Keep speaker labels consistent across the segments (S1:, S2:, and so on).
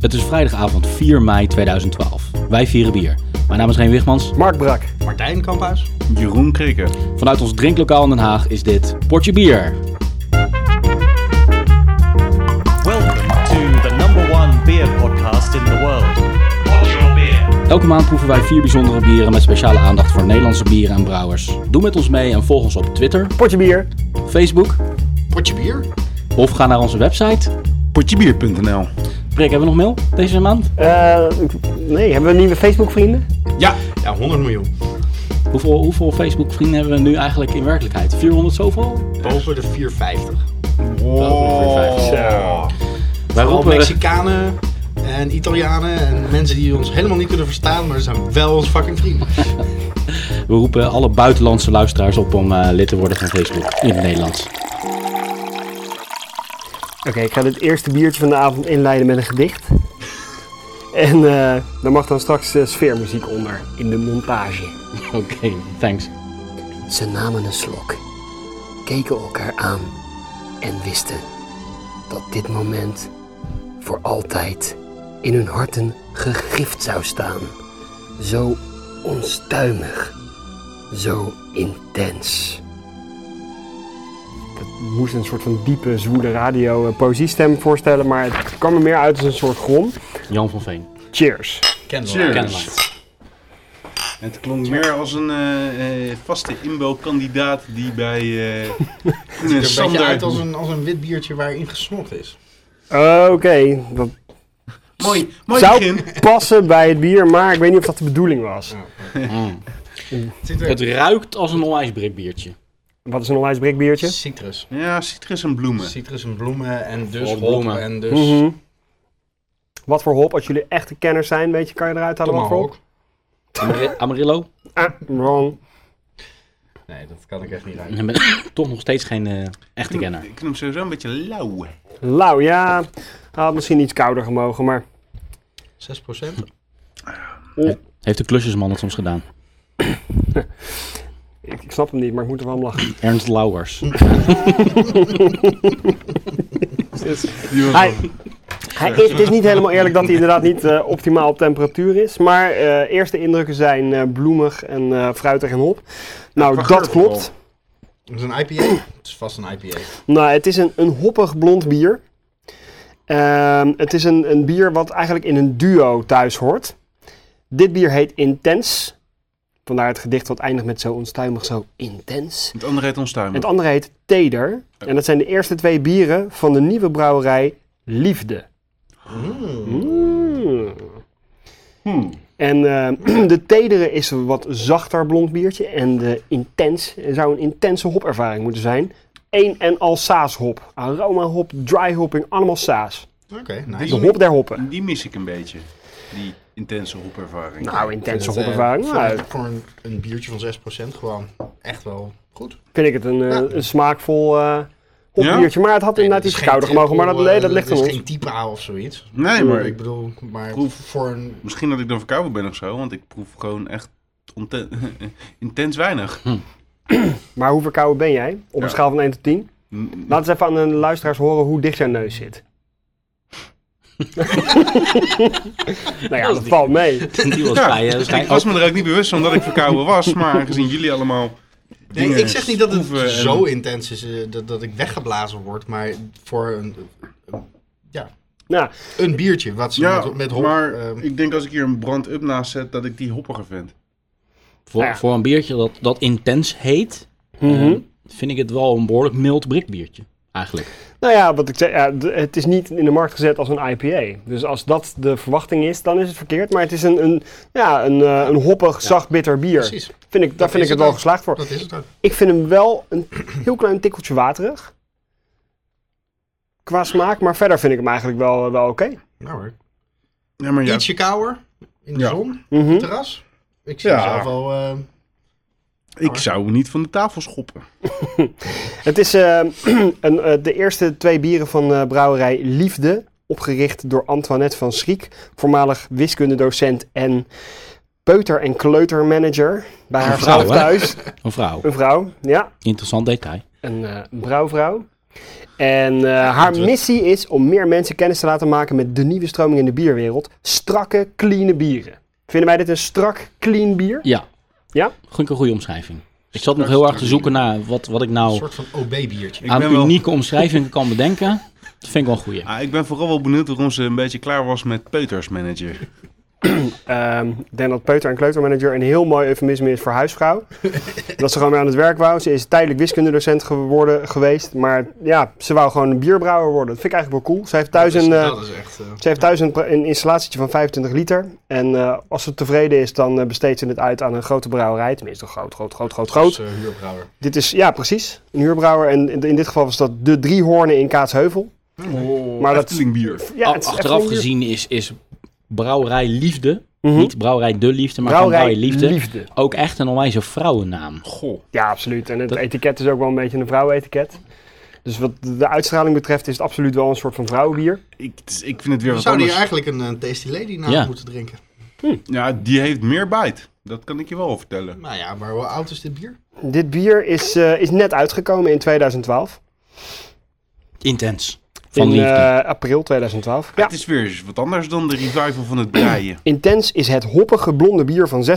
S1: Het is vrijdagavond 4 mei 2012. Wij vieren bier. Mijn naam is Reen Wigmans.
S2: Mark Brak.
S3: Martijn Kamphuis.
S4: Jeroen Krikke.
S1: Vanuit ons drinklokaal in Den Haag is dit Portje Bier.
S5: Welcome to the number one beer podcast in the world. What's your beer?
S1: Elke maand proeven wij vier bijzondere bieren met speciale aandacht voor Nederlandse bieren en brouwers. Doe met ons mee en volg ons op Twitter,
S2: Potje bier.
S1: Facebook
S3: Potje bier.
S1: of ga naar onze website.
S4: Potjebier.nl
S1: Prik, hebben we nog mail deze maand?
S2: Eh, nee, hebben we nieuwe Facebook vrienden?
S3: Ja. Ja, 100 miljoen.
S1: Hoeveel, hoeveel Facebook vrienden hebben we nu eigenlijk in werkelijkheid? 400 zoveel?
S3: Boven de 450.
S2: Oh.
S4: Wow.
S1: Wij
S3: Al
S1: roepen,
S3: Mexicanen en Italianen en mensen die ons helemaal niet kunnen verstaan, maar ze zijn wel ons fucking vrienden.
S1: we roepen alle buitenlandse luisteraars op om eh, lid te worden van Facebook in het Nederlands.
S2: Oké, ik ga dit eerste biertje van de avond inleiden met een gedicht. En eh daar mag dan straks eh, sfeermuziek onder in de montage.
S1: Oké, thanks.
S2: Ze namen een slok, keken elkaar aan en wisten dat dit moment voor altijd in hun harten gegrift zou staan. Zo onstuimig, zo intens. Het moest een soort van diepe, zwoele radio eh, poëziestem voorstellen, maar het kwam er meer uit als een soort grom.
S1: Jan van Veen.
S2: Cheers.
S4: Cheers.
S1: Candlelight.
S4: Het klonk meer als een eh, eh, vaste inbelkandidaat die bij eh
S3: Het
S4: een
S3: ziet er een beetje
S4: Sander...
S3: uit als een, als een wit biertje waarin gesnopt is.
S2: Oké, dat
S4: Mooi, mooi
S2: zou
S4: begin.
S2: passen bij het bier, maar ik weet niet of dat de bedoeling was.
S1: Mm.
S3: Het ziet
S1: Het
S3: er...
S1: ruikt als een onwijs biertje.
S2: Wat is een onwijs biertje?
S3: Dus- Citrus.
S4: Ja, citrus en bloemen.
S3: Citrus en bloemen en dus
S1: Vooral
S3: hop
S1: bloemen.
S3: en dus
S2: Mhm. Wat voor hop, als jullie echte kenners zijn, weet je, kan je eruit halen wat voor hop?
S3: tomahawk.
S1: Amari- Amarillo?
S2: Ah, wrong.
S3: Nee, dat kan ik echt niet uit.
S1: Ik ben toch nog steeds geen eh, echte
S4: Ik vind hem-
S1: kenner.
S4: ik vind hem sowieso een beetje lauw.
S2: Lauw, Nou, ja. Hij had misschien iets kouder gemogen, maar
S3: 6 procent.
S1: Heeft de klusjesman het soms gedaan?
S2: ik, ik snap hem niet, maar ik moet er wel om lachen.
S1: Ernst Lauwers.
S2: Hij, hij is, het is niet helemaal eerlijk dat hij inderdaad niet eh, optimaal op temperatuur is, maar eh, eerste indrukken zijn eh, bloemig en eh, fruitig en hop. Nou,
S4: Qua geur
S2: dat klopt.
S3: Het is een IPA. Het is vast een IPA.
S2: Nou, het is een, een hoppig blond bier. Ehm, het is een, een bier wat eigenlijk in een duo thuis hoort. Dit bier heet Intens. Vandaar het gedicht wat eindigt met zo onstuimig, zo intens.
S4: Het andere heet onstuimig.
S2: Het andere heet Teder. En dat zijn de eerste twee bieren van de nieuwe brouwerij Liefde.
S3: Hmm.
S2: Mm. En eh, de tedere is een wat zachter blond biertje. En de intens zou een intense hopervaring moeten zijn. Eén en al saashop. Aroma hop, dry hopping, allemaal saas.
S3: Oké,
S2: De
S3: nice.
S2: hop der hoppen.
S4: Die mis ik een beetje. Die intense hoepervaring.
S2: Nou, intense
S3: Dat, eh,
S2: hopervaring.
S3: voor,
S2: Nou,
S3: voor een, een biertje van 6% gewoon echt wel goed.
S2: vind ik het een, eh,
S3: Ja.
S2: een smaakvol eh hopbiertje. Maar het had
S3: Nee, dat
S2: inderdaad
S3: is
S2: iets
S3: geen
S2: kouder gemogen. Maar dat,
S3: triple,
S2: nee,
S3: eh,
S2: dat ligt aan
S3: is
S2: ons.
S3: geen type A of zoiets.
S4: Nee, maar
S3: Ik
S4: ik,
S3: bedoel, maar
S4: Proef.
S3: voor een...
S4: misschien dat ik dan verkouden ben of zo, want ik proef gewoon echt onten- intens weinig.
S2: Maar hoe verkouden ben jij? Op een
S4: Ja.
S2: schaal van 1 tot 10?
S4: Mm,
S2: Laat eens even aan de luisteraars horen hoe dicht zijn neus zit. nou ja, dat valt mee.
S1: Die was
S4: Ja,
S1: bij eh,
S4: Ik
S1: waarschijn-
S4: was me er ook niet bewust van dat ik verkouden was, maar aangezien jullie allemaal.
S3: Nee,
S4: dingen
S3: ik zeg niet dat het
S4: proeven en-
S3: zo intens is eh, dat, dat ik weggeblazen word, maar voor een, eh,
S2: Nou,
S3: een biertje wat ze
S4: Ja,
S3: met, met hop...
S4: maar
S3: ehm,
S4: ik denk als ik hier een brand-up naast zet, dat ik die hoppiger vind.
S1: voor,
S2: Ja.
S1: Oh, voor een biertje dat, dat intens heet,
S2: mhm.
S1: eh, vind ik het wel een behoorlijk mild biertje Eigenlijk.
S2: nou ja, wat ik zeg, ja, d- het is niet in de markt gezet als een IPA. Dus als dat de verwachting is, dan is het verkeerd. Maar het is een, een, ja, een, eh, een hoppig, zacht, bitter bier.
S3: precies,
S2: Vind ik, daar
S3: Dat
S2: vind ik het
S3: is het
S2: wel
S3: ook.
S2: geslaagd voor.
S3: dat is het ook.
S2: Ik vind hem wel een heel klein tikkeltje waterig. Qua smaak, maar verder vind ik hem eigenlijk wel, wel oké.
S3: Nou hoor.
S4: Ja, maar ja,
S3: Ietsje kouder, in de
S4: Ja.
S3: zon,
S2: Mhm.
S3: terras. Ik zie
S4: Ja.
S3: mezelf wel... eh,
S4: ik zou niet van de tafel schoppen.
S2: Het is eh, een, eh, de eerste twee bieren van eh, brouwerij Liefde, opgericht door Antoinette van Schriek, voormalig wiskundedocent en peuter- en kleutermanager bij haar
S1: vrouw,
S2: vrouw
S1: hè?
S2: thuis.
S1: Een vrouw.
S2: Een vrouw, ja,
S1: Interessant detail.
S2: een eh, brouwvrouw. En eh, haar
S3: dat we-
S2: missie is om meer mensen kennis te laten maken met de nieuwe stroming in de bierwereld. Strakke, clean bieren. Vinden wij dit een strak, clean bier?
S1: Ja.
S2: Ja?
S1: Goed een goede omschrijving. Ik zat nog heel erg te zoeken naar wat, wat ik
S3: Een
S4: Oh.
S1: nou
S3: soort van OB-biertje.
S4: Ik
S1: aan
S4: ben wel-
S1: unieke omschrijvingen kan bedenken. Dat vind ik wel een goeie.
S4: Ah, ik ben vooral wel benieuwd waarom ze een beetje klaar was met Peuters manager.
S2: Ehm, ik denk dat peuter- en kleutermanager een heel mooi eufemisme is voor huisvrouw. dat ze gewoon weer aan het werk wou. Ze is tijdelijk wiskundedocent geworden, geweest. Maar ja, ze wou gewoon een bierbrouwer worden. Dat vind ik eigenlijk wel cool. Ze heeft thuis
S3: dat, is,
S2: een... eh,
S3: dat is echt... eh,
S2: Ze heeft thuis een, pra- een installatietje van 25 liter. En eh, als ze tevreden is, dan eh, besteedt ze het uit aan een grote brouwerij. Tenminste, groot, groot, groot, groot, groot.
S3: als, eh, huurbrouwer.
S2: Dit is, ja, precies. Een huurbrouwer. En in, in dit geval was dat de Driehoornen in Kaatsheuvel.
S4: Oh,
S2: maar dat-
S4: Eftelingbier.
S2: Ja,
S1: A-
S2: het is
S1: Achteraf
S2: echt een-
S1: gezien is, is brouwerij liefde,
S2: Mhm.
S1: niet brouwerij de liefde, maar
S2: Brouwerij
S1: gewoon brouwerij liefde,
S2: Liefde.
S1: ook echt een onwijze vrouwennaam.
S4: Goh.
S2: Ja, absoluut. En het
S1: Dat-
S2: etiket is ook wel een beetje een vrouwenetiket. Dus wat de uitstraling betreft is het absoluut wel een soort van vrouwenbier.
S4: Ik, het is- ik vind het weer
S3: We
S4: wat
S3: zouden
S4: anders.
S3: hier eigenlijk een eh, Tasty Lady na
S1: Ja.
S3: moeten drinken.
S4: Ja, die heeft meer bite. Dat kan ik je wel vertellen.
S3: Nou ja, maar hoe oud is dit bier?
S2: Dit bier is, eh, is net uitgekomen in 2012.
S1: Intens. Van
S2: in
S1: liefde.
S2: eh, april 2012. Ja.
S4: Het is weer eens wat anders dan de revival van het draaien.
S2: Intens is het hoppige blonde bier van 6%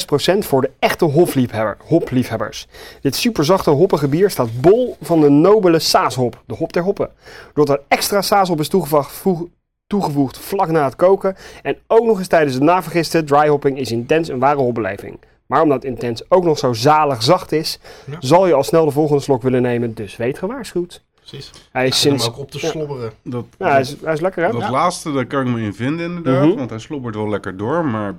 S2: voor de echte hofliefhebber, hopliefhebbers. Dit superzachte hoppige bier staat bol van de nobele saashop, de hop der hoppen. Doordat er extra saashop is toegevoegd, voeg- toegevoegd vlak na het koken en ook nog eens tijdens het navergisten, dry hopping is intens een ware hopbeleving. Maar omdat intens ook nog zo zalig zacht is,
S3: Ja.
S2: zal je al snel de volgende slok willen nemen, dus weet gewaarschuwd.
S3: Precies.
S2: Hij is
S3: Om hem
S2: sinds...
S3: ook op te
S2: Ja.
S3: slobberen.
S4: Dat,
S2: Ja, hij is, hij is lekker hè?
S4: dat laatste, daar kan ik me in vinden inderdaad.
S2: Mhm.
S4: Want hij slobbert wel lekker door. Maar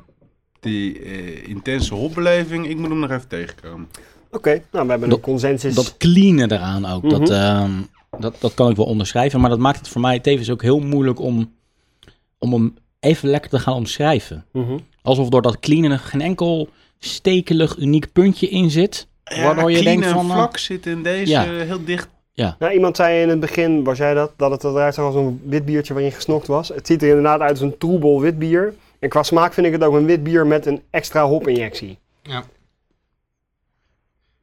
S4: die eh, intense hopbeleving, ik moet hem nog even tegenkomen.
S2: Oké, nou we hebben
S1: Dat-
S2: een consensus.
S1: Dat cleanen eraan ook, dat,
S2: Mhm.
S1: ehm, dat, dat kan ik wel onderschrijven. Maar dat maakt het voor mij tevens ook heel moeilijk om, om hem even lekker te gaan omschrijven.
S2: Mhm.
S1: Alsof door dat cleanen er geen enkel stekelig uniek puntje in zit. Waardoor je
S4: clean
S1: denkt
S4: en
S1: van, eh,
S4: vlak zit in deze
S1: ja.
S4: heel dicht.
S2: Nou, iemand zei in het begin, was jij dat, dat het eruit zag als een wit biertje waarin gesnokt was. Het ziet er inderdaad uit als een troebel wit bier. En qua smaak vind ik het ook een wit bier met een extra hopinjectie.
S3: Ja.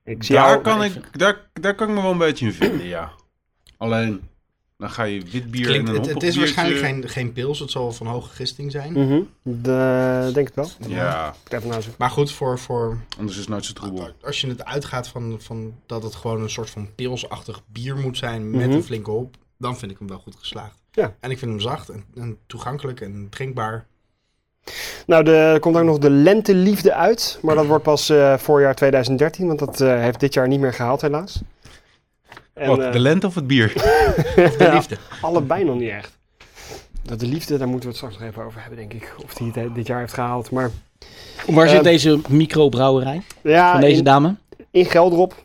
S2: Ik zie
S4: Daar
S2: jou-
S4: kan,
S1: even.
S4: ik, daar, daar kan ik me wel een beetje in vinden, ja. Alleen, dan ga je wit bier
S3: Klinkt,
S4: en een
S3: het, het is
S4: hoppig
S3: waarschijnlijk
S4: biertje.
S3: geen, geen pils, het zal van hoge gisting zijn.
S2: Mhm, de, denk het wel. Ik
S4: Ja,
S2: moet Even nou zoeken.
S3: Maar goed, voor, voor,
S4: anders is het nooit zo troebel.
S3: als je het uitgaat van, van dat het gewoon een soort van pilsachtig bier moet zijn met
S2: Mhm.
S3: een flinke hop, dan vind ik hem wel goed geslaagd.
S2: Ja.
S3: En ik vind hem zacht en, en toegankelijk en drinkbaar.
S2: Nou, de- er komt ook nog de lenteliefde uit. Maar dat wordt pas eh, voorjaar 2013, want dat eh, heeft dit jaar niet meer gehaald helaas. En,
S4: Wat,
S2: eh,
S4: de lente of het bier?
S3: De liefde.
S2: Allebei nog niet echt. Dat de liefde, daar moeten we het straks nog even over hebben, denk ik. Of die het dit jaar heeft gehaald. Maar
S1: Waar
S2: Eh,
S1: zit deze microbrouwerij
S2: ja,
S1: van deze
S2: in-
S1: dame?
S2: in Geldrop.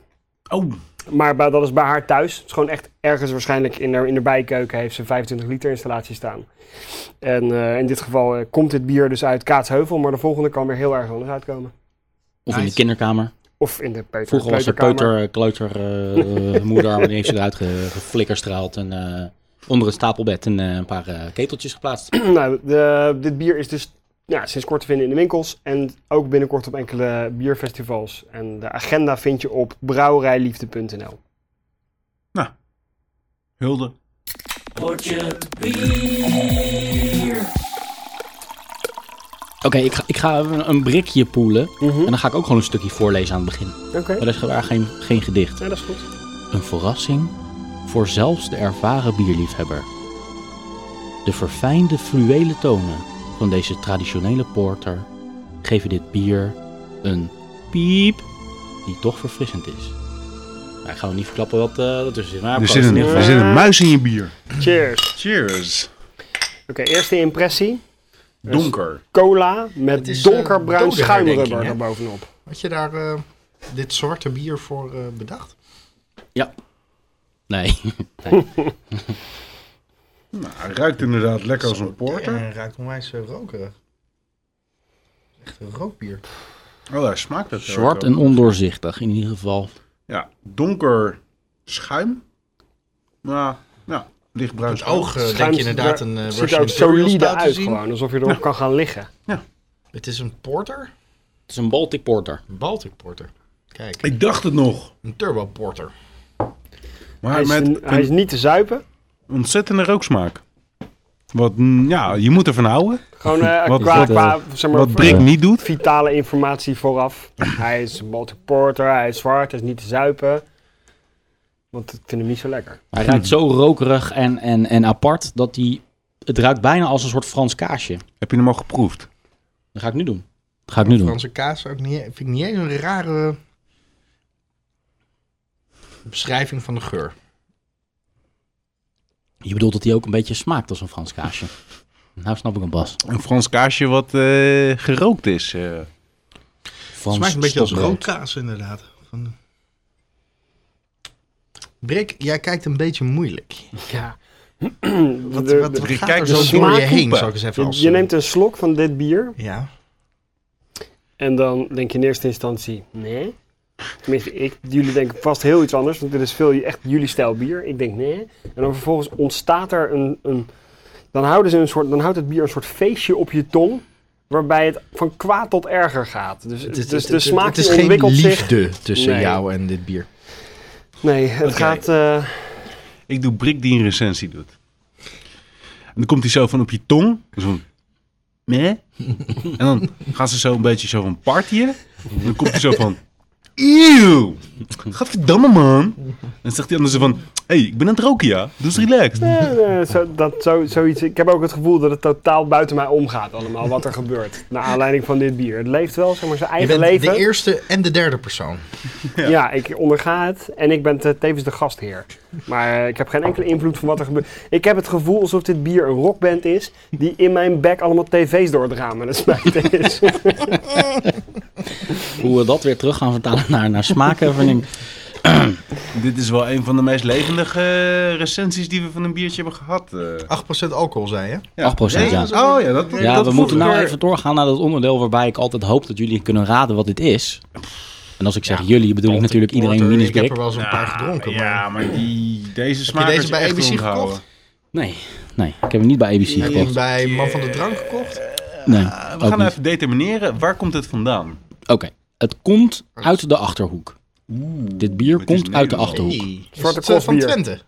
S4: Oh,
S2: Maar bij- dat is bij haar thuis. Het is gewoon echt ergens waarschijnlijk in haar, in haar bijkeuken heeft ze een 25 liter installatie staan. En eh, in dit geval eh, komt dit bier dus uit Kaatsheuvel, maar de volgende kan weer heel erg anders uitkomen.
S1: Of in de
S3: Nice.
S1: kinderkamer.
S2: Of in de peuter,
S1: Vroeger was ze
S2: kleuterkamer.
S1: peuter, kleuter, eh, eh, moeder, maar die heeft ze eruit ge- geflikkerstraald en eh, onder een stapelbed en eh, een paar eh, keteltjes geplaatst.
S2: nou, de- dit bier is dus ja, sinds kort te vinden in de winkels en ook binnenkort op enkele bierfestivals. En de agenda vind je op brouwerijliefde.nl.
S4: nou. hulde.
S1: Oké, ik, ga, ik ga een, een brikje poelen
S2: Mhm.
S1: en dan ga ik ook gewoon een stukje voorlezen aan het begin.
S2: Oké,
S1: Maar dat is daar geen, geen gedicht.
S2: ja, dat is goed.
S1: Een verrassing voor zelfs de ervaren bierliefhebber. De verfijnde fluwelen tonen van deze traditionele porter geven dit bier een piep die toch verfrissend is. Nou, ik ga nog niet verklappen wat eh dat er zit. Maar
S4: Er
S1: proost
S4: zit,
S1: in
S4: een,
S1: ieder
S4: er
S1: geval.
S4: zit een muis in je bier.
S2: Cheers.
S4: Cheers.
S2: Oké, eerste impressie.
S4: Donker.
S2: Cola met
S3: Het is, eh,
S2: donkerbruin
S3: dode herdenking,
S2: schuimrubber
S3: hè?
S2: erbovenop.
S3: Had je daar eh, dit zwarte bier voor eh, bedacht?
S1: Ja. Nee.
S4: Nou, hij ruikt inderdaad lekker als een porter.
S3: En ruikt onwijs eh, rokerig. Echt een rookbier.
S4: Oh, hij smaakt het. heel
S1: Zwart
S4: erg
S1: en ondoorzichtig in ieder geval.
S4: wel. Ja, donker schuim. Maar, ja, lichtbruin
S3: Het
S4: schuim.
S3: oog eh, denk
S2: Schuim
S3: je inderdaad een eh
S2: ziet er
S3: Russian
S2: ook
S3: Imperial
S2: solide
S3: stout te
S2: uit
S3: zien.
S2: gewoon, alsof je erop kan gaan liggen.
S3: Het is een porter?
S1: Het is een Baltic Porter.
S3: Een Baltic porter. Kijk,
S4: Ik dacht het nog.
S3: een turbo porter.
S2: Hij
S4: Maar
S2: is,
S4: met
S2: een- hij is
S4: een
S2: niet te zuipen.
S4: ontzettende rooksmaak. Wat, mm, ja, je moet ervan houden.
S2: Gewoon eh,
S4: Wat-
S2: qua,
S4: wat,
S2: qua zeg maar,
S4: Wat Brick
S1: eh,
S4: niet doet.
S2: vitale informatie vooraf. hij is een Baltic Porter, hij is zwart, hij is niet te zuipen. Want ik vind hem niet zo lekker.
S1: Hij ruikt zo rokerig en, en, en apart dat hij... Het ruikt bijna als een soort Frans kaasje.
S4: Heb je hem al geproefd?
S1: Dat ga ik nu doen. Dat ga ik nu doen.
S3: Franse kaas zou ik niet, vind ik niet eens een rare beschrijving van de geur.
S1: Je bedoelt dat hij ook een beetje smaakt als een Frans kaasje. Nou snap ik hem pas.
S4: Een Frans kaasje wat eh, gerookt is. eh.
S1: Frans
S3: het smaakt een beetje als
S1: stokbrood.
S3: rookkaas inderdaad. Van... Brik, jij kijkt een beetje moeilijk.
S2: Ja.
S3: Wat, wat, wat
S4: Brik,
S3: gaat
S4: kijk
S3: er
S4: de
S3: zo door je
S4: smaakkoepen.
S3: heen, zou ik eens even
S2: je,
S3: als... eh,
S4: eh,
S2: je neemt een slok van dit bier
S3: Ja.
S2: en dan denk je in eerste instantie, nee. Tenminste, ik, jullie denken vast heel iets anders, want dit is veel echt jullie stijl bier. Ik denk nee. En dan vervolgens ontstaat er een, een dan, houden ze een soort, dan houdt het bier een soort feestje op je tong, waarbij het van kwaad tot erger gaat. Dus,
S3: Het
S2: dus
S3: is,
S2: de smaak
S3: het is
S2: die
S3: geen
S2: ontwikkelt zich.
S3: liefde tussen
S2: Nee.
S3: jou en dit bier.
S2: Nee, het gaat. eh,
S4: Ik doe Brik die een recensie doet. En dan komt hij zo van op je tong. Zo van, meh. en dan gaan ze zo een beetje zo van partyen. En dan komt hij zo van, eeuw. Gadverdamme man. En dan zegt die ander zo van, hé, hey, ik ben aan het roken ja. Dus relaxed.
S2: eh, eh, zo, dat, zo, zoiets. Ik heb ook het gevoel dat het totaal buiten mij omgaat, allemaal wat er gebeurt. Naar aanleiding van dit bier. Het leeft wel, zeg maar, zijn
S3: Je
S2: eigen
S3: bent
S2: leven.
S3: de eerste en de derde persoon.
S2: Ja. ik onderga het en ik ben te- tevens de gastheer. Maar eh, ik heb geen enkele invloed van wat er gebeurt. Ik heb het gevoel alsof dit bier een rockband is die in mijn bek allemaal tv's door het raam aan het smijten is.
S1: Hoe we dat weer terug gaan vertalen naar, naar smaakervaring.
S4: Dit is wel een van de meest levendige eh, recensies die we van een biertje hebben gehad. eh.
S3: 8% alcohol, zei je?
S4: ja.
S1: 8% ja.
S4: Oh ja,
S1: Ja,
S4: dat, dat
S1: we moeten
S4: voelde
S1: nou
S4: ik.
S1: even doorgaan naar dat onderdeel waarbij ik altijd hoop dat jullie kunnen raden wat dit is. En als ik zeg jullie, bedoel ik natuurlijk iedereen
S3: Porter,
S1: minus
S3: Ik heb er
S1: Brik.
S3: wel eens een paar gedronken, maar...
S4: Ja, maar die, deze smaak
S3: deze
S4: is
S3: bij
S4: echt
S3: ABC gekocht?
S4: onthouden.
S1: Nee, nee, ik heb hem niet bij ABC
S3: Heb je hem
S1: gekocht.
S3: bij Man van de Drank gekocht?
S1: Nee,
S4: Eh, we
S1: ook
S4: gaan
S1: niet.
S4: even determineren, waar komt het vandaan?
S1: Oké, het komt uit de Achterhoek. Dit bier
S4: het is
S1: komt uit de
S4: Nederland.
S1: Achterhoek.
S2: Zwarte
S3: Is het, eh, van
S2: koffie.
S3: Twente.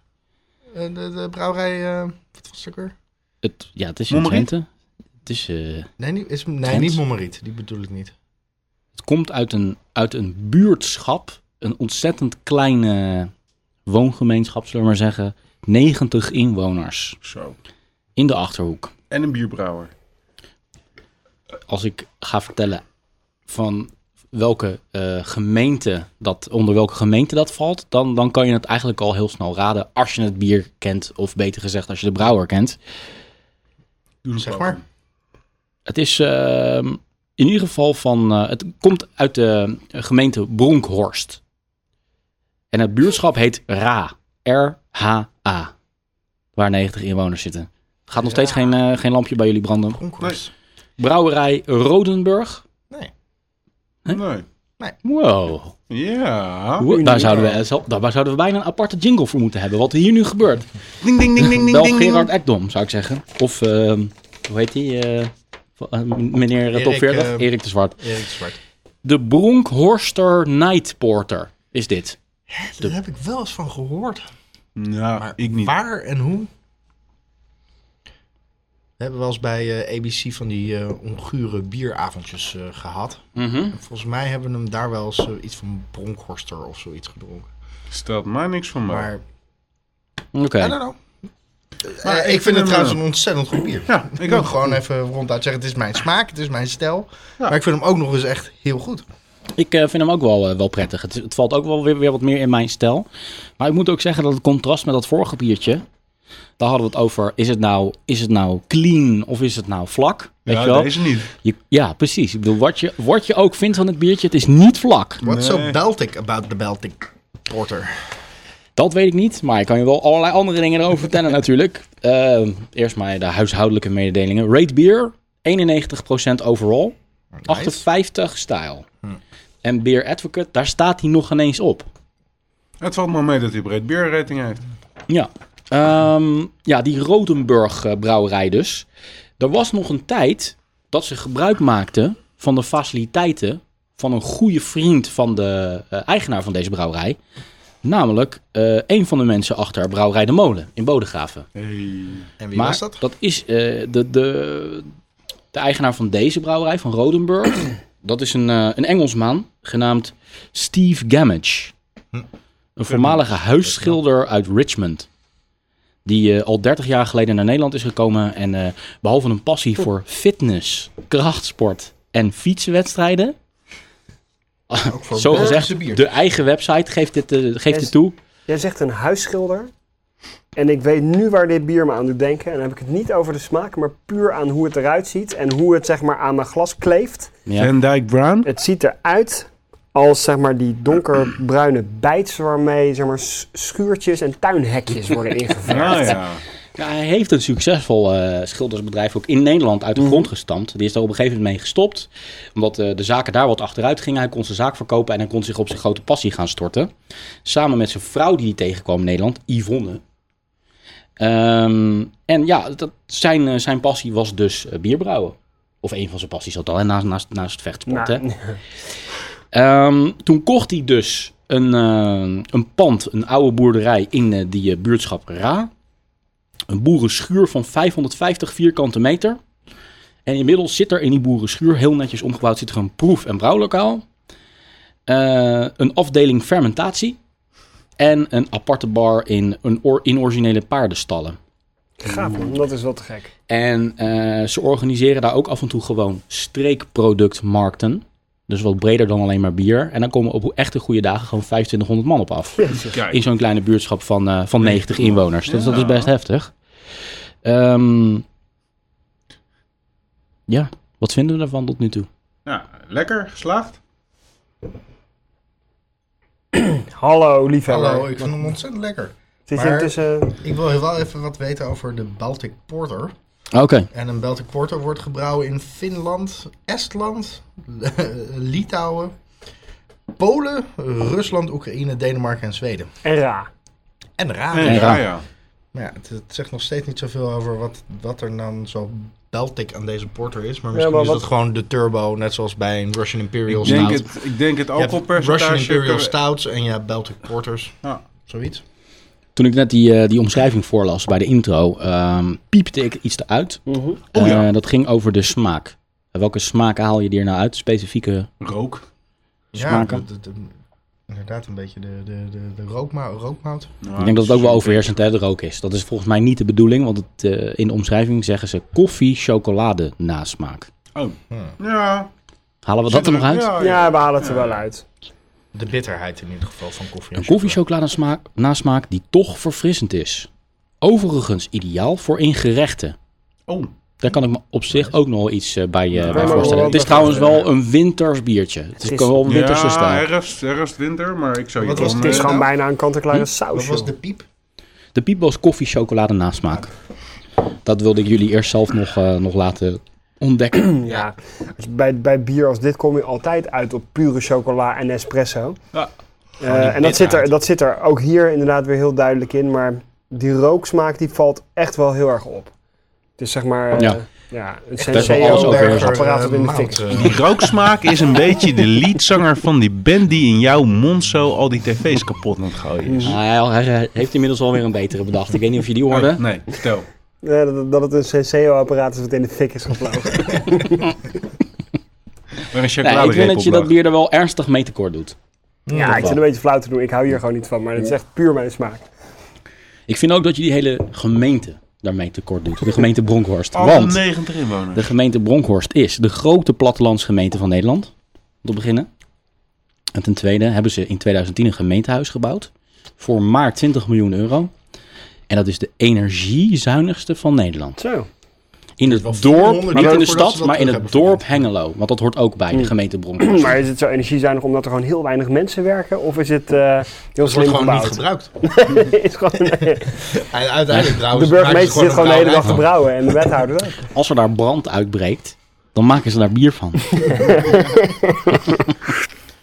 S3: Eh, de, de brouwerij, eh, wat was het ook weer?
S1: Het, ja, het is in
S4: Mommeriet?
S1: Twente. Het, is, eh,
S3: Nee, niet- is, nee
S1: Twent?
S3: niet Mommeriet. Die bedoel ik niet.
S1: het komt uit een, uit een buurtschap, een ontzettend kleine woongemeenschap, zullen we maar zeggen. 90 inwoners
S4: Zo.
S1: in de Achterhoek.
S4: En een bierbrouwer.
S1: als ik ga vertellen van welke eh, gemeente dat, onder welke gemeente dat valt, dan, dan kan je het eigenlijk al heel snel raden als je het bier kent, of beter gezegd als je de brouwer kent.
S4: Doe
S3: Zeg maar.
S1: Het is ehm, in ieder geval van, eh, het komt uit de gemeente Bronkhorst. En het buurtschap heet Ra, R-H-A, waar 90 inwoners zitten. Gaat nog steeds geen, eh, geen lampje bij jullie branden.
S3: Bronkhorst.
S1: Brouwerij Rodenburg.
S3: Nee.
S1: Hè?
S4: Nee.
S1: Wow.
S4: Ja.
S1: Hoe- daar, zouden we, eh, zo- daar zouden we bijna een aparte jingle voor moeten hebben. Wat hier nu gebeurt.
S4: Ding, ding, ding, ding, ding,
S1: Wel
S4: ding,
S1: Gerard Ekdom, zou ik zeggen. Of, ehm, hoe heet die? eh, van- eh, meneer
S3: Erik,
S1: Top 40?
S3: eh,
S1: Erik de Zwart.
S3: Erik Zwart.
S1: De Bronkhorster Night Porter is dit.
S3: Daar heb ik wel eens van gehoord.
S4: ding. Ja,
S3: Maar
S4: Nou, ik niet.
S3: waar en hoe? We hebben wel eens bij eh, ABC van die eh, ongure bieravondjes eh, gehad. En volgens mij hebben we hem daar wel eens eh, iets van Bronkhorster of zoiets gedronken.
S4: Stelt mij niks van mij.
S3: Maar,
S1: Oké.
S3: I
S4: nou
S3: don't know. Eh,
S4: Maar
S3: ik, vind, het trouwens een ontzettend goed bier.
S4: Ja,
S3: Ik
S4: ik
S3: wil
S4: ook.
S3: gewoon even ronduit zeggen, het is mijn smaak, het is mijn stijl.
S4: Ja.
S3: Maar ik vind hem ook nog eens echt heel goed.
S1: Ik eh, vind hem ook wel, eh, wel prettig. Het, het valt ook wel weer, weer wat meer in mijn stijl. Maar ik moet ook zeggen dat het contrast met dat vorige biertje. Daar hadden we het over. Is het nou, is het nou clean of is het nou vlak? Weet
S4: ja,
S1: je wel?
S4: deze niet.
S1: Je- ja, precies. Ik bedoel, wat je, wat je ook vindt van het biertje, het is niet vlak.
S3: What's
S4: Nee.
S3: so Baltic about the Baltic Porter?
S1: Dat weet ik niet, maar ik kan je wel allerlei andere dingen erover vertellen natuurlijk. Ehm, eerst maar de huishoudelijke mededelingen. Rate beer, 91% overall, 58 stijl. En Beer Advocate, daar staat hij nog ineens op.
S4: Het valt me mee dat hij breed beerrating heeft.
S1: Ja, Ehm, ja die Rodenburg eh, brouwerij dus. Er was nog een tijd dat ze gebruik maakten van de faciliteiten van een goede vriend van de eh, eigenaar van deze brouwerij. Namelijk eh een van de mensen achter Brouwerij de Molen in Bodegraven.
S3: En wie
S1: maar
S3: was dat?
S1: is eh, de, de, de eigenaar van deze brouwerij, van Rodenburg. dat is een, eh, een Engelsman genaamd Steve Gamage.
S3: Hm.
S1: Een voormalige huisschilder uit Richmond. Die eh, al 30 jaar geleden naar Nederland is gekomen. En eh, behalve een passie voor
S3: Hm.
S1: fitness, krachtsport en fietsenwedstrijden.
S3: Ook voor
S1: Zo
S3: Belgische
S1: gezegd,
S3: bier.
S1: de eigen website geeft dit, eh, geeft
S2: Yes.
S1: dit toe.
S2: Jij zegt een huisschilder. En ik weet nu waar dit bier me aan doet denken. En dan heb ik het niet over de smaak, maar puur aan hoe het eruit ziet. En hoe het zeg maar aan mijn glas kleeft.
S1: Ja.
S4: Van Dyke Brown.
S2: Het ziet eruit als zeg maar die donkerbruine bijts waarmee zeg maar s- schuurtjes en tuinhekjes worden ingevuld.
S4: Ah, ja.
S1: Ja, hij heeft een succesvol eh, schildersbedrijf ook in Nederland uit de grond gestampt. Die is daar op een gegeven moment mee gestopt. Omdat eh, de zaken daar wat achteruit gingen. Hij kon zijn zaak verkopen en hij kon zich op zijn grote passie gaan storten. Samen met zijn vrouw die hij tegenkwam in Nederland, Yvonne. Ehm, en ja, dat, zijn, eh, zijn passie was dus eh, bierbrouwen. Of een van zijn passies had al, hè, naast, naast, naast vechtsport. hè.
S2: Nou,
S1: Ehm, toen kocht hij dus een, eh, een pand, een oude boerderij in eh, die eh, buurtschap Ra. Een boerenschuur van 550 vierkante meter. En inmiddels zit er in die boerenschuur, heel netjes omgebouwd, zit er een proef- en brouwlokaal. Eh, een afdeling fermentatie. En een aparte bar in, een or- in originele paardenstallen.
S2: gaaf man, dat is wel te gek.
S1: En eh, ze organiseren daar ook af en toe gewoon streekproductmarkten. Dus wat breder dan alleen maar bier. En dan komen op echte goede dagen gewoon 2500 man op af.
S4: Kijk.
S1: In zo'n kleine buurtschap van, eh, van 90 inwoners. Dus dat is best heftig. Ehm, ja, wat vinden we ervan tot nu toe?
S4: Nou, lekker, geslaagd.
S2: Hallo liefhebber.
S3: Hallo, ik vind hem ontzettend lekker.
S2: Het is
S3: maar-
S2: intussen...
S3: Ik wil heel wel even wat weten over de Baltic Porter.
S1: Oké,
S3: En een Baltic Porter wordt gebrouwen in Finland, Estland, Litouwen, Polen, Rusland, Oekraïne, Denemarken en Zweden.
S2: En ra.
S3: En raar.
S4: Ja, ja. ja.
S3: Maar ja, het, het zegt nog steeds niet zoveel over wat, wat er dan zo Baltic aan deze porter is. Maar
S2: Ja,
S3: misschien
S2: maar
S3: is
S2: wat-
S3: dat gewoon de turbo, net zoals bij een Russian Imperial
S4: Ik denk
S3: Stout.
S4: het, ik denk het
S3: Je hebt Russian
S4: alcoholpercentage.
S3: Imperial
S4: kan-
S3: Stouts en je hebt Baltic Porters.
S4: Ja.
S3: Zoiets.
S1: toen ik net die, eh, die omschrijving voorlas bij de intro, ehm, piepte ik iets eruit.
S4: Oh ja.
S1: Eh, dat ging over de smaak. En Welke smaak haal je hier nou uit? Specifieke
S4: Rook.
S1: Smaken.
S3: Ja, dat- dat- inderdaad een beetje de, de, de, de rookma- rookmout.
S1: Ik denk dat het ook wel overheersend hè, er ook is. Dat is volgens mij niet de bedoeling, want het, eh, in de omschrijving zeggen ze koffie, chocolade nasmaak.
S4: Oh.
S3: Hmm.
S4: Ja.
S1: Halen we dat er nog uit?
S4: Ja, ja.
S2: Ja, we halen het er wel uit.
S3: De bitterheid in ieder geval van koffie. en
S1: Een koffie, chocolade smaak- nasmaak die toch verfrissend is. Overigens ideaal voor in gerechten.
S4: Oh.
S1: Daar kan ik me op zich ook nog wel iets eh, bij, eh, bij
S2: maar
S1: voorstellen.
S2: wel
S1: Het is
S2: wat
S1: trouwens
S2: wat-
S1: wel een winters biertje. Het is
S2: is-
S1: wel een winterse
S4: ja,
S1: stijl.
S4: herfst, herfst, winter, maar ik zou je
S3: Wat was
S4: wel
S2: Het is
S4: mee-
S2: gewoon bijna een kant-en-klare saus.
S3: Wat eh, hm, was
S2: joh.
S3: de piep?
S1: De piep was koffie, chocolade nasmaak. Dat wilde ik jullie eerst zelf nog, eh, nog laten ontdekken.
S2: Ja, als je bij, bij bier als dit kom je altijd uit op pure chocola en espresso.
S4: Ja.
S2: Eh, en dat zit, er, dat zit er ook hier inderdaad weer heel duidelijk in. Maar die rooksmaak die valt echt wel heel erg op. Het is zeg maar eh,
S1: Ja.
S2: ja. een
S1: best wel alles over
S2: Senseo
S1: overheersen.
S2: apparaat dat in de fik.
S3: Mout, eh,
S4: Die rooksmaak is een beetje de leadzanger van die band die in jouw mond zo al die tv's kapot aan het gooien is.
S1: Hij, Nou hij eh, heeft inmiddels alweer een betere bedacht. Ik weet niet of je die hoorde.
S4: Oh, nee, vertel.
S2: Ja, dat, dat het een Senseo apparaat is wat in de fik is gevlogen.
S4: Maar een
S1: Nee, ik vind
S4: chocoladereep
S1: dat je
S4: op
S1: dat
S4: lag.
S1: bier er wel ernstig mee tekort doet.
S2: ja, ik zit een beetje flauw te doen. Ik hou hier gewoon niet van. Maar het is echt puur mijn smaak.
S1: Ik vind ook dat je die hele gemeente daarmee tekort doet. De gemeente Bronkhorst.
S3: Oh,
S4: Alle
S1: Want
S4: 90 inwoners.
S1: de gemeente Bronkhorst is de grote plattelandsgemeente van Nederland. Om te beginnen. En ten tweede hebben ze in 2010 een gemeentehuis gebouwd. Voor maar 20 miljoen euro. En dat is de energiezuinigste van Nederland.
S2: Zo.
S1: In het
S3: wel
S1: dorp,
S3: 400
S1: niet in de
S3: jaar voordat ze
S1: stad,
S3: dat
S1: maar in
S3: terug
S1: het
S3: hebben Mm.
S1: dorp Hengelo. Want dat hoort ook bij de gemeente Bronkhorst.
S2: Maar is het zo energiezuinig omdat er gewoon heel weinig mensen werken? Of is het eh, heel
S3: Het wordt
S2: slim
S3: gewoon niet
S2: gebouwd?
S3: gebruikt.
S2: Is gewoon-
S3: En
S2: de
S3: uiteindelijk trouwens... maken ze
S2: burgemeester zit gewoon de hele dag te
S3: brouwerij
S2: brouwen. En de wethouder ook.
S1: Als er daar brand uitbreekt, dan maken ze daar bier van.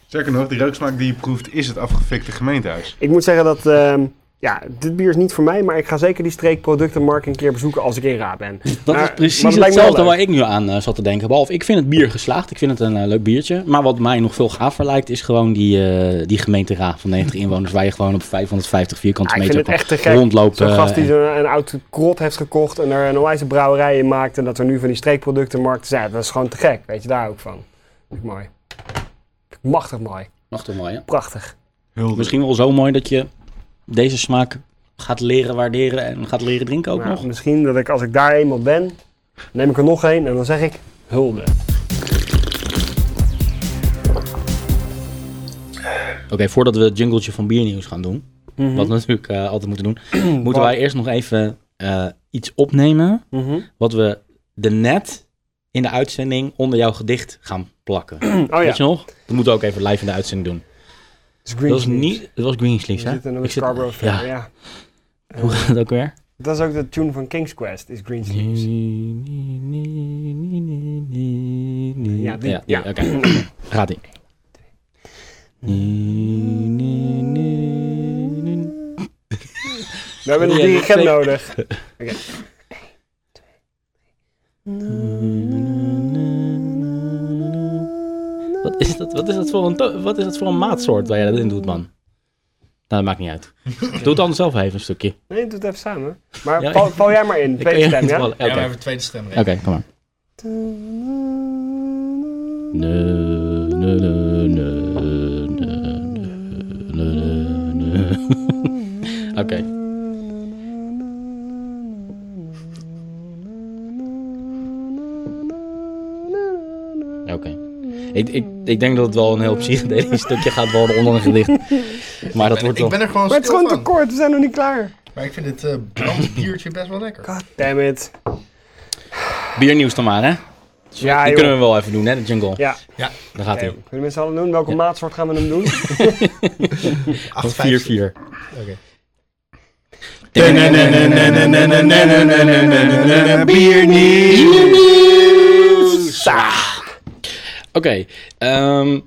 S4: Zeker nog, die rooksmaak die je proeft is het afgefikte gemeentehuis.
S2: Ik moet zeggen dat ehm, ja, dit bier is niet voor mij, maar ik ga zeker die streekproductenmarkt een keer bezoeken als ik in Raad ben.
S1: Dat
S2: Maar-
S1: is precies
S2: maar het lijkt me wel
S1: hetzelfde
S2: leuk.
S1: waar ik nu aan eh, zat te denken. Behalve, ik vind het bier geslaagd. Ik vind het een eh, leuk biertje. Maar wat mij nog veel gaver lijkt, is gewoon die, eh, die gemeenteraad van 90 inwoners. Waar je gewoon op 550 vierkante
S2: Ja, ik
S1: meter
S2: vind het echt te
S1: kan
S2: gek.
S1: rondlopen. eh,
S2: Zo'n
S3: eh,
S2: gast die
S1: en-
S2: zo'n- een oud krot heeft gekocht en er een onwijze brouwerij in maakt en dat er nu van die streekproductenmarkten zijn. Dat is gewoon te gek, weet je daar ook van. Vind ik mooi. Vind ik Machtig mooi,
S1: Wacht even, mooi, hè?
S2: prachtig.
S4: Heel
S1: Misschien wel zo mooi dat je deze smaak gaat leren waarderen en gaat leren drinken ook
S2: Nou,
S1: nog.
S2: Misschien dat ik als ik daar eenmaal ben, neem ik er nog een en dan zeg ik hulde.
S1: Oké, voordat we het jingletje van biernieuws gaan doen,
S2: Mhm.
S1: wat we natuurlijk eh, altijd moeten doen, moeten wij eerst nog even eh, iets opnemen
S2: Mhm.
S1: wat we de net in de uitzending onder jouw gedicht gaan plakken.
S2: Oh ja,
S1: Weet je nog? Dat moeten we ook even live in de uitzending doen.
S2: is Green
S1: Dat was
S2: Sleeves.
S1: niet, dat was Greensleeves,
S2: We
S1: hè?
S2: zitten in de
S1: Ik zit-
S2: Scarborough
S1: ja.
S2: Fair, ja.
S1: Hoe gaat het ook weer?
S2: Dat is ook de tune van King's Quest, is Green Sleeves. Ja,
S1: Ja,
S2: die-
S1: ja, oké. Gaat ie.
S2: We hebben een
S1: Ja, die
S2: dirigent
S1: twee-
S2: nodig.
S1: Wat is dat, wat is dat, voor, een to- wat is dat voor een maatsoort waar jij dat in doet, man? Nou, dat maakt niet uit. Doe het anders zelf even een stukje.
S2: Nee, doe het even samen. Maar
S1: Ja,
S2: val, val jij maar in,
S1: Ik-
S2: tweede stem, ja?
S1: Oké,
S3: Ja, maar even tweede stem rekenen.
S1: Oké, kom maar. Ne, ne, ne, ne, ne, ne, ne, ne, ne. Oké. Oké. Ik, ik, ik denk dat het wel een heel psychedelisch stukje gaat worden onder een gedicht. Maar dat wordt
S3: Ik
S1: wel...
S3: ben er gewoon
S2: Maar het is
S3: stil
S2: gewoon
S3: van.
S2: te kort, we zijn nog niet klaar.
S3: Maar ik vind het eh brand biertje best wel lekker.
S2: God damn it.
S1: Biernieuws dan maar, hè?
S2: Ja,
S1: Die
S2: joh.
S1: kunnen we wel even doen, hè, de jungle.
S2: Ja,
S1: Daar gaat
S2: oké.
S1: hij.
S2: Kunnen we met z'n allen doen? Welke maatsoort gaan we hem doen?
S3: 8,
S1: 4-4.
S3: Oké.
S1: Oké, ehm,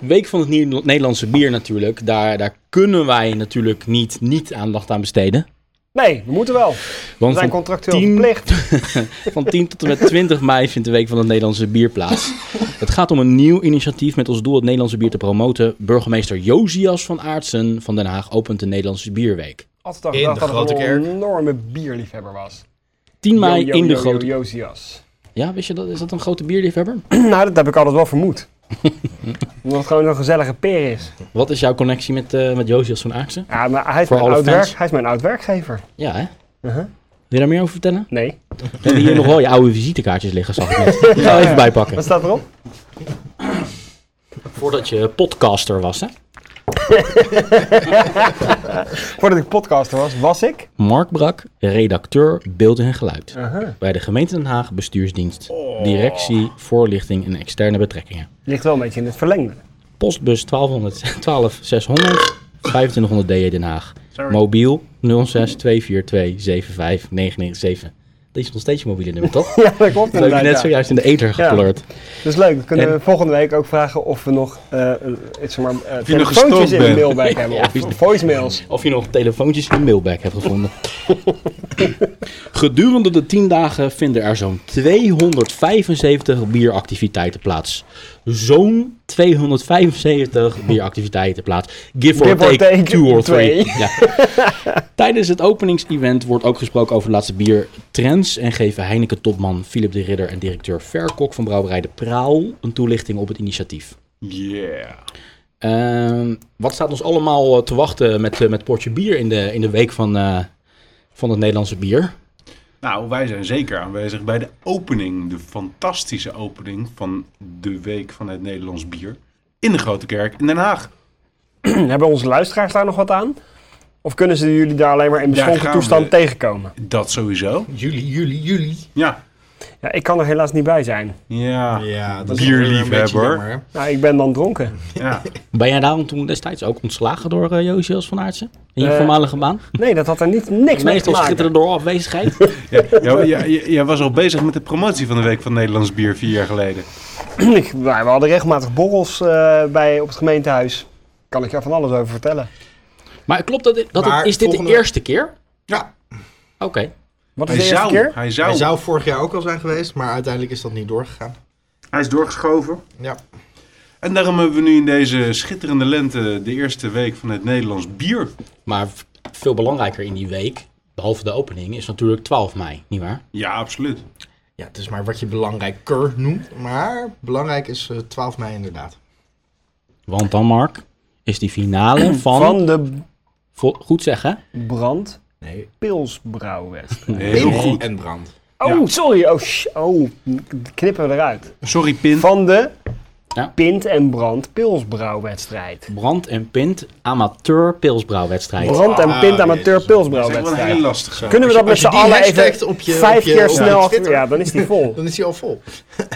S1: Week van het Nier- Nederlandse bier natuurlijk. Daar, daar kunnen wij natuurlijk niet, niet aandacht aan besteden.
S2: Nee, we moeten wel. We
S1: Want
S2: zijn
S1: van,
S2: contractueel
S1: tien-
S2: verplicht.
S1: van 10 tot en met 20 mei vindt de Week van het Nederlandse Bier plaats. Het gaat om een nieuw initiatief met als doel het Nederlandse bier te promoten. Burgemeester Josias van Aartsen van Den Haag opent de Nederlandse Bierweek.
S2: Altijd al
S3: In
S2: gedacht
S3: de
S2: dat
S3: grote
S2: ik een
S3: kerk.
S2: enorme bierliefhebber was.
S1: 10 mei
S2: Yo, yo,
S1: in de
S2: yo, yo,
S1: grote...
S2: Josias.
S1: Ja, wist je dat? Is dat een grote bierliefhebber?
S2: Nou, dat heb ik altijd wel vermoed. Omdat het gewoon een gezellige peer is.
S1: Wat is jouw connectie met, eh met Josias van Aartsen?
S2: Ja, maar hij is,
S1: Voor
S2: mijn
S1: alle
S2: oud,
S1: fans.
S2: werk- hij is mijn oud werkgever.
S1: Ja, hè?
S2: Uh-huh.
S1: Wil je daar meer over vertellen?
S2: Nee.
S1: We hebben hier nog wel je oude visitekaartjes liggen, zag ik net. Die gaan we even bijpakken.
S2: Wat staat erop?
S1: Voordat je podcaster was, hè?
S2: Voordat ik podcaster was, was ik.
S1: Mark Brak, redacteur beeld en geluid.
S2: Uh-huh.
S1: Bij de gemeente Den Haag bestuursdienst,
S2: Oh.
S1: directie, voorlichting en externe betrekkingen.
S2: Ligt wel een beetje in het verlengde.
S1: Postbus 1212 600 2500 DE E Den Haag. Mobiel 06 242 75 997. Dit is nog steeds je mobiele nummer, toch?
S2: Ja, dat klopt
S1: Dat heb je
S2: inderdaad.
S1: net
S2: ja.
S1: zojuist in de ether gekleurd.
S2: Dus leuk, dan kunnen
S1: En-
S2: we volgende week ook vragen of we nog eh eh, zeg maar, eh,
S4: je nog
S2: telefoontjes in de
S4: gestoomd
S2: mailbag hebben.
S1: Ja.
S2: Of of voicemails.
S1: Of je nog telefoontjes in de mailbag hebt gevonden. Gedurende de 10 dagen vinden er zo'n 275 bieractiviteiten plaats. Zo'n 275 bieractiviteiten plaats. Give or,
S2: Give
S1: take,
S2: or take
S1: two or
S2: twee.
S1: three. Ja. Tijdens het openingsevent wordt ook gesproken over de laatste biertrends. En geven Heineken-topman Philip de Ridder en directeur Verkok van Brouwerij De Praal een toelichting op het initiatief.
S4: Yeah.
S1: Ehm, wat staat ons allemaal eh, te wachten met, eh, met potje bier in de, in de week van, eh, van het Nederlandse bier?
S4: Nou, wij zijn zeker aanwezig bij de opening. De fantastische opening van de Week van het Nederlands Bier. In de Grote Kerk in Den Haag.
S2: hebben onze luisteraars daar nog wat aan? Of kunnen ze jullie daar alleen maar in beschonken
S4: gaan
S2: toestand
S4: we.
S2: tegenkomen?
S4: Dat sowieso.
S3: Juli, juli, juli.
S4: Ja.
S2: Ja, ik kan er helaas niet bij zijn.
S4: Ja.
S3: Ja, dat is
S4: Bierliefhebber.
S3: wel een beetje jammer, hè.
S2: Nou, ik ben dan dronken.
S4: ja.
S1: Ben jij daarom toen destijds ook ontslagen door eh Josias van Aartsen? In je
S2: Eh,
S1: voormalige baan?
S2: Nee, dat had er niet, niks mee te
S1: Meestal
S2: maken.
S1: schitteren door afwezigheid.
S4: Ja, jij- jij- jij- jij was al bezig met de promotie van de Week van het Nederlands Bier vier jaar geleden.
S2: Ik- nou, we hadden regelmatig borrels eh, bij, op het gemeentehuis. Kan ik daar van alles over vertellen.
S1: Maar klopt dat, dit- dat
S3: Maar
S1: is dit
S3: volgende-
S1: de eerste keer?
S3: Ja,
S1: Oké.
S2: Wat is
S4: Hij
S2: de eerste
S4: zou,
S2: keer?
S4: hij
S3: hij
S4: zou.
S3: zou vorig jaar ook al zijn geweest, maar uiteindelijk is dat niet doorgegaan.
S4: Hij is doorgeschoven.
S3: Ja,
S4: En daarom hebben we nu in deze schitterende lente de eerste week van het Nederlands bier.
S1: Maar v- veel belangrijker in die week, behalve de opening, is natuurlijk 12 mei, nietwaar?
S4: Ja, absoluut.
S3: ja het is maar wat je belangrijker noemt, maar belangrijk is eh, 12 mei inderdaad.
S1: Want dan, Mark, is die finale van...
S2: Van de
S1: Vo- goed zeggen.
S2: brand
S3: Nee,
S2: Pilsbrouwwedstrijd.
S4: Heel
S3: Pint
S4: goed.
S3: en brand.
S2: Oh, sorry. Oh, sh- oh, knippen we eruit.
S4: Sorry, Pint.
S2: Van de
S1: Ja.
S2: Pint en Brand Pilsbrouwwedstrijd.
S1: Brand en Pint amateur pilsbrouwwedstrijd.
S2: Brand en
S3: Ah,
S2: Pint
S3: jezus.
S2: Amateur
S4: Dat is echt wel een
S2: Pilsbrouwwedstrijd.
S4: hele lastige.
S2: Kunnen we
S3: Als je-
S2: dat met
S3: als
S2: z'n
S3: je die
S2: allen
S3: hashtagt
S2: even
S3: op je-
S2: vijf
S3: op je-
S2: keer
S3: op je
S2: snel achter...
S3: Twitter.
S2: Ja, dan is die vol.
S3: Dan is hij al vol.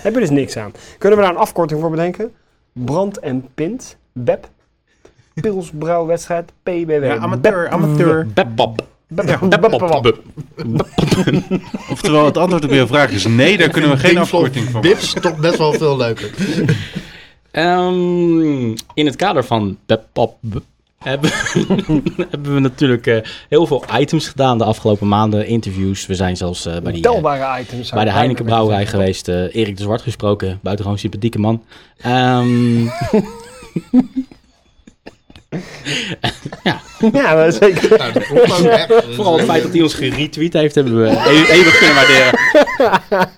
S2: Heb je dus niks aan. Kunnen we daar een afkorting voor bedenken? Brand en Pint, BEP, Pilsbrouwwedstrijd, PBW.
S4: Ja, amateur, amateur.
S1: Bepap.
S4: Oftewel, het antwoord op je vraag is nee, daar kunnen we geen
S3: Pink Floyd
S4: afkorting van maken.
S3: Bips, toch best wel veel leuker.
S1: Ehm, in het kader van Bepap hebben, hebben we natuurlijk eh, heel veel items gedaan de afgelopen maanden. Interviews. We zijn zelfs eh, bij die... eh,
S2: Telbare items.
S1: bij de Heineken Brouwerij geweest. eh, Erik de Zwart gesproken. Buitengewoon sympathieke man. Ehm,
S2: Ja, dat is zeker.
S3: Nou, dat klopt ook echt.
S1: Vooral het feit dat hij ons geretweet heeft, hebben we e- eeuwig kunnen waarderen.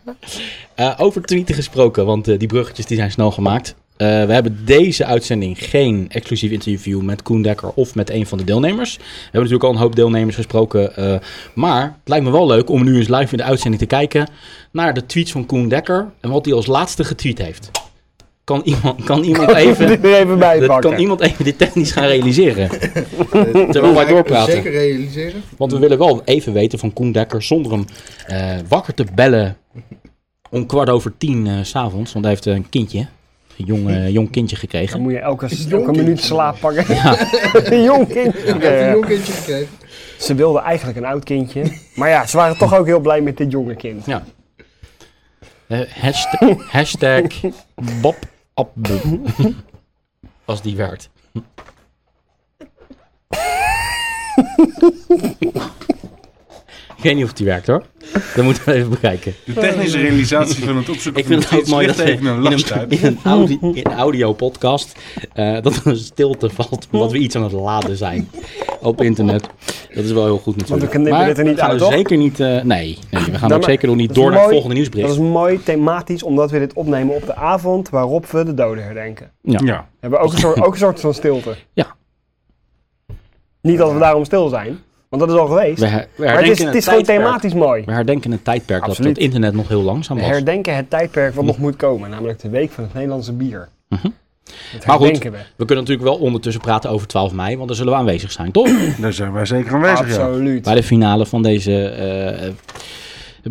S1: Eh, over tweeten gesproken, want eh, die bruggetjes die zijn snel gemaakt. Eh, we hebben deze uitzending geen exclusief interview met Koen Dekker of met een van de deelnemers. We hebben natuurlijk al een hoop deelnemers gesproken. eh, maar het lijkt me wel leuk om nu eens live in de uitzending te kijken naar de tweets van Koen Dekker en wat hij als laatste getweet heeft. Kan iemand, kan iemand even...
S2: er even bij
S1: Dat
S2: pakken.
S1: kan iemand even dit technisch gaan realiseren. Terwijl wij doorpraten.
S3: Zeker realiseren.
S1: Want we willen wel even weten van Koen Dekker zonder hem eh, wakker te bellen om kwart over tien eh, s s'avonds. Want hij heeft een kindje, een jong, eh, jong kindje
S2: Dan
S1: gekregen.
S2: moet je elke, elke
S3: jong
S2: minuut
S3: kindje.
S2: slaap pakken. Een jong kindje.
S3: Ik heb een jong kindje gekregen.
S2: Ze wilden eigenlijk een oud kindje. Maar ja, ze waren toch ook heel blij met dit jonge kind.
S1: Ja. Eh, hashtag, hashtag Bob Abbe. Als die werkt. Ik weet niet of die werkt hoor. Dat moeten we even bekijken.
S4: De technische realisatie van het opzoeken
S1: Ik vind het
S4: van
S1: ook mooi dat we
S4: even
S1: in
S4: een
S1: een,
S4: last uit.
S1: in een audi, in een audio-podcast eh, dat er een stilte valt omdat we iets aan het laden zijn op internet. Dat is wel heel goed natuurlijk.
S2: Want we knippen dit er niet
S1: we gaan
S2: uit,
S1: er
S2: toch?
S1: zeker niet... eh, nee, nee, we gaan
S2: maar
S1: ook zeker nog niet
S2: dat
S1: door
S2: is
S1: naar het
S2: mooi.
S1: volgende nieuwsbericht.
S2: Dat is mooi thematisch, omdat we dit opnemen op de avond waarop we de doden herdenken.
S4: Ja.
S2: Hebben we ook een soort, ook een soort van stilte.
S1: Ja.
S2: Niet dat we daarom stil zijn, want dat is al geweest.
S1: We, her- we
S2: maar het is,
S1: herdenken
S2: het is gewoon
S1: tijdperk.
S2: thematisch mooi.
S1: We herdenken een tijdperk dat
S2: Absoluut.
S1: het internet nog heel langzaam
S2: We
S1: was.
S2: herdenken het tijdperk wat nog moet komen, namelijk de week van het Nederlandse bier. Dat
S1: Mhm. Maar goed.
S2: herdenken we.
S1: we kunnen natuurlijk wel ondertussen praten over 12 mei, want daar zullen we aanwezig zijn, toch?
S4: Daar zijn wij zeker aanwezig, ja.
S2: Absoluut.
S1: Bij de finale van deze eh,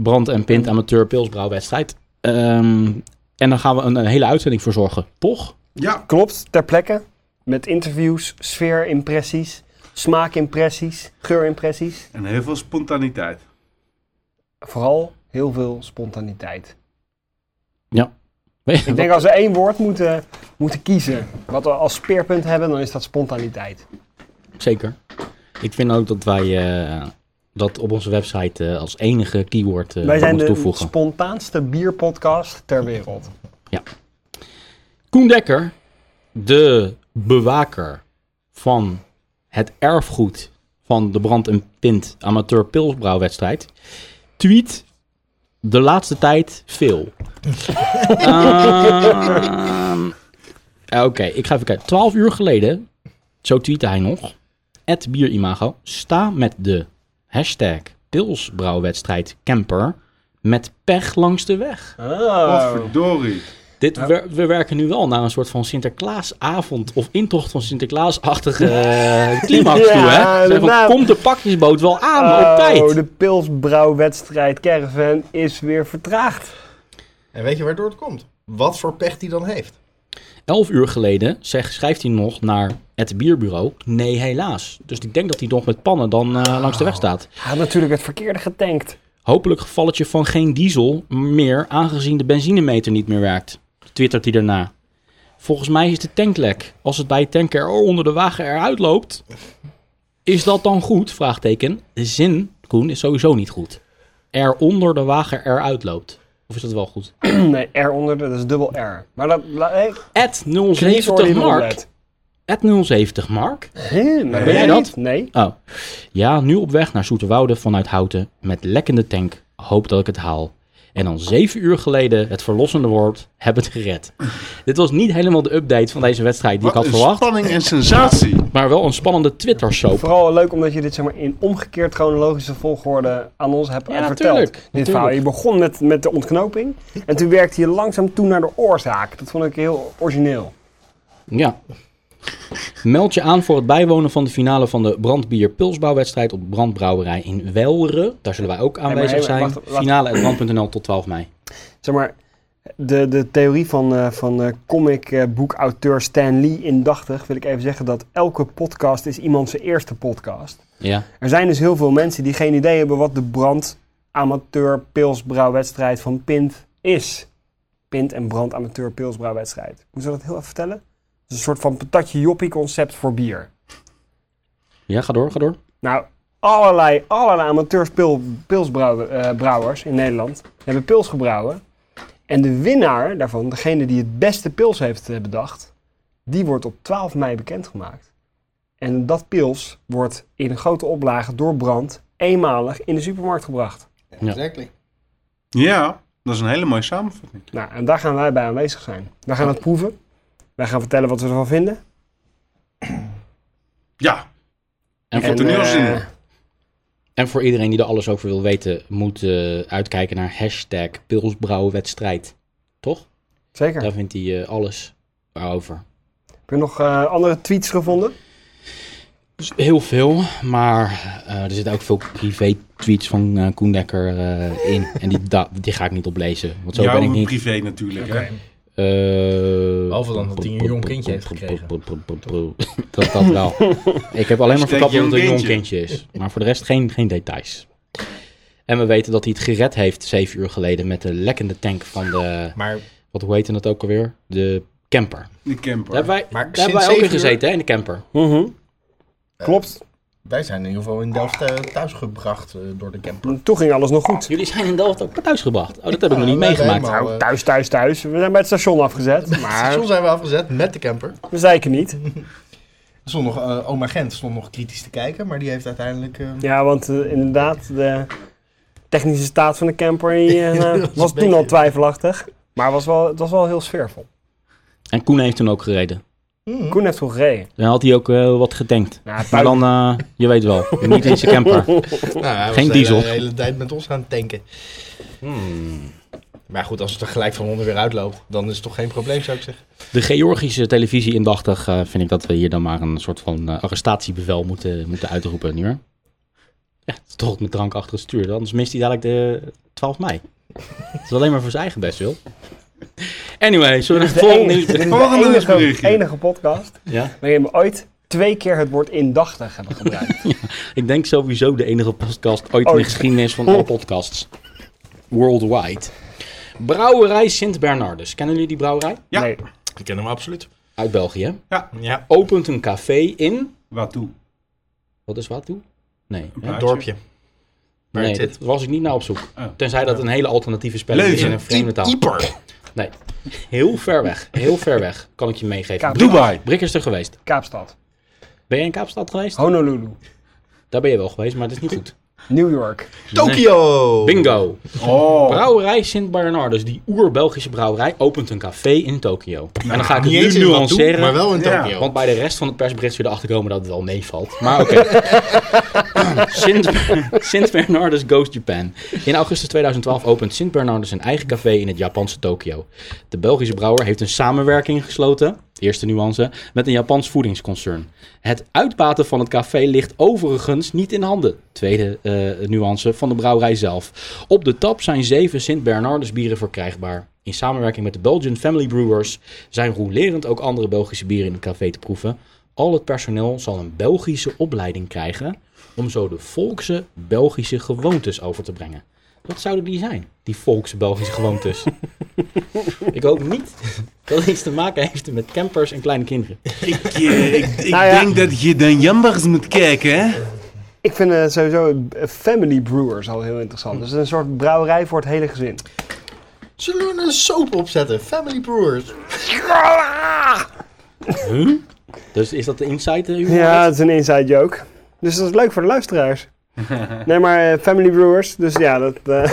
S1: brand- en pint amateur pilsbrouwwedstrijd. Ehm, en daar gaan we een, een hele uitzending voor zorgen, toch?
S4: Ja,
S2: Klopt, ter plekke. Met interviews, sfeerimpressies, smaakimpressies, geurimpressies.
S4: en heel veel spontaniteit.
S2: Vooral heel veel spontaniteit.
S1: Ja.
S2: Ik denk als we één woord moeten, moeten kiezen, wat we als speerpunt hebben, dan is dat spontaniteit.
S1: Zeker. Ik vind ook dat wij eh, dat op onze website eh, als enige keyword eh,
S2: Wij zijn de
S1: moeten toevoegen.
S2: spontaanste bierpodcast ter wereld.
S1: Koen Dekker, de bewaker van het erfgoed van de Brand en Pint amateur pilsbrouwwedstrijd, tweet de laatste tijd veel. Ehm, Oké, ik ga even kijken. 12 uur geleden, zo tweette hij nog, at bierimago, sta met de hashtag pilsbrouwwedstrijd camper met pech langs de weg.
S4: Oh, verdorie.
S1: Dit wer- we werken nu wel naar een soort van Sinterklaasavond of intocht van Sinterklaasachtige eh, climax
S2: Ja,
S1: toe, hè? Zo van,
S2: inderdaad.
S1: komt de pakjesboot wel aan op
S2: Oh,
S1: tijd?
S2: de pilsbrouwwedstrijd Caravan is weer vertraagd.
S3: En weet je waardoor het komt? Wat voor pech die dan heeft.
S1: Elf uur geleden zeg, schrijft hij nog naar het bierbureau, nee helaas. Dus ik denk dat hij nog met pannen dan eh, langs de weg staat.
S2: Hij had natuurlijk het verkeerde getankt.
S1: Hopelijk gevalletje van geen diesel meer, aangezien de benzinemeter niet meer werkt. Twittert hij daarna. Volgens mij is de tanklek. Als het bij het tanken eronder de wagen eruit loopt, Is dat dan goed? Vraagteken. De zin, Koen, is sowieso niet goed. Eronder de wagen eruit loopt. Of is dat wel goed?
S2: Nee, R onder, de- dat is dubbel R. Maar dat... la- hey,
S1: At
S2: Chris hoorde
S1: 070
S2: die eronder
S1: Mark.
S2: uit.
S1: At 070 Mark.
S2: Hé, maar
S1: Ben
S2: ben
S1: jij
S2: jij
S1: dat?
S2: niet? Nee.
S1: Oh. Ja, nu op weg naar Zoeterwoude vanuit Houten met lekkende tank. Hoop dat ik het haal. En dan zeven uur geleden het verlossende woord, heb het gered. Dit was niet helemaal de update van deze wedstrijd die ik
S4: Wat
S1: had
S4: een
S1: verwacht.
S4: spanning en sensatie.
S1: Maar wel een spannende Twitter-soap.
S2: Vooral leuk omdat je dit zeg maar, in omgekeerd chronologische volgorde aan ons hebt
S1: Ja,
S2: verteld.
S1: natuurlijk,
S2: Dit
S1: natuurlijk.
S2: verhaal. Je begon met, met de ontknoping en toen werkte je langzaam toe naar de oorzaak. Dat vond ik heel origineel.
S1: Ja. Meld je aan voor het bijwonen van de finale van de brandbier pilsbouwwedstrijd op brandbrouwerij in Welre. Daar zullen wij ook aanwezig
S2: hey,
S1: zijn.
S2: wacht, wacht.
S1: Finale at brand.nl tot 12 mei.
S2: Zeg maar, de, de theorie van, eh, van eh, comic eh, boekauteur Stan Lee indachtig wil ik even zeggen dat elke podcast is iemand zijn eerste podcast.
S1: Ja.
S2: Er zijn dus heel veel mensen die geen idee hebben wat de brand amateur pilsbrouwwedstrijd van Pint is. Pint en brand amateur pilsbrouwwedstrijd. Hoe zal dat heel even vertellen? Het is een soort van patatje joppie concept voor bier.
S1: Ja, ga door, ga door.
S2: Nou, allerlei, allerlei amateurs pil- pilsbrouwers brouwers in Nederland hebben pils gebrouwen. En de winnaar daarvan, degene die het beste pils heeft eh, bedacht, die wordt op 12 mei bekendgemaakt. En dat pils wordt in een grote oplage door brand eenmalig in de supermarkt gebracht.
S1: Ja.
S3: Exactly.
S4: Ja, dat is een hele mooie samenvatting.
S2: Nou, en daar gaan wij bij aanwezig zijn. Wij gaan het proeven. Wij gaan vertellen wat we ervan vinden.
S4: Ja,
S1: En voor,
S4: vond het
S2: eh,
S4: toneelzin.
S1: en voor iedereen die er alles over wil weten, moet eh, uitkijken naar hashtag pilsbrouwwedstrijd. Toch?
S2: Zeker.
S1: Daar vindt hij eh, alles over.
S2: Heb je nog eh, andere tweets gevonden?
S1: Dus heel veel, maar eh, er zitten ook veel privé-tweets van eh Koen Dekker eh, in. En die, da- die ga ik niet oplezen, want zo ben ik
S4: Jouw
S1: niet.
S4: privé natuurlijk. Hè?
S1: Behalve Eh,
S6: Behalve dan dat hij een jong kindje heeft gekregen.
S1: Dat, dat wel. ik heb alleen maar
S4: Hashtag
S1: verklapt dat het
S4: jong
S1: een jong
S4: kindje.
S1: kindje is. Maar voor de rest geen, geen details. En we weten dat hij het gered heeft zeven uur geleden met de lekkende tank van de...
S3: Maar,
S1: Wat hoe heette het ook alweer? De camper.
S4: Die
S1: Daar
S4: camper.
S1: hebben wij,
S3: Maar
S1: daar hebben wij
S3: sinds
S1: ook in
S3: zeven uur-
S1: gezeten, hè, in de camper.
S2: Klopt.
S3: wij zijn in ieder geval in Delft eh, thuisgebracht eh, door de camper.
S2: Toen ging alles nog goed.
S1: Jullie zijn in Delft ook thuisgebracht. Oh, dat heb ik nog niet
S3: wij
S1: meegemaakt.
S3: helemaal.
S2: Nou, thuis, thuis, thuis. We zijn bij het station afgezet. Maar
S3: Soms zijn we afgezet met de camper.
S2: we zeiken niet.
S3: Er stond nog, eh, oma Gent stond nog kritisch te kijken, maar die heeft uiteindelijk... eh,
S2: Ja, want eh, inderdaad, de technische staat van de camper eh,
S3: Dat is
S2: was
S3: een
S2: toen al
S3: beetje-
S2: twijfelachtig. Maar was wel, het was wel heel sfeervol.
S1: En Koen heeft toen ook gereden.
S3: mhm.
S2: Koen heeft toen gereden.
S1: Dan had hij ook eh, wat getankt.
S2: Nou,
S1: Maar
S2: puin-
S1: dan, eh, je weet wel, niet in zijn camper.
S3: Nou, hij was
S1: Geen
S3: de hele-
S1: diesel.
S3: De hele tijd met ons gaan tanken. Hmm. Maar goed, als het er gelijk van onder weer uitloopt, dan is het toch geen probleem, zou ik zeggen.
S1: De Georgische televisie indachtig eh, vind ik dat we hier dan maar een soort van eh, arrestatiebevel moeten, moeten uitroepen nu. hè? Ja, het is toch ook met drank achter het stuur. Anders mist hij dadelijk de 12 mei. Het is alleen maar voor zijn eigen best, wil. Anyway, zullen we naar het volgende
S2: enige,
S1: nieuwtje-
S2: dit is de
S4: Volgende
S2: enige,
S4: nieuwsberichtje.
S2: enige podcast
S1: Ja?
S2: waarin we ooit twee keer het woord indachtig hebben gebruikt.
S1: Ik denk sowieso de enige podcast ooit in de
S2: Ooit.
S1: geschiedenis van alle podcasts. Worldwide. Brouwerij Sint Bernardus. Kennen jullie die brouwerij?
S4: Ja.
S2: Nee.
S3: Ik ken hem absoluut.
S1: Uit België. hè?
S3: Ja,
S1: Opent een café in...
S4: Waartoe?
S1: Wat is wat toe? Nee. hè?
S4: Plaatje.
S3: dorpje. Waar
S1: Nee,
S3: het
S1: dat
S3: zit.
S1: was ik niet naar op zoek.
S4: Oh.
S1: Tenzij dat een hele alternatieve speler is
S4: Leuven.
S1: in een vreemde taal.
S3: Ieper.
S1: Nee. Heel ver weg. Heel ver weg. Kan ik je meegeven.
S2: Kaap-
S4: Dubai.
S1: Brik is er geweest.
S2: Kaapstad,
S1: Ben jij in Kaapstad geweest?
S3: Oh.
S2: Honolulu,
S1: Daar ben je wel geweest, maar dat is niet goed.
S2: New York.
S3: Tokio.
S1: Bingo.
S4: Oh,
S1: Brouwerij Sint Bernardus, die oer-Belgische brouwerij, opent een café in Tokio. en dan ga ik het
S3: Nou, Niet
S1: nu
S3: eens in Batu,
S1: nuanceren.
S3: maar wel in
S4: Ja.
S3: Tokio.
S1: Want bij de rest van het persbericht zul je erachter komen dat het wel meevalt. Maar oké. Sint, Sint Bernardus Goes Japan. In augustus 2012 opent Sint Bernardus een eigen café in het Japanse Tokio. De Belgische brouwer heeft een samenwerking gesloten, eerste nuance, met een Japans voedingsconcern. Het uitbaten van het café ligt overigens niet in handen, tweede eh, nuance, van de brouwerij zelf. Op de tap zijn zeven Sint Bernardus bieren verkrijgbaar. In samenwerking met de Belgian Family Brewers zijn roelerend ook andere Belgische bieren in het café te proeven. Al het personeel zal een Belgische opleiding krijgen om zo de volkse Belgische gewoontes over te brengen. Wat zouden die zijn, die volkse Belgische gewoontes? Ik hoop niet dat iets te maken heeft met campers en kleine kinderen.
S4: Ik, eh, ik, ik
S2: Nou ja.
S4: denk dat je dan jambers moet kijken, hè?
S2: Ik vind eh, sowieso eh, Family Brewers al heel interessant. Dus het is een soort brouwerij voor het hele gezin.
S3: Zullen we een soap opzetten? Family Brewers.
S1: Dus is dat de insight? eh, Hugo?
S2: Ja, het is een inside joke. Dus dat is leuk voor de luisteraars. nee, maar eh, Family Brewers, dus ja, dat... eh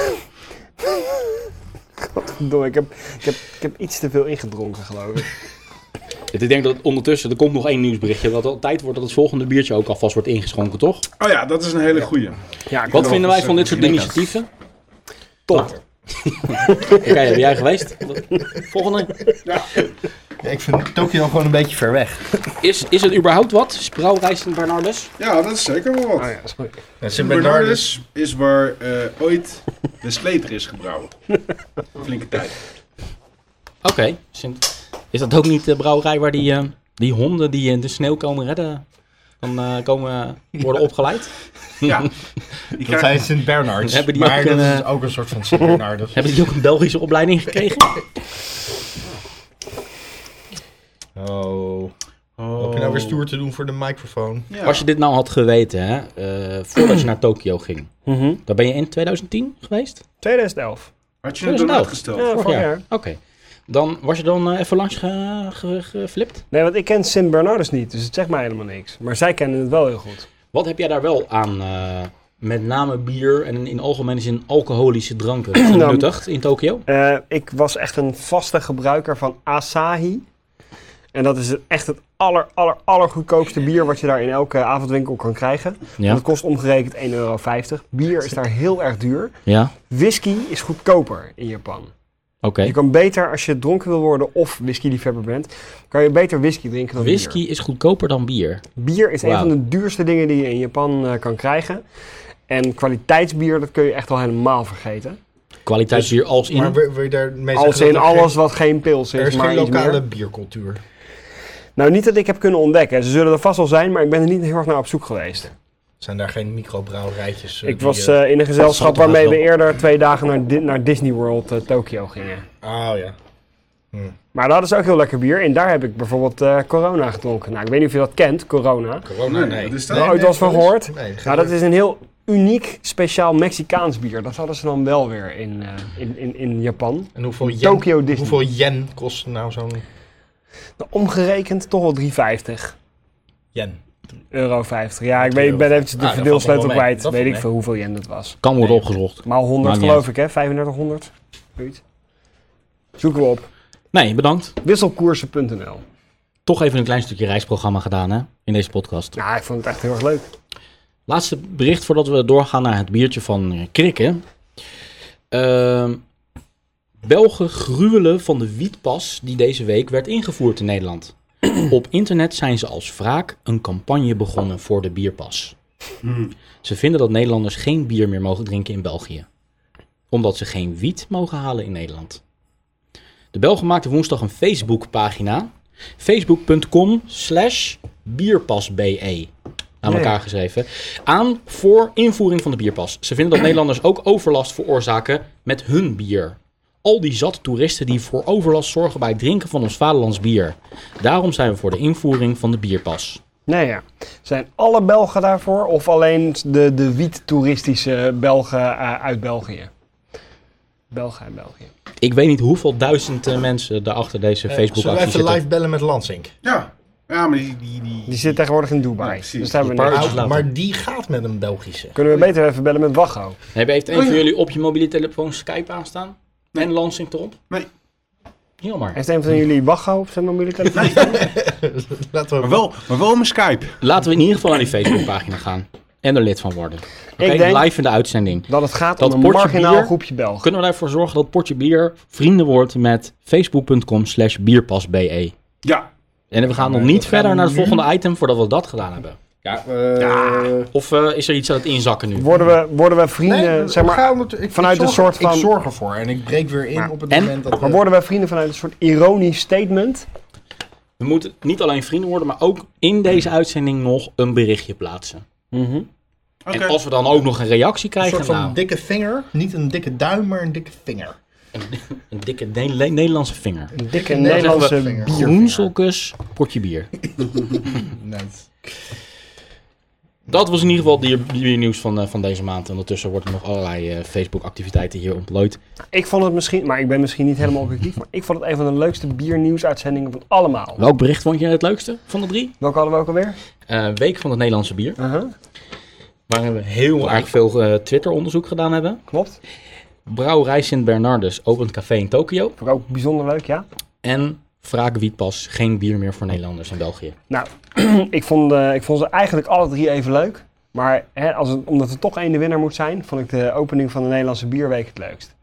S2: Godverdomme, ik heb, ik, heb, ik heb iets te veel ingedronken, geloof ik.
S1: Ik denk dat ondertussen, er komt nog één nieuwsberichtje, dat het tijd wordt dat het volgende biertje ook alvast wordt ingeschonken, toch?
S4: Oh ja, dat is een hele goeie.
S2: Ja,
S1: Wat vinden wij
S4: eens,
S1: van
S4: eh,
S1: dit soort
S4: beginnen.
S1: initiatieven? Top. Oké, ben jij geweest? Volgende.
S3: Ja, ik vind Tokio gewoon een beetje ver weg.
S1: Is, is het überhaupt wat? Sprouwrijst in Bernardus?
S4: Ja, dat is zeker wel wat.
S2: Oh ja, sorry.
S6: Ja,
S4: Sint Bernardus is waar eh, ooit de sleter is gebrouwen. Flinke tijd.
S1: Oké. Sint- Is dat ook niet de brouwerij waar die, eh, die honden die in de sneeuw komen redden, dan eh, komen worden opgeleid?
S4: Ja. Die
S3: Dat
S4: krijgen-
S3: zijn Sint Bernards.
S1: Hebben die
S3: maar
S1: ook
S3: dat
S1: een,
S3: is
S1: eh,
S3: ook een soort van Sint Bernardus.
S1: Hebben die ook een Belgische opleiding gekregen?
S3: Oh.
S4: Oh.
S3: Heb je nou weer stoer te doen voor de microfoon?
S4: Ja.
S1: Als je dit nou had geweten, hè, eh, voordat je naar Tokio ging,
S2: Mhm.
S1: dan ben je in 2010 geweest?
S2: 2011.
S4: Had je het dan
S1: 2011.
S4: uitgesteld?
S2: Ja, vorig jaar.
S1: Oké. Dan was je dan eh, even langs ge- ge- geflipt?
S2: Nee, want ik ken Sint Bernardus niet, dus het zegt mij helemaal niks. Maar zij kennen het wel heel goed.
S1: Wat heb jij daar wel aan, eh, met name bier en in algemene zin alcoholische dranken genuttigd in Tokio?
S2: Eh, ik was echt een vaste gebruiker van Asahi. En dat is het- echt het aller, aller, aller goedkoopste bier wat je daar in elke avondwinkel kan krijgen.
S1: Ja.
S2: Dat kost omgerekend 1,50 euro. Bier is daar heel erg duur.
S1: Ja,
S2: Whisky is goedkoper in Japan.
S1: oké.
S2: Je kan beter, als je dronken wil worden of whisky-liefhebber bent, kan je beter whisky drinken dan
S1: Whisky
S2: bier.
S1: is goedkoper dan bier.
S2: Bier is een
S1: Wauw.
S2: van de duurste dingen die je in Japan eh, kan krijgen. En kwaliteitsbier, dat kun je echt al helemaal vergeten.
S1: Kwaliteitsbier als in...
S3: Maar wil wil je daarmee
S2: Als
S3: zeggen
S2: in
S3: dat er
S2: alles
S3: geen-
S2: wat geen pils is,
S3: Er is
S2: maar
S3: geen
S2: iets
S3: lokale
S2: meer.
S3: biercultuur.
S2: Nou, niet dat ik heb kunnen ontdekken. Ze zullen er vast wel zijn, maar ik ben er niet heel erg naar op zoek geweest.
S3: Zijn daar geen microbrouwerijtjes? eh,
S2: Ik
S3: die,
S2: was
S3: eh,
S2: eh, in een gezelschap
S1: Dat zal toch
S2: waarmee we
S1: wel.
S2: eerder twee dagen naar, Di- naar Disney World eh, Tokio gingen.
S3: Oh ja.
S2: Maar dat is ook heel lekker bier. En daar heb ik bijvoorbeeld eh, Corona gedronken. Nou, ik weet niet of je dat kent, Corona.
S3: Corona,
S4: Nee,
S3: nee.
S4: wat is dat?
S3: Nee,
S2: Ooit
S3: nee,
S2: was van
S3: dat is-
S2: gehoord?
S3: Nee, geen
S2: Nou, dat is een heel uniek, speciaal Mexicaans bier. Dat hadden ze dan wel weer in, eh, in, in, in Japan.
S3: En hoeveel yen,
S2: Tokyo Disney.
S3: hoeveel yen kost nou zo'n
S2: Nou, omgerekend toch wel 3,50
S3: yen?
S2: euro 50. Ja, ik, weet, ik ben eventjes de
S3: Ah, dat
S2: verdeelsleutel
S3: valt nog wel mee.
S2: kwijt.
S3: Dat
S2: weet
S3: valt
S2: ik
S3: mee.
S2: veel hoeveel yen dat was.
S1: Kan worden
S3: Nee.
S1: opgezocht.
S2: Maar 100
S1: Maakt niet
S2: geloof ik, hè? 3500. Zoiets. Zoeken we op.
S1: Nee, bedankt.
S2: Wisselkoersen.nl.
S1: Toch even een klein stukje reisprogramma gedaan hè, in deze podcast.
S2: Nou, ik vond het echt heel erg leuk.
S1: Laatste bericht voordat we doorgaan naar het biertje van eh, Krikken. Ehm, Belgen gruwelen van de wietpas die deze week werd ingevoerd in Nederland. Op internet zijn ze als wraak een campagne begonnen voor de bierpas. Ze vinden dat Nederlanders geen bier meer mogen drinken in België. Omdat ze geen wiet mogen halen in Nederland. De Belgen maakten woensdag een Facebookpagina. Facebook.com slash bierpasbe. Aan
S2: Nee.
S1: elkaar geschreven. Aan voor invoering van de bierpas. Ze vinden dat Nederlanders ook overlast veroorzaken met hun bier. Al die zat toeristen die voor overlast zorgen bij het drinken van ons vaderlands bier. Daarom zijn we voor de invoering van de bierpas.
S2: Nou ja, zijn alle Belgen daarvoor of alleen de, de wiet-toeristische Belgen eh, uit België? Belgen uit België.
S1: Ik weet niet hoeveel duizend eh, mensen daar achter deze
S3: Zullen we
S1: Facebook-actie
S3: even
S1: zitten.
S3: live bellen met Lansink?
S4: Ja. Ja, maar die... die, die...
S2: Die zit tegenwoordig in Dubai.
S4: Ja, precies.
S2: dus daar hebben we
S1: Die
S2: niks.
S1: paar- later.
S3: Nou, maar die gaat met een Belgische.
S2: Kunnen we beter even bellen met Wacho?
S1: Hebben heeft een van jullie op je mobiele telefoon Skype aanstaan? En Lansing erop?
S4: Nee.
S1: Jammer.
S2: Heeft een van jullie Wacho op zijn mobiele telefoon?
S3: Laten we
S4: Maar wel, maar wel mijn Skype.
S1: Laten we in ieder geval naar die Facebookpagina gaan. En er lid van worden. Oké,
S2: Ik denk-
S1: live in de uitzending.
S2: Dat het gaat
S1: Dat
S2: om een
S1: potje
S2: marginaal
S1: bier-
S2: groepje Belgen.
S1: Kunnen we ervoor zorgen dat Potje Bier vrienden wordt met facebook.com slash bierpasbe.
S4: Ja.
S1: En we gaan nog
S3: Maar
S1: niet
S3: dat
S1: verder
S3: gaan we
S1: naar het
S3: nu-
S1: volgende item voordat we dat gedaan hebben.
S3: Ja,
S1: Of eh, is er iets aan het inzakken nu?
S2: Worden we, worden we vrienden, zeg maar, vanuit een soort van-
S3: Ik zorg ervoor en ik breek weer in
S2: Maar-
S3: op het
S1: en?
S3: moment dat...
S2: maar worden we vrienden vanuit een soort ironisch statement?
S1: We moeten niet alleen vrienden worden, maar ook in deze uitzending nog een berichtje plaatsen.
S4: Oké.
S1: En als we dan ook nog Mhm. een reactie
S3: een
S1: krijgen,
S3: soort van
S1: nou,
S3: dikke vinger. Niet een dikke duim, maar een dikke vinger.
S1: Een dikke Ne- Ne- Nederlandse vinger.
S2: Een dikke
S3: Nederlandse
S2: Nederlandse
S3: vinger.
S2: biervinger.
S1: Groenselkus, potje bier.
S3: Net.
S1: Dat was in ieder geval het biernieuws van, eh, van deze maand. Ondertussen worden er nog allerlei eh, Facebook-activiteiten hier ontplooit.
S2: Ik vond het misschien, maar ik ben misschien niet helemaal objectief, maar ik vond het een van de leukste biernieuwsuitzendingen van allemaal.
S1: Welk bericht vond jij het leukste van de drie?
S2: Welke hadden we ook alweer?
S1: Eh, Week van het Nederlandse bier.
S2: Uh-huh,
S1: Waarin we heel erg veel eh, Twitter-onderzoek gedaan hebben.
S2: klopt.
S1: Brouwerij Sint Bernardus opent café in Tokio.
S2: Vond ik ook bijzonder leuk, ja.
S1: En vraag wietpas, geen bier meer voor Nederlanders in België.
S2: Nou, ik vond, eh, ik vond ze eigenlijk alle drie even leuk. Maar hè, als het, omdat er toch één de winnaar moet zijn, vond ik de opening van de Nederlandse Bierweek het leukst.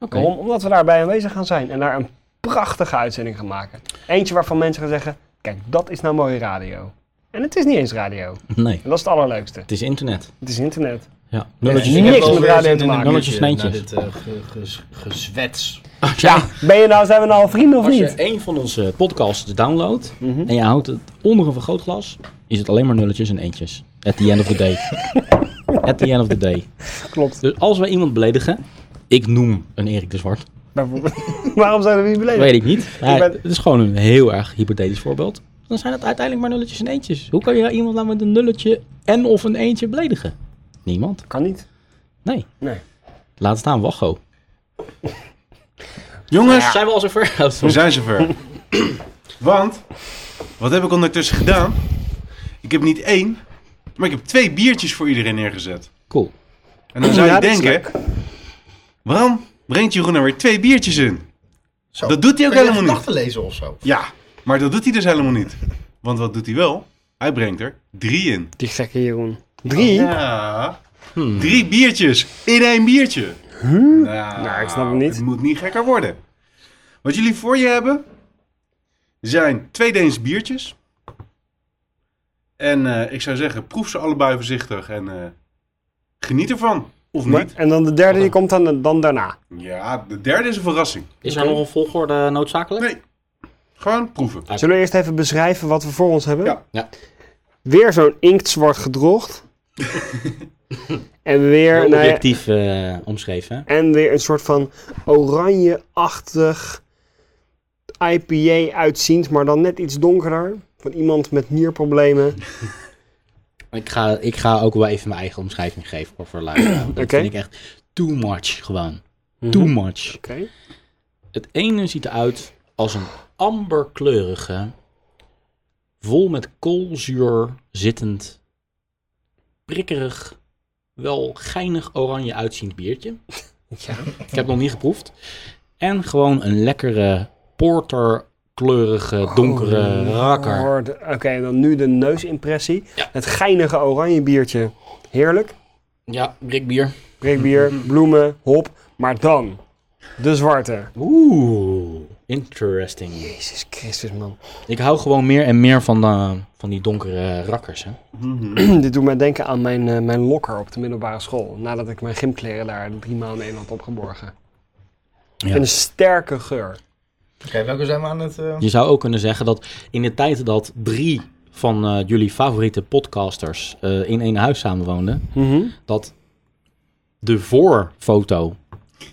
S1: Oké.
S2: Waarom? Omdat we daarbij aanwezig gaan zijn en daar een prachtige uitzending gaan maken. Eentje waarvan mensen gaan zeggen, kijk, dat is nou mooie radio. En het is niet eens radio.
S1: Nee,
S2: En dat is het allerleukste.
S1: het is internet.
S2: Het is internet.
S1: Ja.
S2: Nulletjes-
S1: Nulletjes.
S2: niks met radio te maken.
S1: Nulletjes,
S3: Naar
S1: nulletjes.
S3: dit eh, ge- ges- gezwets.
S1: Ja,
S2: Ben je nou, zijn we nou al vrienden of
S1: als je
S2: niet?
S1: één van onze podcasts downloadt en je houdt het onder een vergrootglas, is het alleen maar nulletjes en eentjes. At the end of the day. At the end of the day.
S2: Klopt.
S1: Dus als wij iemand beledigen, ik noem een Erik de Zwart,
S2: Bijvoorbeeld. Waarom zouden we niet beleven?
S1: weet ik niet. Maar
S2: ben-
S1: Het is gewoon een heel erg hypothetisch voorbeeld. Dan zijn het uiteindelijk maar nulletjes en eentjes. Hoe kan je iemand nou met een nulletje en of een eentje beledigen? Niemand.
S2: Kan niet.
S1: Nee.
S2: Nee.
S1: Laat staan, Wacho.
S4: Jongens,
S1: Zijn we al zover? Oh,
S4: we
S1: sorry.
S4: zijn zover. Want, wat heb ik ondertussen gedaan? Ik heb niet één, maar ik heb twee biertjes voor iedereen neergezet.
S1: Cool.
S4: En dan zou
S2: Ja,
S4: je
S2: dat is
S4: denken, waarom brengt Jeroen er weer twee biertjes in?
S3: Zo.
S4: Dat doet hij ook
S3: Kun je
S4: helemaal niet.
S3: gedachten lezen of zo?
S4: Ja, maar dat doet hij dus helemaal niet. Want wat doet hij wel? Hij brengt er drie in.
S2: Die gekke Jeroen. Drie?
S4: Ja.
S2: Hmm.
S4: Drie biertjes in één biertje. Nou,
S2: Nou, ik snap hem niet.
S4: Het moet niet gekker worden. Wat jullie voor je hebben zijn twee Deense biertjes. En eh, ik zou zeggen, proef ze allebei voorzichtig en eh, geniet ervan. Of
S2: Maar-
S4: niet?
S2: en dan de derde die komt dan, dan daarna.
S4: Ja, de derde is een verrassing.
S1: Is er nog een volgorde noodzakelijk?
S4: Nee, gewoon proeven.
S2: Zullen we eerst even beschrijven wat we voor ons hebben?
S4: Ja.
S1: Ja.
S2: Weer zo'n inktzwart gedrocht. en weer... nou ja,
S1: Objectief eh, omschreven. hè?
S2: En weer een soort van oranje-achtig IPA uitziend, maar dan net iets donkerder. Van iemand met nierproblemen.
S1: Ik ga, ik ga ook wel even mijn eigen omschrijving geven hoor, voor luisteraar. Dat
S2: Oké. Mhm.
S1: vind ik echt too much gewoon. Too much.
S2: Oké.
S1: Het ene ziet eruit als een amberkleurige, vol met koolzuur zittend, prikkerig, wel geinig oranje uitziend biertje. Ik heb het nog niet geproefd. En gewoon een lekkere porterkleurige, donkere rakker.
S2: Hoor de- Oké, dan nu de neusimpressie. Het geinige oranje biertje. Heerlijk.
S1: Ja, blikbier.
S2: Breekbier, bloemen, hop. Maar dan de zwarte.
S1: Oeh, interesting.
S2: Jezus Christus, man.
S1: Ik hou gewoon meer en meer van, eh, van die donkere rakkers. Hè?
S2: Dit doet mij denken aan mijn, eh, mijn lokker op de middelbare school. Nadat ik mijn gymkleren daar drie maanden in had opgeborgen.
S1: Ja.
S2: Een sterke geur.
S3: Oké, welke zijn we aan het... eh,
S1: Je zou ook kunnen zeggen dat in de tijd dat drie van eh, jullie favoriete podcasters eh, in één huis samenwoonden,
S2: Mhm.
S1: dat de voorfoto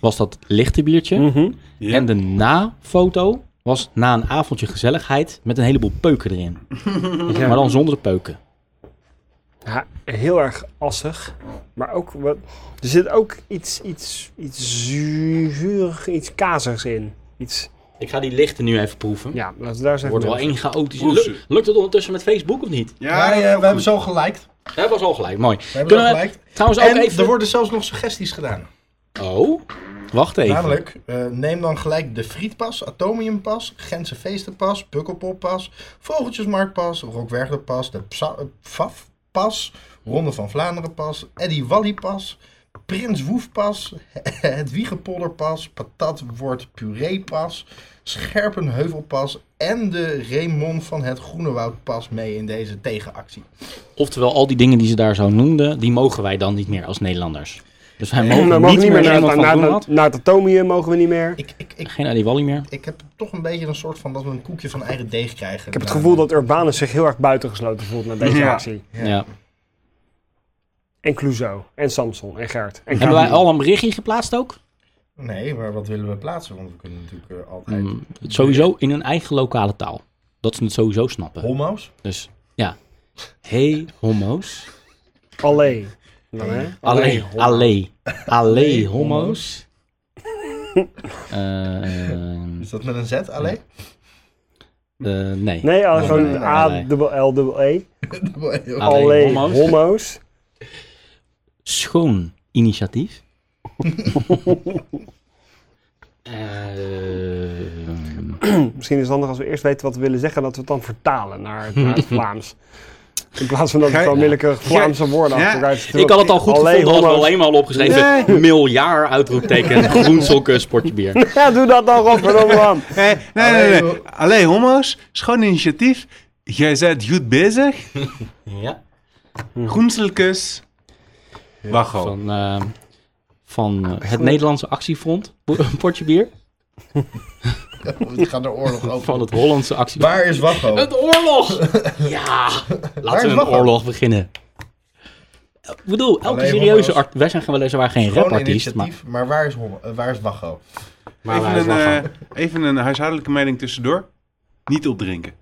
S1: was dat lichte biertje
S2: Mhm.
S4: Ja.
S1: en de nafoto was na een avondje gezelligheid met een heleboel peuken erin.
S2: Ja.
S1: Maar dan zonder de peuken.
S2: Ja, heel erg assig. Maar ook wat. Er zit ook iets, iets, iets zuurig, iets kazigs in. Iets.
S1: Ik ga die lichte nu even proeven.
S2: Ja, laten we daar eens even
S1: Wordt wel
S2: mee
S1: één chaotisch.
S4: Proef ze.
S1: Luk- lukt het ondertussen met Facebook of niet?
S4: Ja,
S3: wij, eh,
S4: heel
S3: we hebben
S4: goed. Dus
S3: zo geliked.
S1: Dat was al gelijk, mooi.
S3: We hebben zo geliked.
S1: trouwens ook
S3: En
S1: even...
S3: er worden zelfs nog suggesties gedaan.
S1: Oh, wacht even.
S3: Namelijk, eh, neem dan gelijk de Frietpas, Atomiumpas, Gentse Feestenpas, Pukkelpoppas, Vogeltjesmarktpas, Rockwerderpas, de Psa- eh, Pfafpas, Ronde van Vlaanderenpas, Eddy Wallypas, Prins Woefpas, het Wiegepolderpas, Patatwoord Pureepas, Scherpenheuvelpas en de Raymond van het Groenewoudpas mee in deze tegenactie.
S1: Oftewel, al die dingen die ze daar zo noemden, die mogen wij dan niet meer als Nederlanders. Dus wij
S2: We
S1: mogen,
S2: mogen
S1: niet meer naar
S2: naar,
S1: van
S2: naar, naar,
S1: Groenland.
S2: naar het atomium mogen we niet meer. Ik
S3: Ik, ik, ik,
S1: Geen Adi Wally meer.
S3: ik heb toch een beetje een soort van dat we een koekje van eigen deeg krijgen. Eh, Ik
S2: heb het gevoel dat Urbanus zich heel erg buitengesloten voelt na deze
S4: Ja.
S2: actie.
S1: Ja.
S2: En Clouseau, en Samson, en Gert. En
S1: Hebben wij
S2: Gabi.
S1: al een berichtje geplaatst ook?
S3: Nee, maar wat willen we plaatsen? Want we kunnen natuurlijk eh, altijd...
S1: Mm, het sowieso in hun eigen lokale taal. Dat ze het sowieso snappen.
S3: Homo's?
S1: Dus ja. Hey homo's.
S2: Allee. Dan, hè?
S1: Allee. Allee. Allee homo's. Eh,
S3: Is dat met een Z alleen?
S1: eh, nee.
S2: Nee, al-
S1: Nee,
S2: gewoon
S1: nee, nee,
S2: A,
S1: nee.
S2: dubbel L, dubbel E.
S1: Allee,
S2: Allee,
S1: homo's.
S2: homo's.
S1: Schoon initiatief. Eh,
S2: Misschien is het handig als we eerst weten wat we willen zeggen, dat we het dan vertalen naar, het- naar het Vlaams. In plaats van dat we
S4: Gij-
S2: gewoon willekeurig Vlaamse woorden
S4: Ja.
S2: achter elkaar zitten.
S1: Ik had het al goed
S2: Allee,
S1: gevonden als we
S2: homo's.
S1: alleen maar al opgeschreven miljard uitroepteken groensokken sportje bier.
S2: Ja, doe dat dan, Rob, verdomme man.
S4: Nee, nee,
S3: Allee,
S4: nee. nee.
S3: ho-
S4: Allee, homo's. Schoon initiatief. Jij bent goed bezig.
S1: Ja.
S4: Groenselkes. Wacht
S1: Van, eh, van eh, het Nederlandse actiefront portje bier.
S3: Het gaat de oorlog
S1: Van
S3: over.
S1: het Hollandse actiefront.
S3: Waar is Wacho?
S1: Het oorlog! Ja,
S3: Waar is
S1: laten we een
S3: Wacho?
S1: oorlog beginnen. Ik bedoel, elke
S3: Alleen
S1: serieuze
S3: homo's.
S1: art... Wij zijn gewoon weliswaar geen
S3: Gewoon
S1: rapartiest, maar...
S3: initiatief, maar, waar, is homo, eh, waar is Wacho?
S4: even, een, eh, even een huishoudelijke mening tussendoor. Niet opdrinken.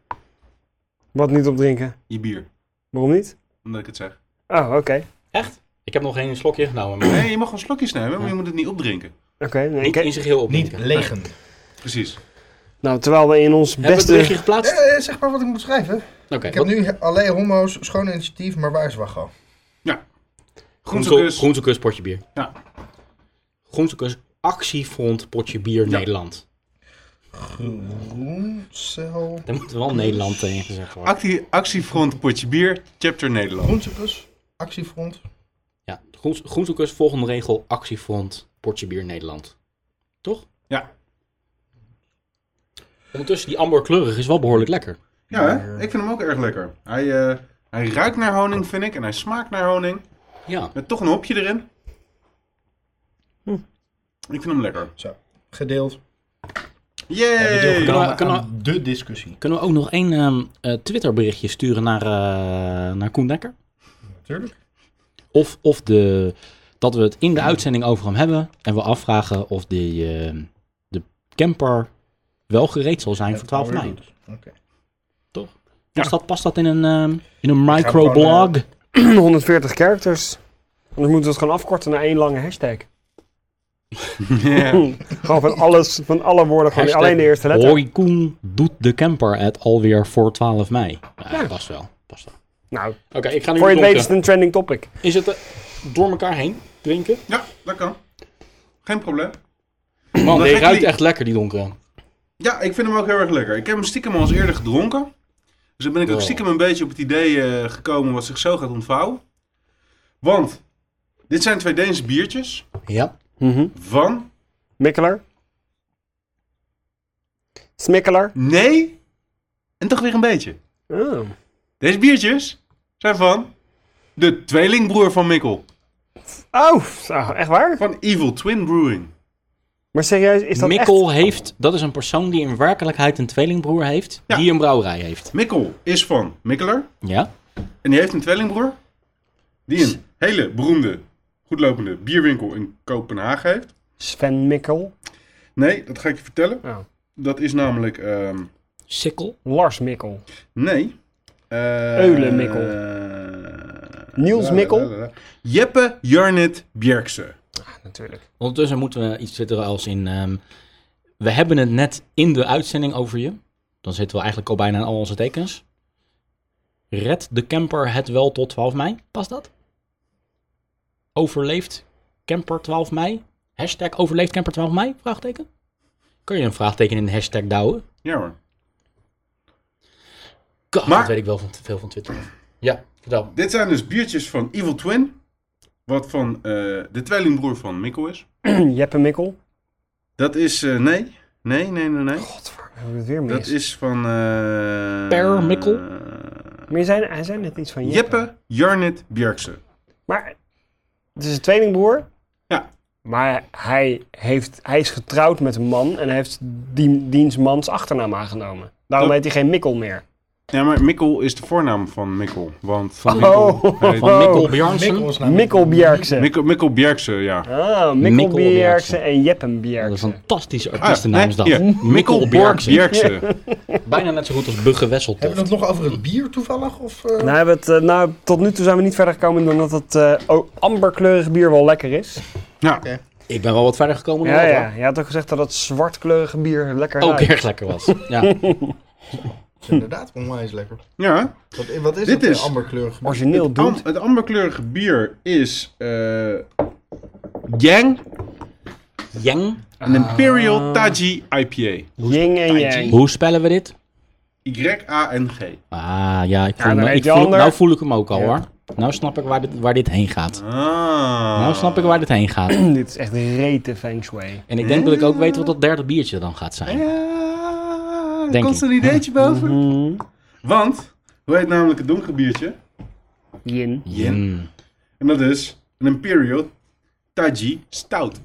S2: Wat niet opdrinken?
S4: Je bier.
S2: Waarom niet?
S4: Omdat ik het zeg.
S2: Oh, oké.
S1: Echt? Ik heb nog geen slokje genomen, maar
S4: Nee, je mag gewoon slokjes nemen, maar je moet het niet opdrinken.
S2: Oké, nee,
S1: niet
S2: ik-
S1: in zijn geheel
S3: Niet
S1: opdrinken.
S3: legen.
S4: Precies.
S2: Nou, terwijl we in ons
S1: Hebben we het berichtje
S2: beste...
S1: geplaatst?
S3: Eh, eh, zeg maar wat ik moet schrijven.
S1: Oké,
S3: Ik heb
S1: wat-
S3: nu alleen homo's, schoon initiatief, maar waar is Wacho?
S1: Groensel-
S4: Groenselkes.
S1: Groenselkus, potje bier.
S4: Ja.
S1: Groenselkus, actiefront, potje bier,
S4: Ja.
S1: Nederland.
S3: Groencel...
S1: Daar moet wel Nederland tegen gezegd worden.
S4: Actie, actiefront potje bier. Chapter Nederland.
S3: Groentekus, actiefront.
S1: Ja, groens, Groenselkus, volgende regel, actiefront, potje bier, Nederland. Toch?
S4: Ja.
S1: Ondertussen, die amberkleurig is wel behoorlijk lekker.
S4: Ja, hè? ik vind hem ook erg lekker. Hij, eh, hij ruikt naar honing, vind ik. En hij smaakt naar honing.
S1: Ja,
S4: Met toch een hopje erin. Ik vind hem lekker.
S3: Zo, gedeeld.
S4: Yay!
S1: Kunnen we-
S3: Kan,
S1: kunnen we-
S3: de discussie.
S1: kunnen we ook nog één ehm, eh, Twitterberichtje sturen naar, eh, naar Koen Dekker?
S3: Natuurlijk.
S1: Of, of de, dat we het in de uitzending over hem hebben en we afvragen of die, eh, de camper wel gereed zal zijn voor 12 mei.
S3: dus. Oké.
S1: Past, Dus dat, past dat in een, ehm, in een
S3: gewoon,
S1: microblog?
S3: eh,
S2: 140 characters. Anders moeten we het gewoon afkorten naar één lange hashtag.
S4: Ja.
S2: Gewoon van alles, van alle woorden, gewoon
S1: Hashtag
S2: alleen de eerste letter.
S1: Hoi Koen doet de camper het alweer voor 12 mei. Ja, past wel. Past wel.
S2: Nou,
S1: Oké, ik ga nu
S2: voor je het weet
S1: dronken.
S2: is het een trending topic.
S1: Is het eh, door elkaar heen drinken?
S4: ja, dat kan. Geen probleem.
S1: Man,
S4: Dan
S1: die
S4: ga ik
S1: ruikt
S4: die-
S1: echt lekker, die donkere.
S4: Ja, ik vind hem ook heel erg lekker. Ik heb hem stiekem al eens eerder gedronken. Dus dan ben ik ook
S1: Wow.
S4: stiekem een beetje op het idee eh, gekomen wat zich zo gaat ontvouwen. Want dit zijn twee Deense biertjes
S1: Ja.
S4: van...
S2: Mikkeler. Smikkeler.
S4: Nee, en toch weer een beetje.
S2: Oh.
S4: Deze biertjes zijn van de tweelingbroer van Mikkel.
S2: Oh, zo, echt waar?
S4: Van Evil Twin Brewing.
S2: Maar serieus, is dat
S1: Mikkel
S2: echt...
S1: heeft, dat is een persoon die in werkelijkheid een tweelingbroer heeft,
S4: Ja.
S1: die een brouwerij heeft.
S4: Mikkel is van Mikkeler.
S1: Ja.
S4: En die heeft een tweelingbroer. Die een hele beroemde, goedlopende bierwinkel in Kopenhagen heeft.
S2: Sven Mikkel.
S4: Nee, dat ga ik je vertellen.
S2: Oh.
S4: Dat is namelijk... ehm,
S1: Sikkel.
S2: Lars Mikkel.
S4: nee. Eh,
S2: Eulen Mikkel.
S4: eh,
S2: Niels
S4: la,
S2: Mikkel.
S4: la, la, la. Jeppe Jarnit Bjerkse.
S2: Natuurlijk.
S1: Ondertussen moeten we iets twitteren als in... ehm, we hebben het net in de uitzending over je. Dan zitten we eigenlijk al bijna in al onze tekens. Red de camper het wel tot 12 mei? Past dat? Overleeft camper 12 mei? Hashtag overleeft camper 12 mei? Vraagteken? Kun je een vraagteken in de hashtag douwen?
S4: Ja hoor.
S1: God,
S4: Maar-
S1: dat weet ik wel van, veel van Twitter. Ja, vertel.
S4: Dit zijn dus biertjes van Evil Twin. Wat van eh, de tweelingbroer van Mikkel is.
S2: Jeppe Mikkel.
S4: Dat is... eh, nee. Nee, nee, nee, nee.
S2: Godver, hebben we het weer mis.
S4: Dat is van... eh
S1: Per Mikkel?
S2: Maar je zei, hij zei net iets van Jeppe.
S4: Jeppe Jarnit Bjerkse.
S2: Maar het is een tweelingbroer.
S4: Ja.
S2: Maar hij, heeft, hij is getrouwd met een man en hij heeft die, diens mans achternaam aangenomen. Daarom
S4: Dat-
S2: heet hij geen Mikkel meer.
S4: Ja, maar Mikkel is de voornaam van Mikkel. Want
S1: Van
S2: Oh.
S1: Mikkel, van Mikkel Bjarnsen.
S3: Mikkel is namelijk-
S2: Mikkel Bjerksen.
S4: Mikkel, Mikkel Bjerkse, ja.
S2: Ah, Mikkel
S1: Mikkel
S2: Bjerksen
S1: Bjerksen.
S2: en Jeppen
S1: Wat een
S2: Bjerksen.
S1: fantastische
S4: Ah,
S1: artiestennaam
S4: nee,
S1: is dat.
S4: hier. Mikkel Borg Bjerkse.
S1: Bijna net zo goed als Bugge Wesseltoft.
S3: Hebben we het nog over het bier toevallig? Of, eh?
S2: Nou, hebben we het, eh, nou, tot nu toe zijn we niet verder gekomen dan dat het eh, o- amberkleurig bier wel lekker is.
S4: Ja,
S6: Ik ben wel wat verder gekomen dan
S2: Ja,
S6: dat,
S2: ja.
S6: hoor.
S2: Je had toch gezegd dat het zwartkleurige bier lekker
S1: Ook
S2: ruikt?
S1: erg lekker was. Ja.
S3: is inderdaad onwijs lekker.
S4: ja.
S3: Wat, eh, wat is
S4: Dit
S3: dit?
S4: is-
S3: Een amberkleurig bier?
S2: Origineel
S4: Am-
S2: doet.
S4: het amberkleurige bier is eh Yang,
S1: Yang.
S4: een Imperial Taji IPA.
S2: Ying en yang.
S1: Hoe spellen we dit?
S4: Y-A-N-G.
S1: Ah, ja, ik
S2: Ja,
S1: voel
S2: dan
S1: me,
S2: weet
S1: ik
S2: je
S1: voel,
S2: ander.
S1: nou voel ik hem ook al hoor. Nou snap ik waar dit, waar dit heen gaat.
S4: Ah.
S1: Nou snap ik waar dit heen gaat.
S2: Dit is echt rete feng shui.
S1: En ik denk dat ik ook weet wat dat derde biertje dan gaat zijn.
S4: Ja, er
S1: Denk
S4: komt
S1: ik. Mhm.
S4: een ideetje boven. Want, hoe heet namelijk het donkere biertje?
S2: Yin.
S1: Yin.
S4: En dat is een Imperial Taji Stout.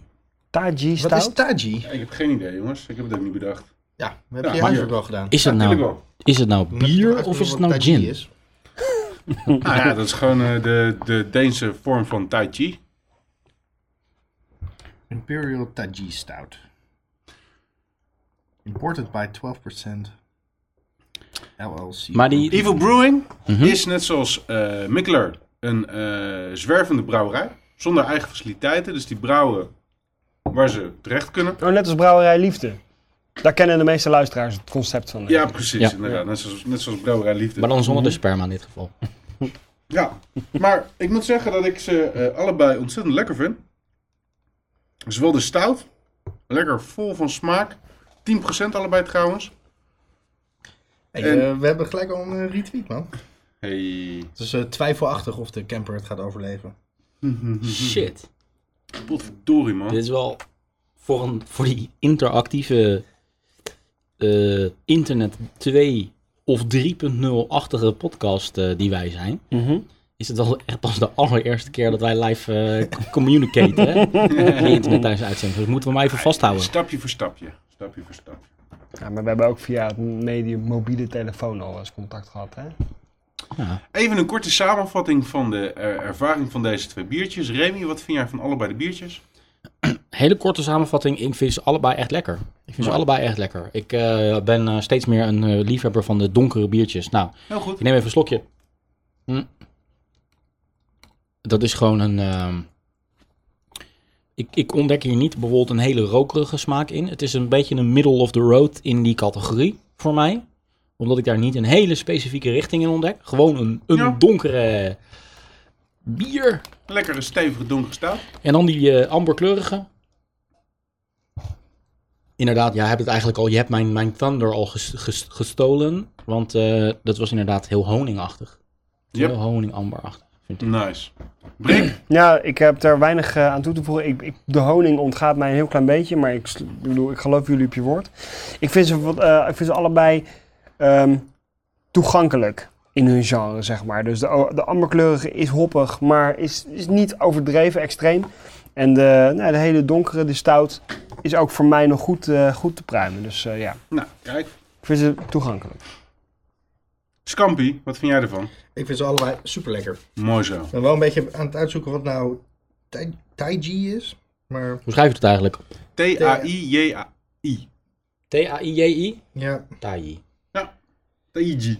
S2: Taji
S3: Wat is
S2: stout.
S3: Taji?
S4: Ik heb geen idee jongens, ik heb het ook niet bedacht.
S3: Ja, heb
S4: Ja,
S3: je
S4: bier.
S3: huiswerk wel gedaan.
S1: Is het
S4: Natuurlijk
S1: nou,
S4: wel.
S1: is het nou
S3: Dan heb je toch
S1: bier
S3: uitgezocht
S1: of is het
S3: wat
S1: nou
S3: Taji
S1: gin?
S3: is?
S4: Ah, ja, dat is gewoon eh, de, de Deense vorm van Tai Chi.
S3: Imperial Taji Stout. Imported by 12% LLC.
S1: Maar die-
S4: Evil Brewing
S1: Mhm.
S4: is net zoals eh Mikkeler een eh, zwervende brouwerij. Zonder eigen faciliteiten. Dus die brouwen waar ze terecht kunnen.
S2: Oh, net als Brouwerij Liefde. Daar kennen de meeste luisteraars het concept van.
S4: Ja, precies.
S1: Ja.
S4: Inderdaad. Net zoals, net zoals Brouwerij Liefde.
S1: Maar dan zonder
S2: Mhm.
S1: de sperma in dit geval.
S4: Ja, maar ik moet zeggen dat ik ze eh, allebei ontzettend lekker vind. Zowel de stout, lekker vol van smaak. 10% allebei trouwens.
S3: Hey,
S4: en-
S3: eh, we hebben gelijk al een eh, retweet, man.
S4: Hey,
S3: Het is eh, twijfelachtig of de camper het gaat overleven.
S2: Mhm.
S1: Shit.
S4: potverdorie man.
S1: Dit is wel voor, een, voor die interactieve eh, internet 2 of 3.0-achtige podcast eh, die wij zijn.
S2: Mhm.
S1: Is het wel echt pas de allereerste keer dat wij live eh communicaten, hè? Die internet tijdens de uitzending. Dus moeten we hem even vasthouden.
S4: Stapje voor stapje. Stapje voor stapje.
S2: Ja, maar we hebben ook via het medium mobiele telefoon al eens contact gehad, hè?
S4: Even een korte samenvatting van de eh, ervaring van deze twee biertjes. Remy, wat vind jij van allebei de biertjes?
S1: Hele korte samenvatting. Ik vind ze allebei echt lekker. Ik vind ze
S4: Mooi.
S1: allebei echt lekker. Ik eh, ben eh, steeds meer een eh, liefhebber van de donkere biertjes. Nou,
S4: Heel goed.
S1: ik neem even een slokje. Hm. Dat is gewoon een... ehm, Ik, ik ontdek hier niet bijvoorbeeld een hele rokerige smaak in. Het is een beetje een middle of the road in die categorie voor mij. Omdat ik daar niet een hele specifieke richting in ontdek. Gewoon een, een
S4: Ja.
S1: donkere bier.
S4: Lekkere, stevige, donkere stout.
S1: En dan die eh, amberkleurige. Inderdaad, ja, heb het eigenlijk al. Je hebt mijn, mijn Thunder al ges- ges- gestolen. Want eh, dat was inderdaad heel honingachtig.
S4: Yep.
S1: Heel honingamberachtig. Vind ik.
S4: Nice. Brik,
S2: Ja, ik heb daar weinig eh, aan toe te voegen. Ik, ik, de honing ontgaat mij een heel klein beetje, maar ik, sl- ik bedoel, ik geloof jullie op je woord. Ik vind ze, wat, eh, ik vind ze allebei ehm, toegankelijk in hun genre, zeg maar. Dus de, o- de amberkleurige is hoppig, maar is, is niet overdreven extreem. En de, nou, de hele donkere, de stout, is ook voor mij nog goed, eh, goed te pruimen. Dus eh, ja,
S4: nou kijk.
S2: ik vind ze toegankelijk.
S4: Scampi, wat vind jij ervan?
S3: Ik vind ze allebei super lekker.
S4: Mooi zo.
S3: Ik ben wel een beetje aan het uitzoeken wat nou Tai- Taiji is. Maar
S1: Hoe schrijf je het eigenlijk?
S4: T-A-I-J-A-I.
S1: T-A-I-J-I?
S3: ja,
S1: Tai.
S4: Taiji.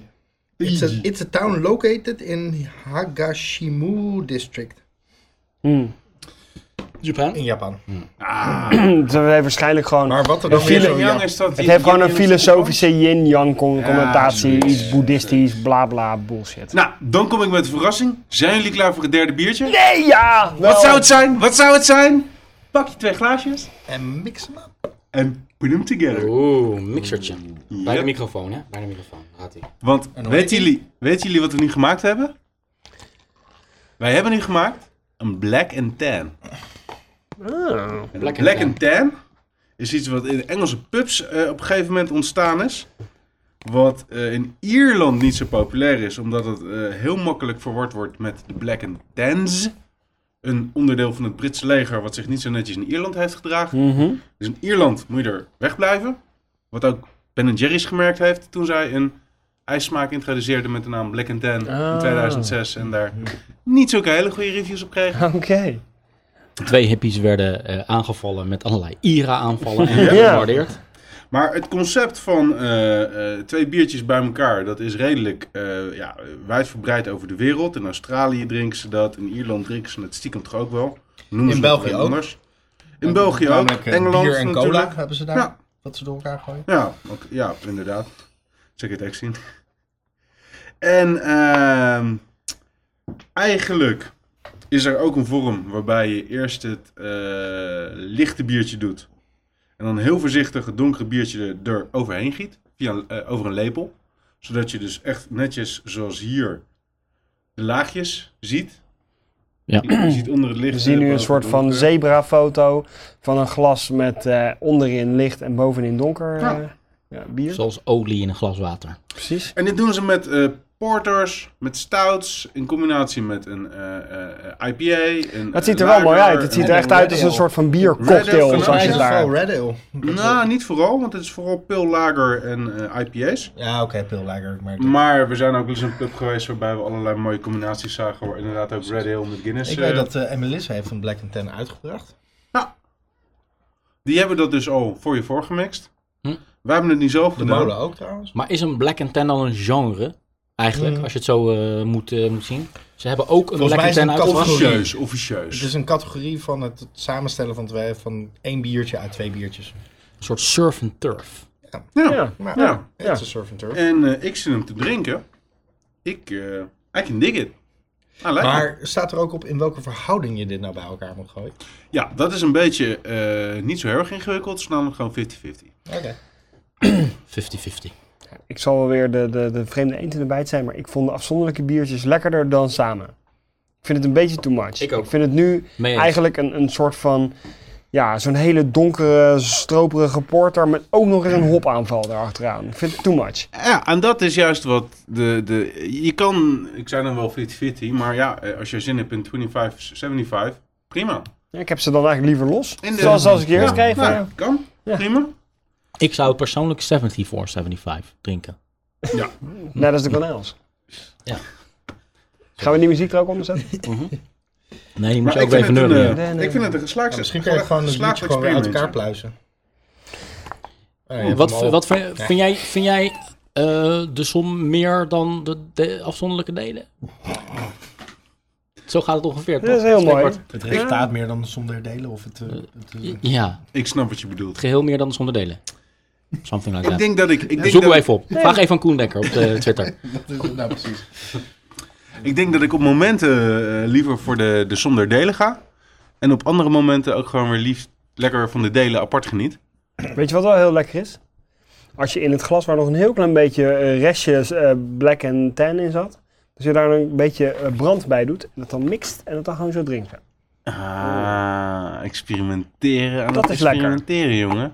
S3: it's a,
S4: Taiji.
S3: it's a town located in Hagashimu district.
S2: Hmm.
S1: Japan?
S3: In Japan.
S4: Ah,
S2: Het heeft Hm, waarschijnlijk gewoon
S3: Maar wat er
S2: Een
S3: dan weer
S2: file-
S3: zo Jap-
S4: is dat
S2: Het
S4: die-
S2: heeft gewoon
S4: die-
S2: een
S4: die-
S2: filosofische yin-yang con-
S4: Ja,
S2: connotatie,
S4: zoiets.
S2: iets boeddhistisch, bla bla bullshit.
S4: Nou, dan kom ik met de verrassing. Zijn jullie klaar voor het derde biertje?
S2: Nee, ja!
S4: Wat zou het zijn? Wat zou het zijn? Pak je twee glaasjes
S3: en mix hem up.
S4: en put them together.
S1: Oeh, mixertje. Bij de
S4: Yep.
S1: microfoon, hè? Bij de microfoon. Gaat ie.
S4: Want weten jullie, weten jullie wat we nu gemaakt hebben? Wij hebben nu gemaakt een black and tan. En
S1: Black
S4: black,
S1: and
S4: and tan is iets wat in Engelse pubs eh, op een gegeven moment ontstaan is. Wat eh, in Ierland niet zo populair is, omdat het eh, heel makkelijk verward wordt met de black and tans. Een onderdeel van het Britse leger wat zich niet zo netjes in Ierland heeft gedragen.
S2: Mhm.
S4: Dus in Ierland moet je er wegblijven. Wat ook Ben Jerry's gemerkt heeft toen zij een ijssmaak introduceerde met de naam Black Tan in
S7: Ah.
S4: 2006. En daar niet zulke hele goede reviews op kreeg.
S7: Oké.
S1: Twee hippies werden eh, aangevallen met allerlei IRA-aanvallen en
S4: Ja.
S1: werden gebombardeerd.
S4: Maar het concept van eh, eh, twee biertjes bij elkaar, dat is redelijk eh, ja, wijdverbreid over de wereld. In Australië drinken ze dat, in Ierland drinken ze het stiekem toch ook wel. Noemen
S3: In
S4: ze
S3: België
S4: het
S3: ook.
S4: Anders. In België ook,
S3: Namelijk, eh,
S4: Engeland
S3: bier en
S4: natuurlijk.
S3: cola hebben ze daar.
S4: Ja.
S3: Wat ze door elkaar gooien.
S4: Ja, want- ja inderdaad. Check het echt zien. En ehm, eigenlijk is er ook een vorm waarbij je eerst het eh, lichte biertje doet. En dan heel voorzichtig het donkere biertje er- er overheen giet. Via, een- eh, over een lepel. Zodat je dus echt netjes zoals hier de laagjes ziet.
S1: Ja.
S4: Je, je ziet onder het licht.
S2: We zien nu een soort van zebra-foto van een glas met eh, onderin licht en bovenin donker
S4: Ja.
S2: eh, ja, bier.
S1: Zoals olie in een glas water.
S2: Precies.
S4: En dit doen ze met eh, porters, met stouts, in combinatie met een eh, eh, IPA. Een,
S2: Maar het ziet er
S4: een
S2: wel mooi
S4: lager,
S2: uit. Het ziet
S4: een-
S2: er echt uit als een
S3: ale.
S2: soort van
S4: Red ale
S2: biercocktail,
S4: van
S2: zoals je
S4: Iceland.
S2: daar...
S3: vooral Red Ale.
S4: Nou, niet vooral, want het is vooral pil, lager en eh, IPA's.
S3: Ja, oké, pil lager. Maar
S4: Maar we zijn ook wel eens in een pub geweest waarbij we allerlei mooie combinaties zagen. Waar inderdaad ook Red Ale met Guinness.
S3: ik
S4: eh,
S3: weet dat eh Emilis heeft een Black Ten uitgebracht.
S4: Die hebben dat dus al voor je voorgemixt.
S1: Hm.
S4: Wij hebben het niet zelf
S3: De
S4: gedaan.
S3: molen ook trouwens.
S1: Maar is een Black Tan dan een genre? Eigenlijk,
S3: Mm.
S1: als je het zo eh, moet, eh, moet zien. Ze hebben ook een
S3: Volgens mij
S1: Black
S3: is het
S1: Tan
S3: een
S1: uitgebracht.
S3: categorie.
S4: Officieus, officieus.
S3: Het is een categorie van het het samenstellen van, twee, van één biertje uit twee biertjes.
S1: Een soort surf and turf.
S4: Ja.
S2: Ja.
S3: Maar
S4: Ja.
S3: ja, het is een surf and turf.
S4: En eh, ik zit hem te drinken. Ik, eh I can dig it. I like it.
S3: Maar staat er ook op in welke verhouding je dit nou bij elkaar moet gooien?
S4: Ja, dat is een beetje eh, niet zo heel erg ingewikkeld. Het is namelijk gewoon 50-50.
S3: Oké. Nou,
S1: 50-50.
S2: Ik zal wel weer de, de, de vreemde eend in de bijt zijn, maar ik vond de afzonderlijke biertjes lekkerder dan samen. Ik vind het een beetje too much.
S1: Ik ook.
S2: vind het nu
S1: Mee eens.
S2: eigenlijk een, een soort van, ja, zo'n hele donkere, stroperige porter met ook nog eens een hopaanval erachteraan. Ik vind het too much.
S4: Ja, en dat is juist wat de... de je kan, ik zei dan wel 50-50, maar ja, eh, als je zin hebt in 25-75, prima.
S2: Ja, ik heb ze dan eigenlijk liever los.
S4: In de-
S2: Zoals als ik je eerst kreeg.
S4: nou,
S2: van, ja.
S4: Kan,
S2: Ja.
S4: prima.
S1: Ik zou persoonlijk 74, 75 drinken.
S2: Nee, dat is de kanels.
S1: Ja.
S2: Gaan we die muziek er ook onder zetten?
S1: Nee, je moet
S4: Maar
S1: je ook
S4: ik
S1: weer
S4: vind,
S1: even
S4: het een,
S1: nullen.
S2: Nee,
S4: eh,
S2: nee,
S4: ik vind het een geslaagd
S3: Ja, misschien kan je gewoon het biertje gewoon weer uit elkaar pluizen. Ah, je hebt
S1: Wat,
S3: hem al-
S1: wat vind, vind jij, vind jij eh, de som meer dan de, de afzonderlijke delen? Zo gaat het ongeveer.
S2: dat is
S1: toch?
S2: heel mooi.
S1: Spreekwoord.
S3: Het resultaat meer dan zonder delen of het... eh, het, eh,
S1: Ja,
S4: Ik snap wat je bedoelt.
S1: het geheel meer dan de zonder delen. Something like
S4: Ik
S1: that.
S4: denk dat ik... Ik denk
S1: Zoeken
S4: dat
S1: we
S4: ik-
S1: even op. Vraag even aan Koen Dekker op de Twitter.
S3: dat is het nou precies.
S4: Ik denk dat ik op momenten eh, liever voor de, de zonder delen ga. En op andere momenten ook gewoon weer liefst lekker van de delen apart geniet.
S2: Weet je wat wel heel lekker is? Als je in het glas waar nog een heel klein beetje eh, restjes eh, black en tan in zat, als je daar een beetje eh, brand bij doet, en dat dan mixt en dat dan gewoon zo drinken.
S4: Ah, experimenteren aan
S2: Dat
S4: het
S2: is lekker.
S4: experimenteren, jongen.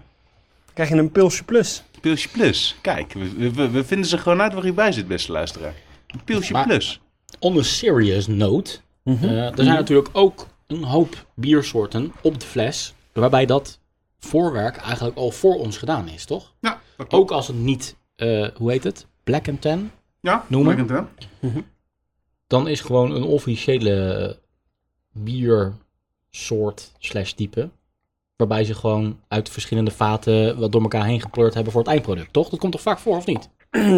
S2: Dan krijg je een pilsje plus.
S4: Pilsje Plus. Kijk, we, we, we vinden ze gewoon uit waar je bij zit, beste luisteraar. Een Pilsje
S1: Maar-
S4: Plus.
S1: On a serious note. eh, er zijn natuurlijk ook een hoop biersoorten op de fles. Waarbij dat voorwerk eigenlijk al voor ons gedaan is, toch?
S4: Ja, dat klopt.
S1: Ook als het niet, eh, hoe heet het? Black and Tan.
S4: Ja,
S1: Noem maar.
S4: merk het wel.
S1: Dan is gewoon een officiële biersoort slash type. Waarbij ze gewoon uit verschillende vaten wat door elkaar heen gekleurd hebben voor het eindproduct, toch? Dat komt toch vaak voor, of niet?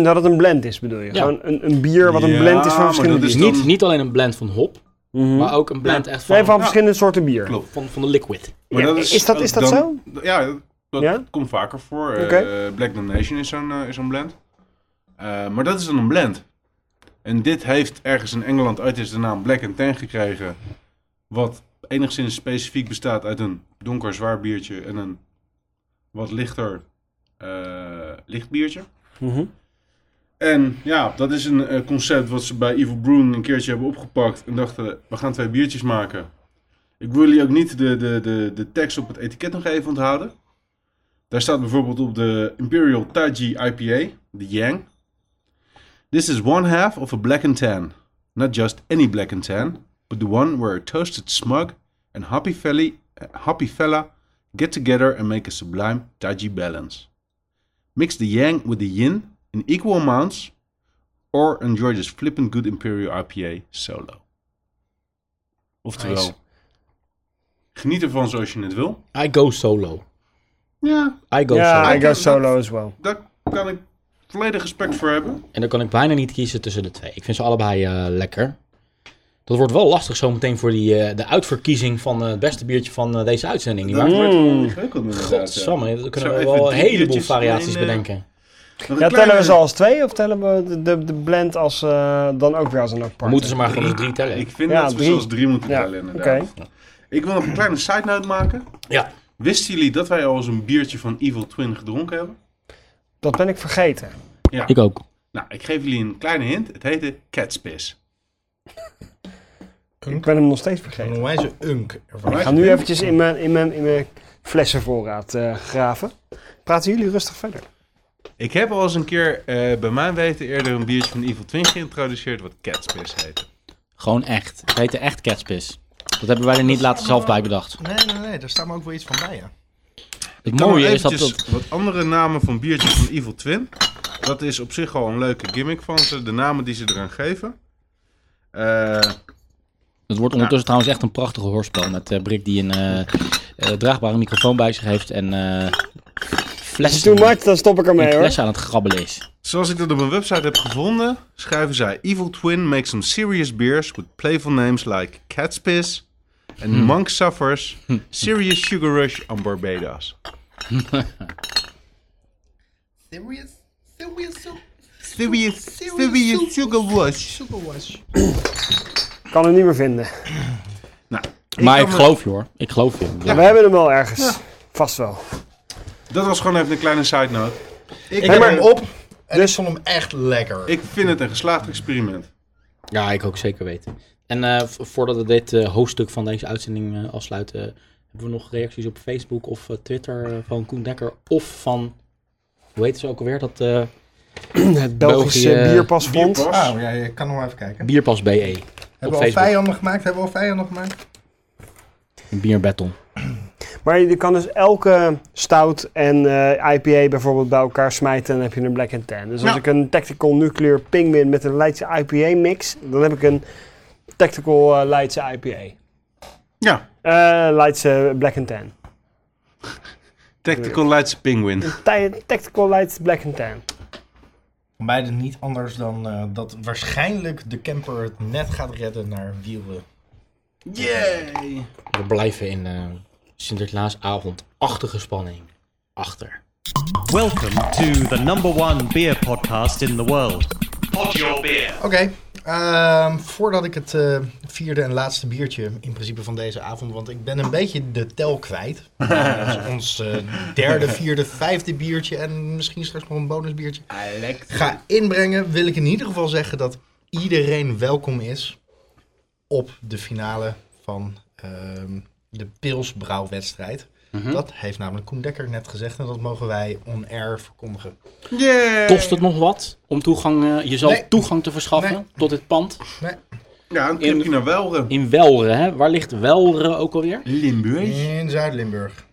S2: dat het een blend is, bedoel
S1: Ja.
S2: je? Gewoon een, een bier wat een
S4: Ja,
S2: blend is
S4: maar
S2: van verschillende
S4: dat is
S2: bieren.
S4: dan-
S1: Niet, niet alleen een blend van hop,
S2: Mhm.
S1: maar ook een blend echt
S2: Nee,
S1: van,
S2: van
S4: Ja.
S2: verschillende soorten bier.
S4: Klopt.
S1: van, van de liquid.
S4: Maar
S2: Ja, is dat- is dat
S4: dan- Ja, dat- dat
S2: Ja?
S4: komt vaker voor. Eh,
S2: Oké.
S4: Black Donation is zo'n eh, is zo'n blend. Eh, maar dat is dan een blend. En dit heeft ergens in Engeland ooit eens de naam Black and Tan gekregen. Wat enigszins specifiek bestaat uit een donker zwaar biertje en een wat lichter eh, licht biertje.
S2: Mhm.
S4: En ja, dat is een eh, concept wat ze bij Evil Brewing een keertje hebben opgepakt. En dachten, we gaan twee biertjes maken. Ik wil jullie ook niet de, de, de, de tekst op het etiket nog even onthouden. Daar staat bijvoorbeeld op de Imperial Taiji IPA, de Yang. This is one half of a black and tan. Not just any black and tan, but the one where a toasted smug and happy, felly, eh, happy fella get together and make a sublime Taiji balance. Mix the yang with the yin in equal amounts Or enjoy this flippin' good Imperial IPA solo. Oftewel,
S6: Nice.
S4: geniet ervan zoals je het wil.
S6: I go solo.
S4: Ja,
S6: I go
S2: ja,
S6: solo.
S2: I go solo as well.
S4: daar kan ik volledig respect voor hebben.
S6: En dan kan ik bijna niet kiezen tussen de twee. Ik vind ze allebei eh, lekker. Dat wordt wel lastig zometeen voor die, eh, de uitverkiezing van eh, het beste biertje van eh, deze uitzending. Niet
S4: Dat
S6: waar?
S4: wordt gewoon ingewikkeld inderdaad. ja.
S6: Mm. Godsamme, daar kunnen we
S4: Zo even
S6: wel een
S4: drie
S6: heleboel
S4: biertjes
S6: variaties
S4: in één, eh,
S6: bedenken.
S4: Nog een
S2: Ja,
S4: kleine-
S2: tellen we ze als twee of tellen we de, de, de blend als, eh, dan ook weer als een apart?
S6: Moeten ze maar gewoon eens drie tellen.
S4: Ik vind
S2: Ja,
S4: dat we
S2: drie.
S4: zoals drie moeten
S2: Ja,
S4: tellen inderdaad. Ik wil nog een kleine side note maken.
S6: Ja.
S4: Wisten jullie dat wij al eens een biertje van Evil Twin gedronken hebben?
S2: Dat ben ik vergeten.
S4: Ja.
S1: Ik ook.
S4: Nou, ik geef jullie een kleine hint. Het heette Cat's Piss.
S2: Ik ben hem nog steeds
S3: Een
S2: vergeten.
S3: onwijze unk ervan.
S2: Ik ga nu eventjes in mijn, in mijn, in mijn flessenvoorraad eh, graven. Praten jullie rustig verder.
S4: Ik heb al eens een keer eh, bij mijn weten eerder een biertje van Evil Twin geïntroduceerd wat Cat's Piss heette.
S1: Gewoon echt. Het heette echt catspiss. Dat hebben wij er niet later zelf bij bedacht.
S3: Nee, nee, nee, daar staat me ook wel iets van bij, ja.
S1: Het
S4: Nou,
S1: mooie is dat...
S4: eventjes
S1: dat
S4: wat andere namen van biertjes van Evil Twin. Dat is op zich al een leuke gimmick van ze. De namen die ze eraan geven. Eh,
S1: Het wordt ondertussen trouwens echt een prachtig hoorspel. Met eh Brik die een eh, eh, draagbare microfoon bij zich heeft. En eh
S2: Als
S1: flessen,
S2: too much, dan stop ik
S1: die
S2: ermee hoor.
S1: flessen aan het grabbelen is.
S4: Zoals ik dat op een website heb gevonden, schrijven zij: Evil Twin makes some serious beers with playful names like Cat's Piss and
S3: Hmm.
S4: Monk Suffers, Serious Sugar Rush on Barbados.
S3: Serious? Serious?
S4: Serious, serious Sugar Rush.
S3: Superwash.
S2: Kan hem niet meer vinden.
S4: Nou,
S1: maar ik
S4: kan me-
S1: geloof je hoor. Ik geloof je.
S2: We hebben hem wel ergens. Vast wel.
S4: Dat was gewoon even een kleine side note.
S3: Ik heb dus
S2: maar-
S3: hem op en ik vond hem echt lekker.
S4: Ik vind het een geslaagd experiment.
S6: Ja, ik ook zeker weten. En eh, v- voordat we dit eh, hoofdstuk van deze uitzending eh, afsluiten, hebben we nog reacties op Facebook of eh, Twitter eh, van Koen Dekker of van, hoe heet ze ook alweer, dat eh,
S2: Het Belgische
S6: België-
S2: bierpasfonds.
S4: Bierpas.
S3: Ah, ja, je kan nog maar even kijken.
S6: Bierpas BE.
S3: Hebben we al
S6: Facebook.
S3: vijanden gemaakt? Hebben we al vijanden gemaakt?
S1: Een bierbattle.
S2: Maar je kan dus elke stout en eh, IPA bijvoorbeeld bij elkaar smijten en dan heb je een black and tan. Dus als
S4: Ja.
S2: ik een Tactical Nuclear Pingmin met een Leidse IPA mix, dan heb ik een Tactical eh, Leidse IPA.
S4: Ja,
S2: Eh Leidse Black and Tan.
S4: Tactical Lights Penguin.
S2: Tij- Tactical Leidse Black and Tan.
S3: Van Beide niet anders dan eh, dat waarschijnlijk de camper het net gaat redden naar eh, wielen.
S4: Yay!
S6: We blijven in eh Sinterklaasavond-achtige spanning achter.
S5: Welcome to the number one beer podcast in the world. Pod your beer.
S3: Oké, ehm, voordat ik het eh, vierde en laatste biertje in principe van deze avond, want ik ben een beetje de tel kwijt. Dat is ons eh, derde, vierde, vijfde biertje en misschien straks nog een bonusbiertje. Ga inbrengen, wil ik in ieder geval zeggen dat iedereen welkom is op de finale van ehm, de Pilsbrouwwedstrijd.
S1: Hm?
S3: Dat heeft namelijk Koen Dekker net gezegd en dat mogen wij on-air verkondigen.
S4: Yay!
S1: Kost het nog wat om toegang, eh, jezelf
S3: Nee.
S1: toegang te verschaffen
S3: Nee.
S1: tot dit pand?
S3: Nee,
S4: Ja, een tripje naar Welren.
S1: In Welren, hè? Waar ligt Welren ook alweer?
S4: Limburg.
S3: In Zuid-Limburg.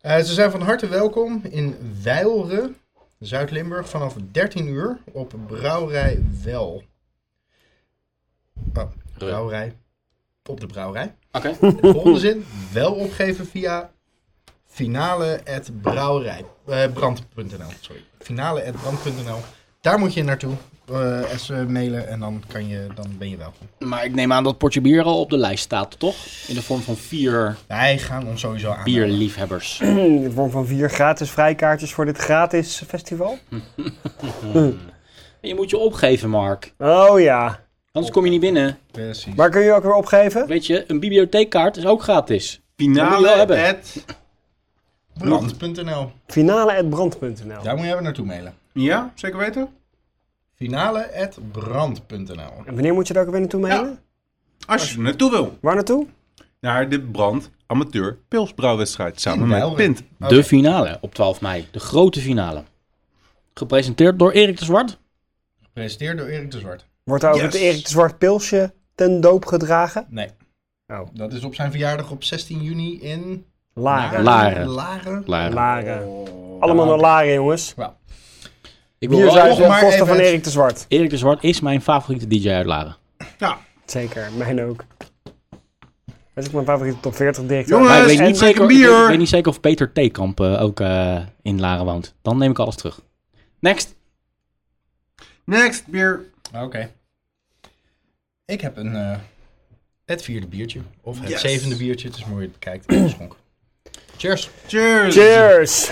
S3: Eh, ze zijn van harte welkom in Weilre, Zuid-Limburg, vanaf 13 uur op Brouwerij Wel. Oh, brouwerij. Op de brouwerij.
S1: Oké.
S3: De volgende zin, wel opgeven via finale.brouwerij. eh, brand.nl, sorry. Finale.brand.nl. Daar moet je naartoe. eh, en ze mailen en dan, kan je, dan ben je welkom.
S1: Maar ik neem aan dat potje bier al op de lijst staat, toch? In de vorm van vier
S3: Wij gaan ons sowieso aan.
S1: bierliefhebbers.
S2: Hmm, In de vorm van vier gratis vrijkaartjes voor dit gratis festival.
S1: En je moet je opgeven, Mark.
S2: Oh ja.
S1: Anders kom je niet binnen.
S3: Precies.
S2: Waar kun je ook weer opgeven?
S1: Weet je, een bibliotheekkaart is ook gratis. Dat moet je wel
S4: Finale
S1: hebben.
S4: at...
S3: Brand.nl.
S2: Finale.brand.nl
S3: Daar moet je even naartoe mailen.
S4: Ja, zeker weten?
S3: Finale.brand.nl.
S2: En wanneer moet je daar ook weer naartoe mailen?
S4: Als je er naartoe wil.
S2: Waar naartoe?
S4: Naar de Brand Amateur Pilsbrouwwedstrijd samen
S3: In
S4: met
S3: België.
S4: Pint.
S1: De finale op 12 mei. De grote finale. Gepresenteerd door Erik de Zwart.
S3: Gepresenteerd door Erik de Zwart.
S2: Wordt daar ook het
S4: Yes.
S2: Erik de Zwart pilsje ten doop gedragen?
S3: Nee.
S2: Oh.
S3: Dat is op zijn verjaardag op 16 juni in...
S2: Laren.
S1: Laren.
S3: Laren.
S1: Klaar.
S2: Laren. Allemaal naar Laren, jongens.
S6: Ik wil wel-
S2: Bier
S3: zou-
S2: zuipen
S3: Oh. nog
S2: op
S3: maar
S2: kosten
S3: even-
S2: van Erik de Zwart.
S1: Erik de Zwart is mijn favoriete DJ uit Laren.
S2: Zeker, mijn ook. Dat is ook mijn favoriete top 40 direct.
S4: Jongens,
S2: En-
S1: Maar ik, weet niet
S2: en-
S1: zeker,
S4: bier.
S1: ik weet- ik weet niet zeker of Peter Theekamp eh, ook eh, in Laren woont. Dan neem ik alles terug. Next.
S4: Next, bier.
S3: Oké. Ik heb een, eh, het vierde biertje. Of het
S4: Yes.
S3: zevende biertje. Het is mooi bekijkt. en geschonken. Cheers.
S4: Cheers.
S2: Cheers!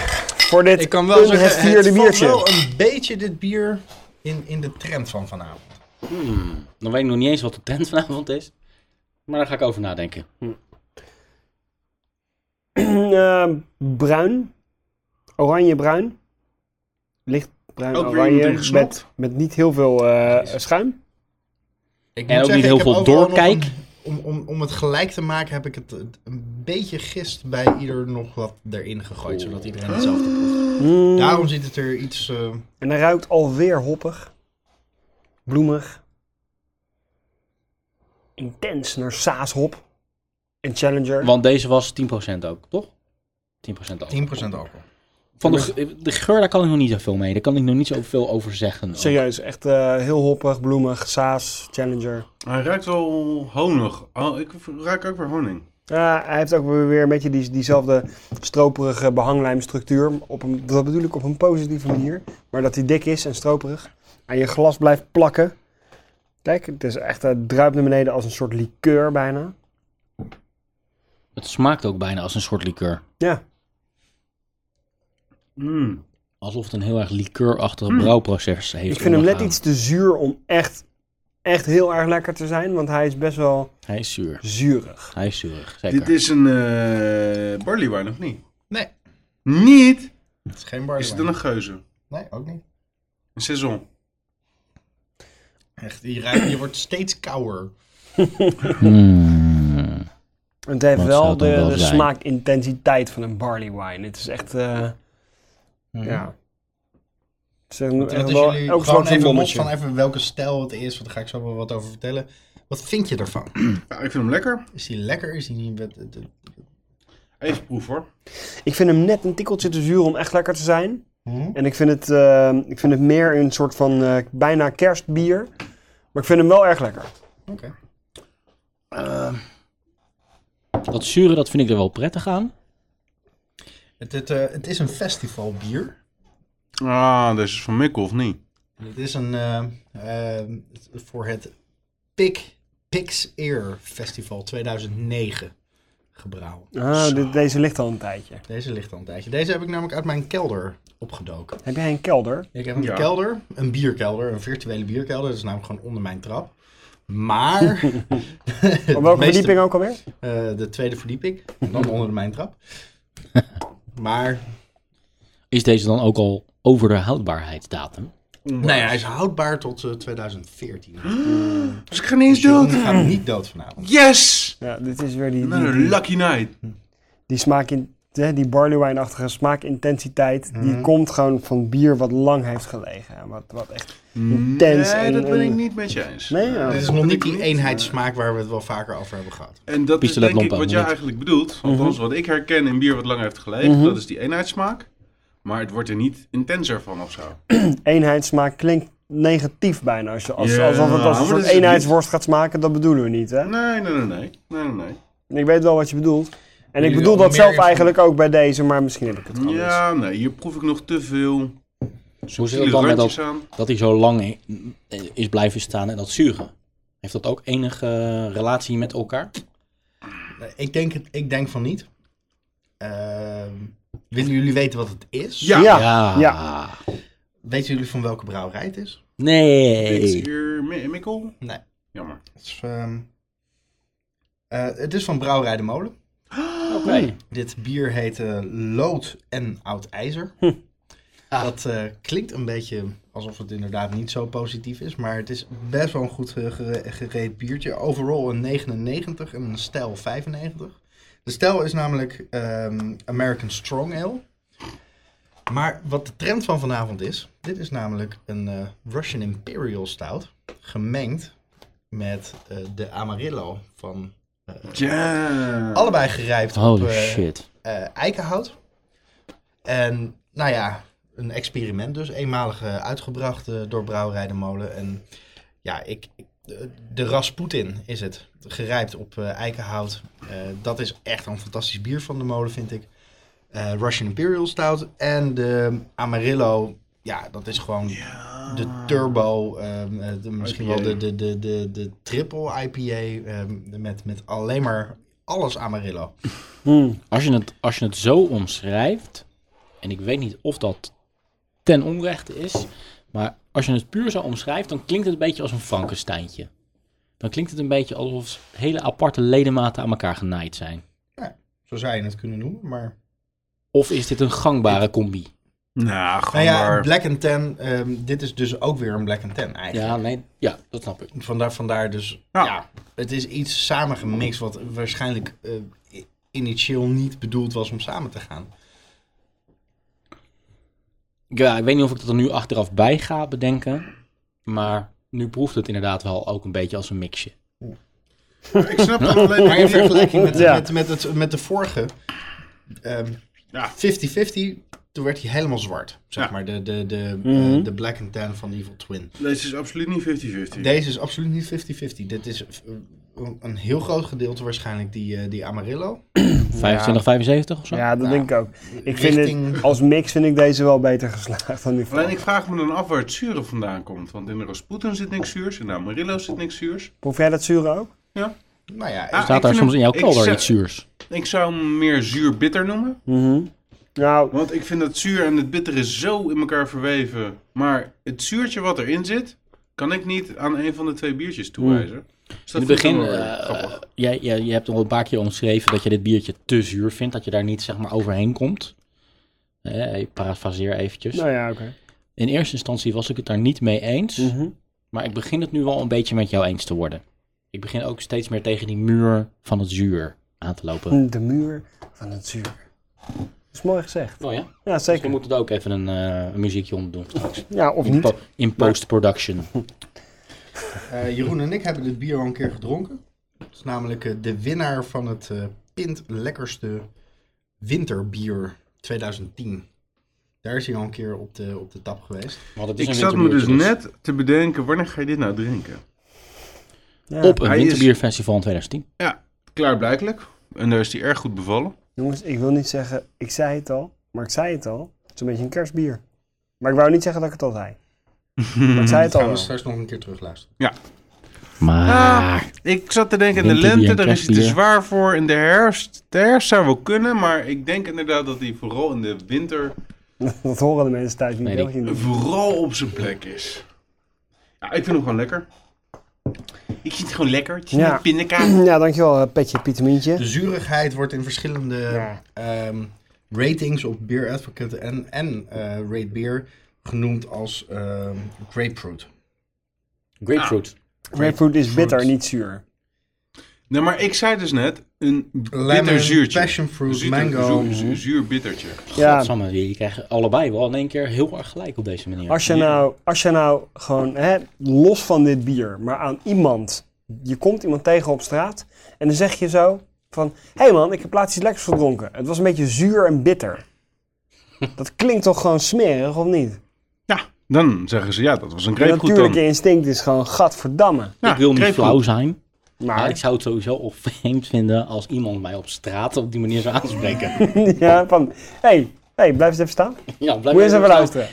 S2: Voor dit
S3: Ik kan wel zeggen,
S2: het vierde
S3: het
S2: biertje.
S3: valt wel een beetje dit bier in, in de trend van vanavond.
S1: Dan weet ik nog niet eens wat de trend vanavond is. Maar daar ga ik over nadenken.
S2: Eh, bruin. Oranje-bruin. Licht bruin,
S4: Ook weer iemand
S2: oranje.
S4: ingesnopt.
S2: Met, met niet heel veel eh, schuim.
S3: Ik
S1: En
S3: moet
S1: ook niet
S3: ik
S1: heel
S3: heb
S1: veel
S3: ook wel nog
S1: doorkijk.
S3: Om, om, om het gelijk te maken heb ik het eh, een beetje gist bij ieder nog wat erin gegooid. Zodat iedereen hetzelfde proeft.
S2: Mm.
S3: Daarom ziet het er iets... eh,
S2: En hij ruikt alweer hoppig. Bloemig. Intens naar saashop. En Challenger.
S1: Want deze was 10% ook, toch? 10% ook.
S3: 10% alcohol.
S1: Van de, ge- de geur, daar kan ik nog niet zoveel mee. Daar kan ik nog niet zoveel over zeggen. ook.
S2: Serieus, echt eh, heel hoppig, bloemig, saas, Challenger.
S4: Hij ruikt wel honig. Oh, ik ruik ook weer honing.
S2: Ja, hij heeft ook weer een beetje die, diezelfde stroperige behanglijmstructuur. Op een, dat bedoel ik op een positieve manier. Maar dat hij dik is en stroperig. Aan je glas blijft plakken. Kijk, het is echt eh, druipt naar beneden als een soort liqueur bijna.
S1: Het smaakt ook bijna als een soort liqueur.
S2: Ja,
S4: Mm.
S1: Alsof het een heel erg liqueurachtig brouwproces heeft.
S2: Hmm. ik vind hem net
S1: ondergaan.
S2: iets te zuur om echt, echt heel erg lekker te zijn. Want hij is best wel
S1: Hij is zuur.
S2: zuurig.
S1: Hij is zuurig, zeker.
S4: Dit is een eh barley wine, of niet?
S3: Nee,
S4: Niet?
S3: het is geen barley
S4: Is het dan
S3: wine.
S4: een geuze?
S3: Nee, ook niet.
S4: Een saison?
S3: Echt, je, ruikt, je wordt steeds kouder.
S1: Hmm.
S2: Het heeft
S1: Wat zou
S2: wel
S1: het dan
S2: de,
S1: wel
S2: de
S1: zijn?
S2: smaakintensiteit van een barley wine. Het is echt, eh,
S3: Mm-hmm.
S2: ja. Het is een,
S3: Want
S2: echt
S3: Wat is
S2: wel
S3: jullie,
S2: elk
S3: gewoon
S2: soort van
S3: even los
S2: bommetje.
S3: van even welke stijl het is, want daar ga ik zo wel wat over vertellen. Wat vind je ervan?
S4: Ja, ik vind hem lekker.
S3: Is die lekker? Is die niet... met- de- de-
S4: Even proef hoor.
S2: Ik vind hem net een tikkeltje te zuur om echt lekker te zijn.
S3: Mhm.
S2: En ik vind het, eh, ik vind het meer een soort van eh, bijna kerstbier. Maar ik vind hem wel erg lekker.
S3: Oké.
S1: Dat zure, dat vind ik er wel prettig aan.
S3: Het, het, eh, het is een festivalbier.
S4: Ah, deze is van Mikkel, of niet?
S3: Het is een eh, eh, voor het Pik, Pix Ear Festival 2009 gebrouwen.
S2: Ah, dit- deze ligt al een tijdje.
S3: Deze ligt al een tijdje. Deze heb ik namelijk uit mijn kelder opgedoken.
S2: Heb jij een kelder?
S3: Ik heb een
S4: Ja.
S3: kelder, een bierkelder, een virtuele bierkelder. Dat is namelijk gewoon onder mijn trap. Maar...
S2: Op welke verdieping ook alweer?
S3: Eh, de tweede verdieping. En dan onder de mijntrap. Maar,
S1: Is deze dan ook al over de houdbaarheidsdatum?
S3: nou ja, hij is houdbaar tot eh, 2014.
S4: Dus ik ga niet eens
S3: Dus Jeroen
S4: dood.
S3: gaat niet dood vanavond.
S4: Yes!
S2: Ja, dit is weer die, die,
S3: Nou,
S4: Another
S2: die,
S4: lucky night.
S2: die smaak in, hè, die barley wine-achtige smaakintensiteit. Die komt gewoon van bier wat lang heeft gelegen. En Wat, wat echt Dus intens.
S4: Nee,
S2: en,
S4: dat ben
S2: en-
S4: ik niet met je eens.
S2: Nee, ja.
S3: Dit is
S4: dat
S3: nog
S4: ben
S3: niet
S4: ik
S3: die eenheidssmaak waar we het wel vaker over hebben gehad.
S4: En dat is
S1: Pistolet
S4: denk ik
S1: lampen
S4: wat
S1: ook
S4: jij
S1: niet.
S4: eigenlijk bedoelt. Althans, wat ik herken in bier wat lang heeft gelegen, dat is die eenheidssmaak. Maar het wordt er niet intenser van of zo.
S2: eenheidssmaak klinkt negatief bijna. Als je, als,
S4: Ja,
S2: alsof het als een
S4: maar dat
S2: soort
S4: is het
S2: eenheidsworst gaat smaken, dat bedoelen we niet. Hè?
S4: Nee, nee, nee, nee. nee, nee,
S2: Ik weet wel wat je bedoelt. En ik
S3: Jullie
S2: bedoel
S3: al
S2: dat
S3: meer
S2: zelf
S3: info-
S2: eigenlijk ook bij deze, maar misschien heb ik het
S4: nee.
S2: gewoon mis.
S4: Ja, nee, hier proef ik nog te veel
S1: Hoe zit het
S4: subtiele
S1: dan met
S4: randjes
S1: dat,
S4: aan.
S1: dat hij zo lang i- is blijven staan en dat zure? Heeft dat ook enige eh, relatie met elkaar?
S3: Nee, Ik denk, het, ik denk van niet. Ehm, willen jullie weten wat het is?
S4: Ja,
S2: Ja.
S1: ja.
S3: Weten jullie van welke brouwerij het is?
S1: Nee.
S4: dit is hier Mi- Mikkel.
S3: Nee.
S4: Jammer.
S3: Het is, ehm, eh, het is van Brouwerij de Molen.
S1: Oké.
S3: Dit bier heet eh, Lood en Oud IJzer. Dat eh, klinkt een beetje alsof het inderdaad niet zo positief is, maar het is best wel een goed eh, gere- gereed biertje. Overall een 99 en een stijl 95. De stijl is namelijk ehm, American Strong Ale. Maar wat de trend van vanavond is, dit is namelijk een eh, Russian Imperial Stout gemengd met eh, de Amarillo van
S4: Ja.
S3: eh. allebei gerijpt op
S1: Holy
S3: eh,
S1: shit.
S3: eh, eikenhout. En nou ja, een experiment dus. Eenmalig eh, uitgebracht eh, door Brouwerij de Molen. En ja, ik, ik- de- de Rasputin is het. Gerijpt op eh, eikenhout. Eh, dat is echt een fantastisch bier van de molen, vind ik. Eh, Russian Imperial Stout. En de Amarillo. Ja, dat is gewoon de turbo. ehm, eh, de- misschien wel de, de, de, de, de triple IPA. ehm, met, met alleen maar alles Amarillo.
S1: Als je, het, als je het zo omschrijft, en ik weet niet of dat ten onrechte is, maar als je het puur zo omschrijft, dan klinkt het een beetje als een Frankensteintje. Dan klinkt het een beetje alsof hele aparte ledematen aan elkaar genaaid zijn.
S3: Zo zou je het kunnen noemen, maar...
S1: Of is dit een gangbare combi?
S4: Nou,
S3: Nou
S4: gewoon
S3: ja,
S4: maar.
S3: Black and Ten, ehm, dit is dus ook weer een Black and Ten eigenlijk.
S1: Ja, nee, ja, dat snap ik.
S3: Vandaar, vandaar dus,
S4: Ja.
S3: ja. het is iets samengemixt wat waarschijnlijk eh, i- initieel niet bedoeld was om samen te gaan.
S1: Ja, ik weet niet of ik dat er nu achteraf bij ga bedenken, maar nu proeft het inderdaad wel ook een beetje als een mixje.
S3: Ik snap dat alleen maar in vergelijking met,
S2: Ja.
S3: met, met, het, met de vorige, ehm, 50-50, toen werd hij helemaal zwart. Zeg
S4: Ja.
S3: maar, de, de, de, eh,
S2: Mhm.
S3: de Black and Ten van Evil Twin.
S4: Deze is absoluut niet 50-50.
S3: Deze is absoluut niet 50-50. Dit is eh, een- een heel groot gedeelte waarschijnlijk die, eh, die Amarillo.
S1: 25, 75 of zo?
S2: Ja, dat
S3: Ja.
S2: denk ik ook. Ik vind
S3: Richting-
S2: het, als mix vind ik deze wel beter geslaagd dan die
S4: Alleen
S2: vorige.
S4: ik vraag me dan af waar het zure vandaan komt. Want in de Rasputin zit niks zuurs, in de Amarillo zit niks zuurs.
S2: Proef jij dat zure ook?
S3: Nou ja,
S4: Ah,
S1: Staat
S4: ik
S1: daar
S4: vind
S1: soms in
S4: hem-
S1: jouw
S4: ik
S1: kelder
S4: zeg-
S1: iets zuurs?
S4: Ik zou hem meer zuur-bitter noemen.
S2: Mhm. Nou,
S4: Want ik vind dat zuur en het bittere zo in elkaar verweven. Maar het zuurtje wat erin zit, kan ik niet aan een van de twee biertjes toewijzen. Dus
S1: In
S4: dat
S1: het
S4: vind ik
S1: begin,
S4: dan wel weer
S1: eh,
S4: grappig.
S1: jij, jij, je hebt al een paar keer omschreven dat je dit biertje te zuur vindt. Dat je daar niet zeg maar overheen komt. Eh, ik parafraseer eventjes.
S2: nou ja, oké.
S1: In eerste instantie was ik het daar niet mee eens.
S2: Mhm.
S1: Maar ik begin het nu wel een beetje met jou eens te worden. Ik begin ook steeds meer tegen die muur van het zuur aan te lopen.
S2: De muur van het zuur. Dat is mooi gezegd.
S4: Hm.
S1: Oh ja?
S2: Ja,
S1: We
S2: zeker.
S1: moeten er ook even een, eh, een muziekje onder doen straks.
S2: Ja, of
S1: In,
S2: niet.
S1: po- in post-production.
S3: Eh, Jeroen en ik hebben dit bier al een keer gedronken. Het is namelijk eh, de winnaar van het eh, Pint Lekkerste Winterbier 2010. Daar is hij al een keer op de, op de tap geweest.
S1: Want het is
S4: Ik
S1: een
S4: zat me dus
S1: winterbiertje
S4: net te bedenken, wanneer ga je dit nou drinken?
S2: Ja.
S1: Op een
S4: Hij is-
S1: winterbierfestival in 2010.
S4: Ja, klaarblijkelijk. En daar is die erg goed bevallen.
S2: Jongens, ik wil niet zeggen, ik zei het al, maar ik zei het al. Het is een beetje een kerstbier. Maar ik wou niet zeggen dat ik het al zei. Maar ik zei het al.
S3: Dat gaan we
S2: wel.
S3: straks nog een keer terugluisteren.
S4: Ah.
S1: Maar...
S4: Ik zat te denken, in de
S1: Winterbier,
S4: lente, daar is hij te
S1: kerstbier.
S4: zwaar voor. In de herfst, de herfst zou wel kunnen. Maar ik denk inderdaad dat hij vooral in de winter
S2: Dat horen de mensen thuis niet.
S1: Nee,
S2: heel
S1: die-
S2: goed.
S4: vooral op zijn plek is. Ja, ik vind hem gewoon lekker. Ik vind het gewoon lekker. Het is
S2: Ja.
S4: niet pindakaas.
S2: Ja, dankjewel eh, Petje
S3: De Dus-
S2: Pietermientje.
S3: zuurigheid wordt in verschillende
S2: Ja.
S3: ehm, ratings op Beer Advocate en, en eh Rate Beer genoemd als ehm, grapefruit.
S1: Grapefruit.
S2: Grapefruit is bitter,
S3: Fruit.
S2: niet zuur.
S4: Nee, maar ik zei dus net, een
S3: Lemon,
S4: bitter zuurtje.
S3: passionfruit,
S4: Zuur-
S3: mango.
S4: zuur-
S2: Mhm.
S4: zuur- zuur bittertje.
S2: Ja,
S1: Godsamme, jullie krijgen allebei wel in één keer heel erg gelijk op deze manier.
S2: Als je nou, als je nou gewoon hè, los van dit bier, maar aan iemand, je komt iemand tegen op straat en dan zeg je zo van, hé hey man, ik heb laatst iets lekkers gedronken. Het was een beetje zuur en bitter. Dat klinkt toch gewoon smerig, of niet?
S4: Ja, dan zeggen ze, ja, dat was een
S2: Je
S4: grapefruit
S2: natuurlijke
S4: dan.
S2: instinct is gewoon gadverdamme.
S4: Ja,
S1: ik wil niet
S4: grapefruit.
S1: flauw zijn, maar ik
S2: Maar,
S1: zou het sowieso al vreemd vinden als iemand mij op straat op die manier zou aanspreken.
S2: ja, van, hé, hey, hey, blijf eens even staan.
S1: ja, blijf
S2: Moet je eens even
S1: staan.
S2: luisteren.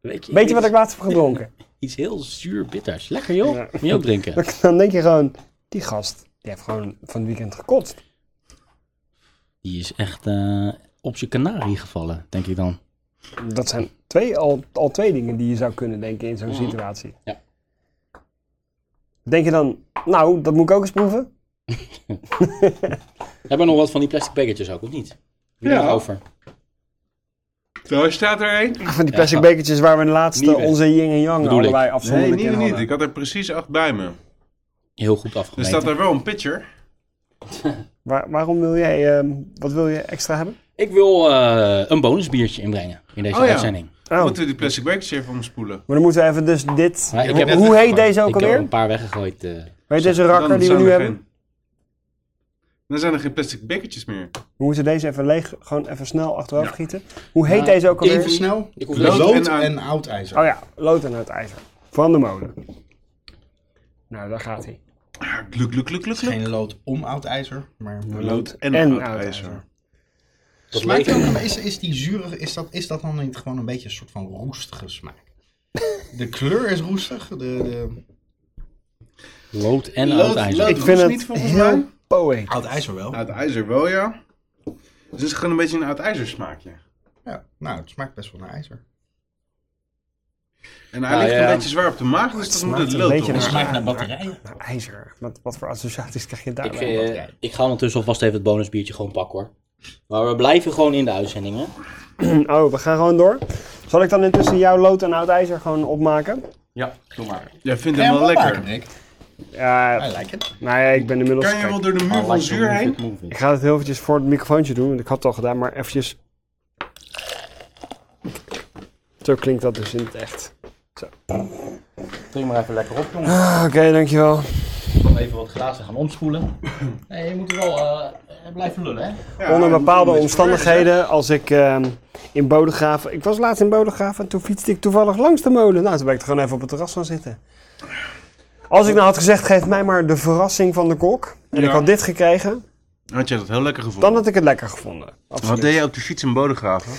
S1: Weet je,
S2: Weet je wat
S1: iets-
S2: ik laatst heb gedronken?
S1: Iets heel zuur bitters. Lekker joh,
S2: Ja.
S1: moet je ook drinken.
S2: Dan denk je gewoon, die gast, die heeft gewoon van het weekend gekotst.
S1: Die is echt eh, op zijn kanarie gevallen, denk ik dan.
S2: Dat zijn twee, al, al twee dingen die je zou kunnen denken in zo'n situatie.
S1: Ja.
S2: Denk je dan, nou, dat moet ik ook eens proeven?
S1: Hebben we nog wat van die plastic bekertjes ook, of niet? Wie ja.
S4: Ja.
S1: over?
S4: Daar staat er één.
S2: Van die
S1: Ja,
S2: plastic
S1: ga-
S2: bekertjes waar we de laatste
S1: Nieuwe.
S2: onze yin en yang
S1: Bedoel ik.
S2: allebei
S4: Nee,
S2: afzonderlijk
S4: niet,
S2: in
S4: niet.
S2: hadden.
S4: Ik had er precies acht bij me.
S1: Heel goed
S4: Dus Er
S1: afgemeten.
S4: staat daar wel een pitcher.
S2: Waar- waarom wil jij, ehm, wat wil je extra hebben?
S1: Ik wil eh, een bonusbiertje inbrengen in deze
S4: Oh ja.
S1: uitzending.
S2: Oh,
S4: Moeten we die plastic bekertjes even omspoelen?
S2: maar dan moeten we even dus dit...
S1: Maar ik
S2: hoe
S1: heb het eh,
S2: hoe
S4: net Dan zijn er geen plastic bekertjes meer.
S2: We moeten deze even leeg, gewoon even snel achteraf gieten. Hoe heet deze ook alweer?
S3: Even snel.
S1: Ik hoef
S4: Lood
S3: Lood,
S4: en
S3: en,
S4: aan-
S3: oud ijzer.
S2: Oh ja, lood en het ijzer. Van de molen. Nou, daar gaat hij.
S4: Ah, Gluk, gluk, gluk, gluk, gluk.
S3: Geen lood om oud ijzer, maar
S4: Lood en,
S2: en
S4: oud
S2: oud
S4: ijzer.
S2: ijzer.
S1: Dat
S3: Smaakt
S1: leek-
S3: ook, maar is, is die zure, is dat, is dat dan niet gewoon een beetje een soort van roestige smaak? De kleur is roestig. De, de...
S1: Lood en
S4: Lood-
S1: oud ijzer.
S4: lood
S2: Ik vind
S4: is
S2: het
S4: niet volgens mij.
S2: Heel poëet.
S3: Oud ijzer wel.
S4: Oud ijzer wel, ja. Dus het is gewoon een beetje een oud ijzer smaakje.
S3: Ja, nou, het smaakt best wel naar ijzer.
S4: En hij
S1: Nou,
S4: ligt
S1: ja.
S4: een beetje zwaar op de maag, dus dat moet het
S2: een
S4: lood
S2: beetje
S4: op.
S2: naar-
S4: zijn.
S2: smaakt
S8: naar batterijen.
S2: Nou, ijzer. Wat, wat voor associaties krijg je
S1: Ik,
S2: daar?
S1: eh, ik ga ondertussen alvast even het bonusbiertje gewoon pakken hoor. Maar we blijven gewoon in de uitzendingen.
S2: Oh, we gaan gewoon door. Zal ik dan intussen jouw lood en oud ijzer gewoon opmaken?
S8: Ja, doe maar.
S4: Jij vindt
S3: Kan je
S4: hem wel
S3: maken,
S4: lekker.
S3: Rick?
S2: Ja,
S3: I like it.
S2: nou ja, ik ben inmiddels...
S4: Kan je wel door de muur van zuur heen?
S2: Ik ga het heel eventjes voor het microfoontje doen, want ik had het al gedaan, maar eventjes... Zo klinkt dat dus in het echt.
S8: Drink maar even lekker op, jongen.
S2: Ah, Oké, dankjewel.
S8: Even wat glazen gaan omspoelen. Nee, je moet er wel eh, blijven lullen, hè?
S4: Ja,
S2: Onder
S4: hij moet
S2: bepaalde
S4: een beetje verwerken,
S2: omstandigheden, als ik ehm, in Bodegraven... Ik was laatst in Bodegraven en toen fietste ik toevallig langs de molen. Nou, toen ben ik er gewoon even op het terras gaan zitten. Als ik nou had gezegd, geef mij maar de verrassing van de kok. En
S4: Ja.
S2: ik had dit gekregen,
S4: zeg. Had jij dat heel lekker gevoeld?
S2: dan had ik het lekker gevonden.
S4: Wat
S2: Absoluut.
S4: deed je op de fiets in Bodegraven?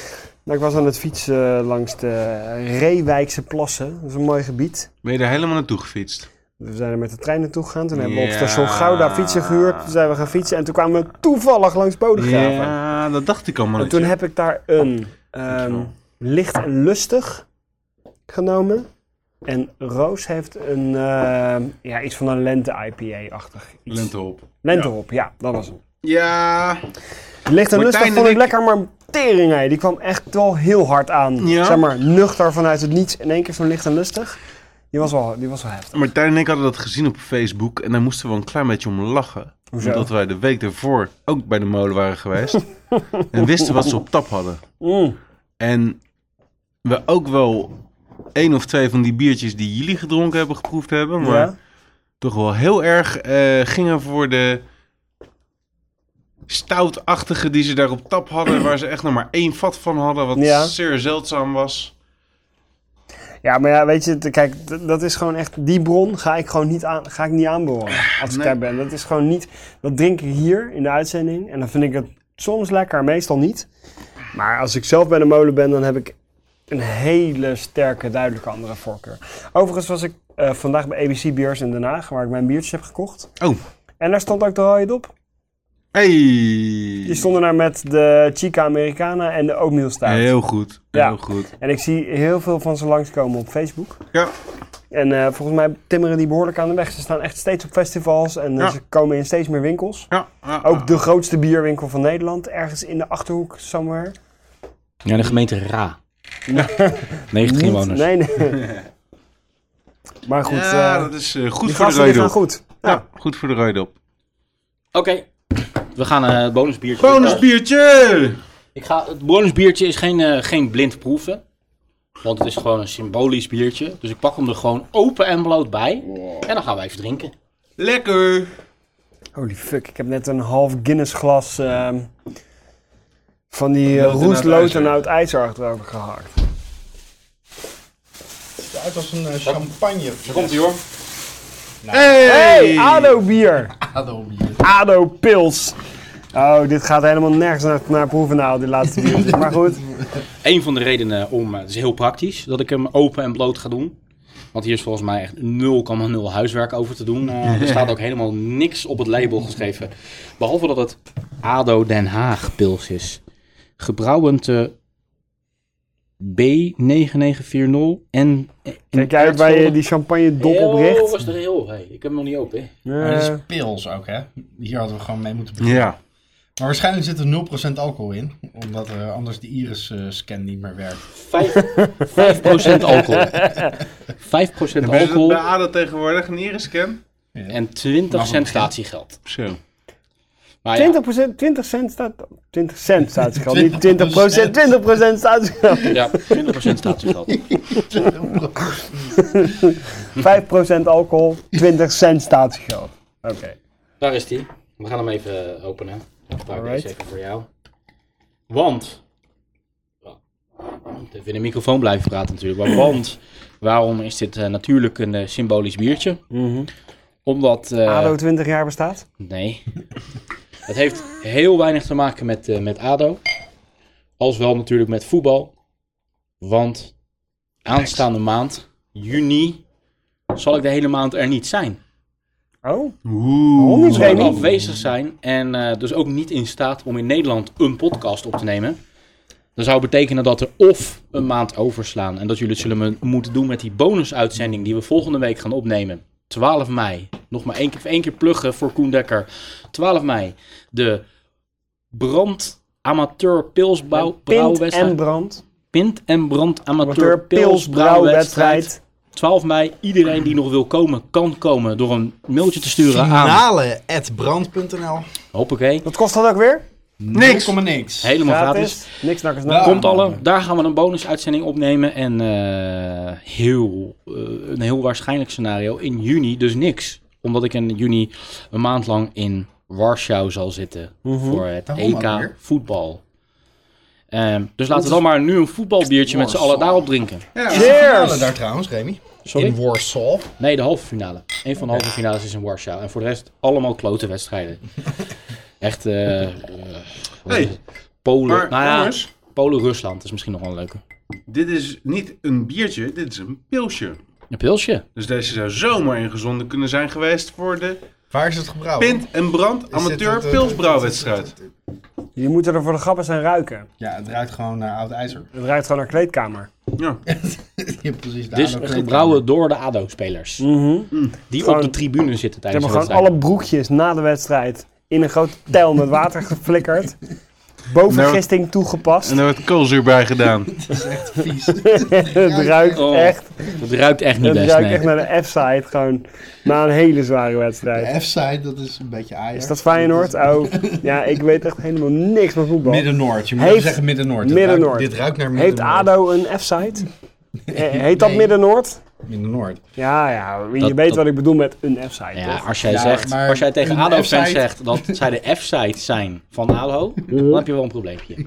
S2: Nou, ik was aan het fietsen eh, langs de Reewijkse plassen. Dat is een mooi gebied.
S4: Ben je er helemaal naartoe gefietst?
S2: We zijn er met de trein naartoe gegaan. Toen hebben we op
S4: Ja.
S2: station Gouda fietsen gehuurd. Toen zijn we gaan fietsen. En toen kwamen we toevallig langs Bodegraven.
S4: Ja, dat dacht ik al,
S2: En toen
S4: mannetje.
S2: heb ik daar een ehm,
S4: Dankjewel.
S2: licht en lustig genomen. En Roos heeft een, ehm, ja, iets van een lente-IPA-achtig. iets.
S4: Lentehop.
S2: Lentehop, ja. dat was hem.
S4: Ja,
S2: Licht en
S4: Martijn
S2: lustig
S4: en
S2: vond ik
S4: ik-
S2: lekker, maar tering, hè. die kwam echt wel heel hard aan.
S4: Ja?
S2: Zeg maar, nuchter vanuit het niets in één keer zo'n licht en lustig. Die was wel, die was wel heftig.
S4: Martijn en ik hadden dat gezien op Facebook en daar moesten we een klein beetje om lachen.
S2: Hoezo?
S4: Omdat wij de week daarvoor ook bij de molen waren geweest en wisten wat ze op tap hadden.
S2: Mm.
S4: En we ook wel één of twee van die biertjes die jullie gedronken hebben geproefd hebben, maar
S2: Ja?
S4: toch wel heel erg eh, gingen voor de stoutachtige die ze daar op tap hadden, waar ze echt nog maar één vat van hadden, wat
S2: Ja.
S4: zeer zeldzaam was.
S2: ja, maar ja, weet je, t- kijk, d- dat is gewoon echt, die bron ga ik gewoon niet, aan, ga ik niet aanboren als ik
S4: Ah, Nee.
S2: daar ben. Dat is gewoon niet, dat drink ik hier in de uitzending en dan vind ik het soms lekker, meestal niet. Maar als ik zelf bij de molen ben, dan heb ik een hele sterke, duidelijke andere voorkeur. Overigens was ik eh, vandaag bij ABC Beers in Den Haag, waar ik mijn biertjes heb gekocht.
S4: Oh.
S2: En daar stond ook de rode dop.
S4: Hey!
S2: Die stonden daar met de Chica Americana en de oatmeal stout.
S4: Heel goed, heel
S2: Ja.
S4: goed.
S2: En ik zie heel veel van ze langskomen op Facebook.
S4: Ja.
S2: En eh, volgens mij timmeren die behoorlijk aan de weg. Ze staan echt steeds op festivals en eh,
S4: Ja. Ah.
S2: ze komen in steeds meer winkels.
S4: Ja, ja, ja.
S2: Ook de grootste bierwinkel van Nederland, ergens in de Achterhoek, somewhere.
S1: Ja, de gemeente Ra. 90
S2: Niet-
S1: inwoners.
S2: Nee, nee. maar goed,
S4: ja,
S2: eh,
S4: dat is eh, goed
S2: die
S4: voor de
S2: gasten die gaan
S4: rooidop.
S2: goed.
S4: Ja. goed voor de rooidop.
S1: Oké, we gaan eh, het bonusbiertje.
S4: Bonusbiertje!
S1: Ik ga, het bonusbiertje is geen, eh, geen blind proeven. Want het is gewoon een symbolisch biertje. Dus ik pak hem er gewoon open en bloot bij. En dan gaan we even drinken.
S4: Lekker!
S2: Holy fuck, ik heb net een half Guinness glas ehm, van die eh,
S4: Lood en oud
S2: roestlood
S4: ijzer.
S2: en oud ijzer achterover gehakt.
S3: Het ziet eruit als een eh, champagne.
S1: ie hoor.
S4: Hey!
S2: Hey, ADO bier!
S3: Adem hier.
S2: ADO Pils. Oh, dit gaat helemaal nergens naar, naar proeven nou, die laatste biertjes. maar goed.
S1: Een van de redenen om, eh, het is heel praktisch, dat ik hem open en bloot ga doen. Want hier is volgens mij echt 0,0 huiswerk over te doen. Eh, er staat ook helemaal niks op het label geschreven. Behalve dat het ADO Den Haag pils is. eh, Gebrouwen te B9940 en... eh,
S2: Kijk jij ook bij je die champagne dop
S1: Heel
S2: opricht?
S1: rustig, heel. Hey, ik heb hem nog niet open. hè.
S3: Maar dit
S2: Ja.
S3: is pils ook, hè? Hier hadden we gewoon mee moeten beginnen.
S4: Ja,
S3: Maar waarschijnlijk zit er 0% alcohol in. Omdat eh, anders de iris-scan niet meer werkt.
S1: Vijf- 5% alcohol. 5%
S4: hebben ze dat bij
S1: alcohol
S4: ADO tegenwoordig een irisscan?
S1: en 20 cent statiegeld.
S4: Zo.
S1: Maar ja,
S2: 20%, 20 cent staat. 20 cent staat zich al. Niet 20 procent, 20 procent staat zich al.
S1: ja, 20% statiegeld.
S2: 5 procent alcohol, 20 cent staat zich al. Oké.
S1: Daar is die. We gaan hem even eh, openen. Dan pak ik
S2: Alright.
S1: deze even voor jou. Want. Even in de microfoon blijven praten natuurlijk. Maar want, waarom is dit eh, natuurlijk een eh, symbolisch biertje? Omdat... eh,
S2: Mhm. ADO 20 jaar bestaat?
S1: Nee. Het heeft heel weinig te maken met, eh, met ADO. Als wel natuurlijk met voetbal. Want aanstaande maand, juni, zal ik de hele maand er niet zijn.
S2: Oh,
S4: Oeh.
S2: waarom niet,
S1: zal ik
S2: Remy?
S1: afwezig zijn en eh, dus ook niet in staat om in Nederland een podcast op te nemen. Dat zou betekenen dat er of een maand overslaan en dat jullie het zullen me- moeten doen met die bonusuitzending die we volgende week gaan opneven. 12 mei, nog maar één keer, één keer pluggen voor Koen Dekker. 12 mei, de brand amateur pilsbouw
S2: Pint
S1: brouwwedstrijd.
S2: en brand.
S1: Pint en brand amateur
S2: Amateur
S1: pilsbrouwwedstrijd.
S2: pilsbrouwwedstrijd.
S1: 12 mei, iedereen die nog wil komen, kan komen door een mailtje te sturen aan.
S3: Finale at brand.nl.
S1: Hoppakee.
S2: Wat kost dat ook weer?
S3: Niks. Kom maar niks.
S1: Helemaal gratis.
S2: Niks nakkers
S3: Ja.
S1: Komt alle. Daar gaan we een bonusuitzending opnemen. En eh, heel, eh, een heel waarschijnlijk scenario in juni dus niks. Omdat ik in juni een maand lang in Warschau zal zitten. Voor het
S3: Mhm. Waarom ook
S1: EK
S3: weer?
S1: voetbal. Ehm, dus laten we dan maar nu een voetbalbiertje met z'n allen daarop drinken.
S3: Ja, is de
S2: Cheers.
S3: finale daar trouwens, Remy.
S1: Sorry?
S3: In Warsaw.
S1: Nee, de halve finale. Een van de halve finales is in Warschau. En voor de rest allemaal klote wedstrijden. Echt, eh, eh, wat
S4: Hey,
S1: is het? Polen.
S4: Maar
S1: nou ja,
S4: jongens,
S1: Polen-Rusland is misschien nog wel een leuke.
S4: dit is niet een biertje, dit is een pilsje.
S1: Een pilsje.
S4: Dus deze zou zomaar ingezonden kunnen zijn geweest voor de
S3: Waar is het gebrouwen?
S4: Pint en Brand
S3: Is dit
S4: Amateur
S3: het, eh,
S4: Pilsbrouwwedstrijd.
S2: Je moet er voor de grappen zijn ruiken.
S3: Ja, het ruikt gewoon naar oud ijzer.
S2: Het ruikt gewoon naar kleedkamer.
S4: Ja.
S3: Ja, precies. de
S1: Dit is
S3: oude
S1: Dus gebrouwen door de ADO-spelers. Die op
S2: Hm. Gewoon-
S1: de tribune zitten
S2: Ze
S1: tijdens
S2: hebben
S1: de
S2: gewoon
S1: wedstrijd.
S2: alle broekjes na de wedstrijd in een groot tel met water geflikkerd. Bovengisting toegepast.
S4: En daar werd koolzuur bij gedaan.
S3: kleedkamer. Vies.
S2: Het ruikt
S1: Oh,
S2: echt,
S1: Het ruikt echt niet
S2: het
S1: best,
S2: ruikt
S1: nee.
S2: echt naar de F-side. Gewoon na een hele zware wedstrijd.
S3: De F-side, dat is een beetje Ajax.
S2: Is dat Feyenoord? Oh, ja, ik weet echt helemaal niks van voetbal.
S3: Midden-Noord. Je moet
S2: Heeft-
S3: zeggen Midden-Noord. Dit
S2: Midden-Noord.
S3: ruikt- Dit ruikt naar
S2: Heeft
S3: Midden-Noord.
S2: ADO een F-site? Eh, Heet dat
S3: Nee.
S2: Midden-Noord?
S3: Midden-Noord.
S2: Ja, ja, je
S1: Dat-
S2: weet
S1: dat-
S2: wat ik bedoel met een F-site.
S1: Ja,
S2: toch?
S1: als jij,
S3: Ja,
S1: zegt,
S3: maar
S1: als jij tegen
S3: een
S1: ADO-fans
S3: F-site.
S1: zegt dat zij de F-site zijn van ADO, dan heb je wel een probleempje.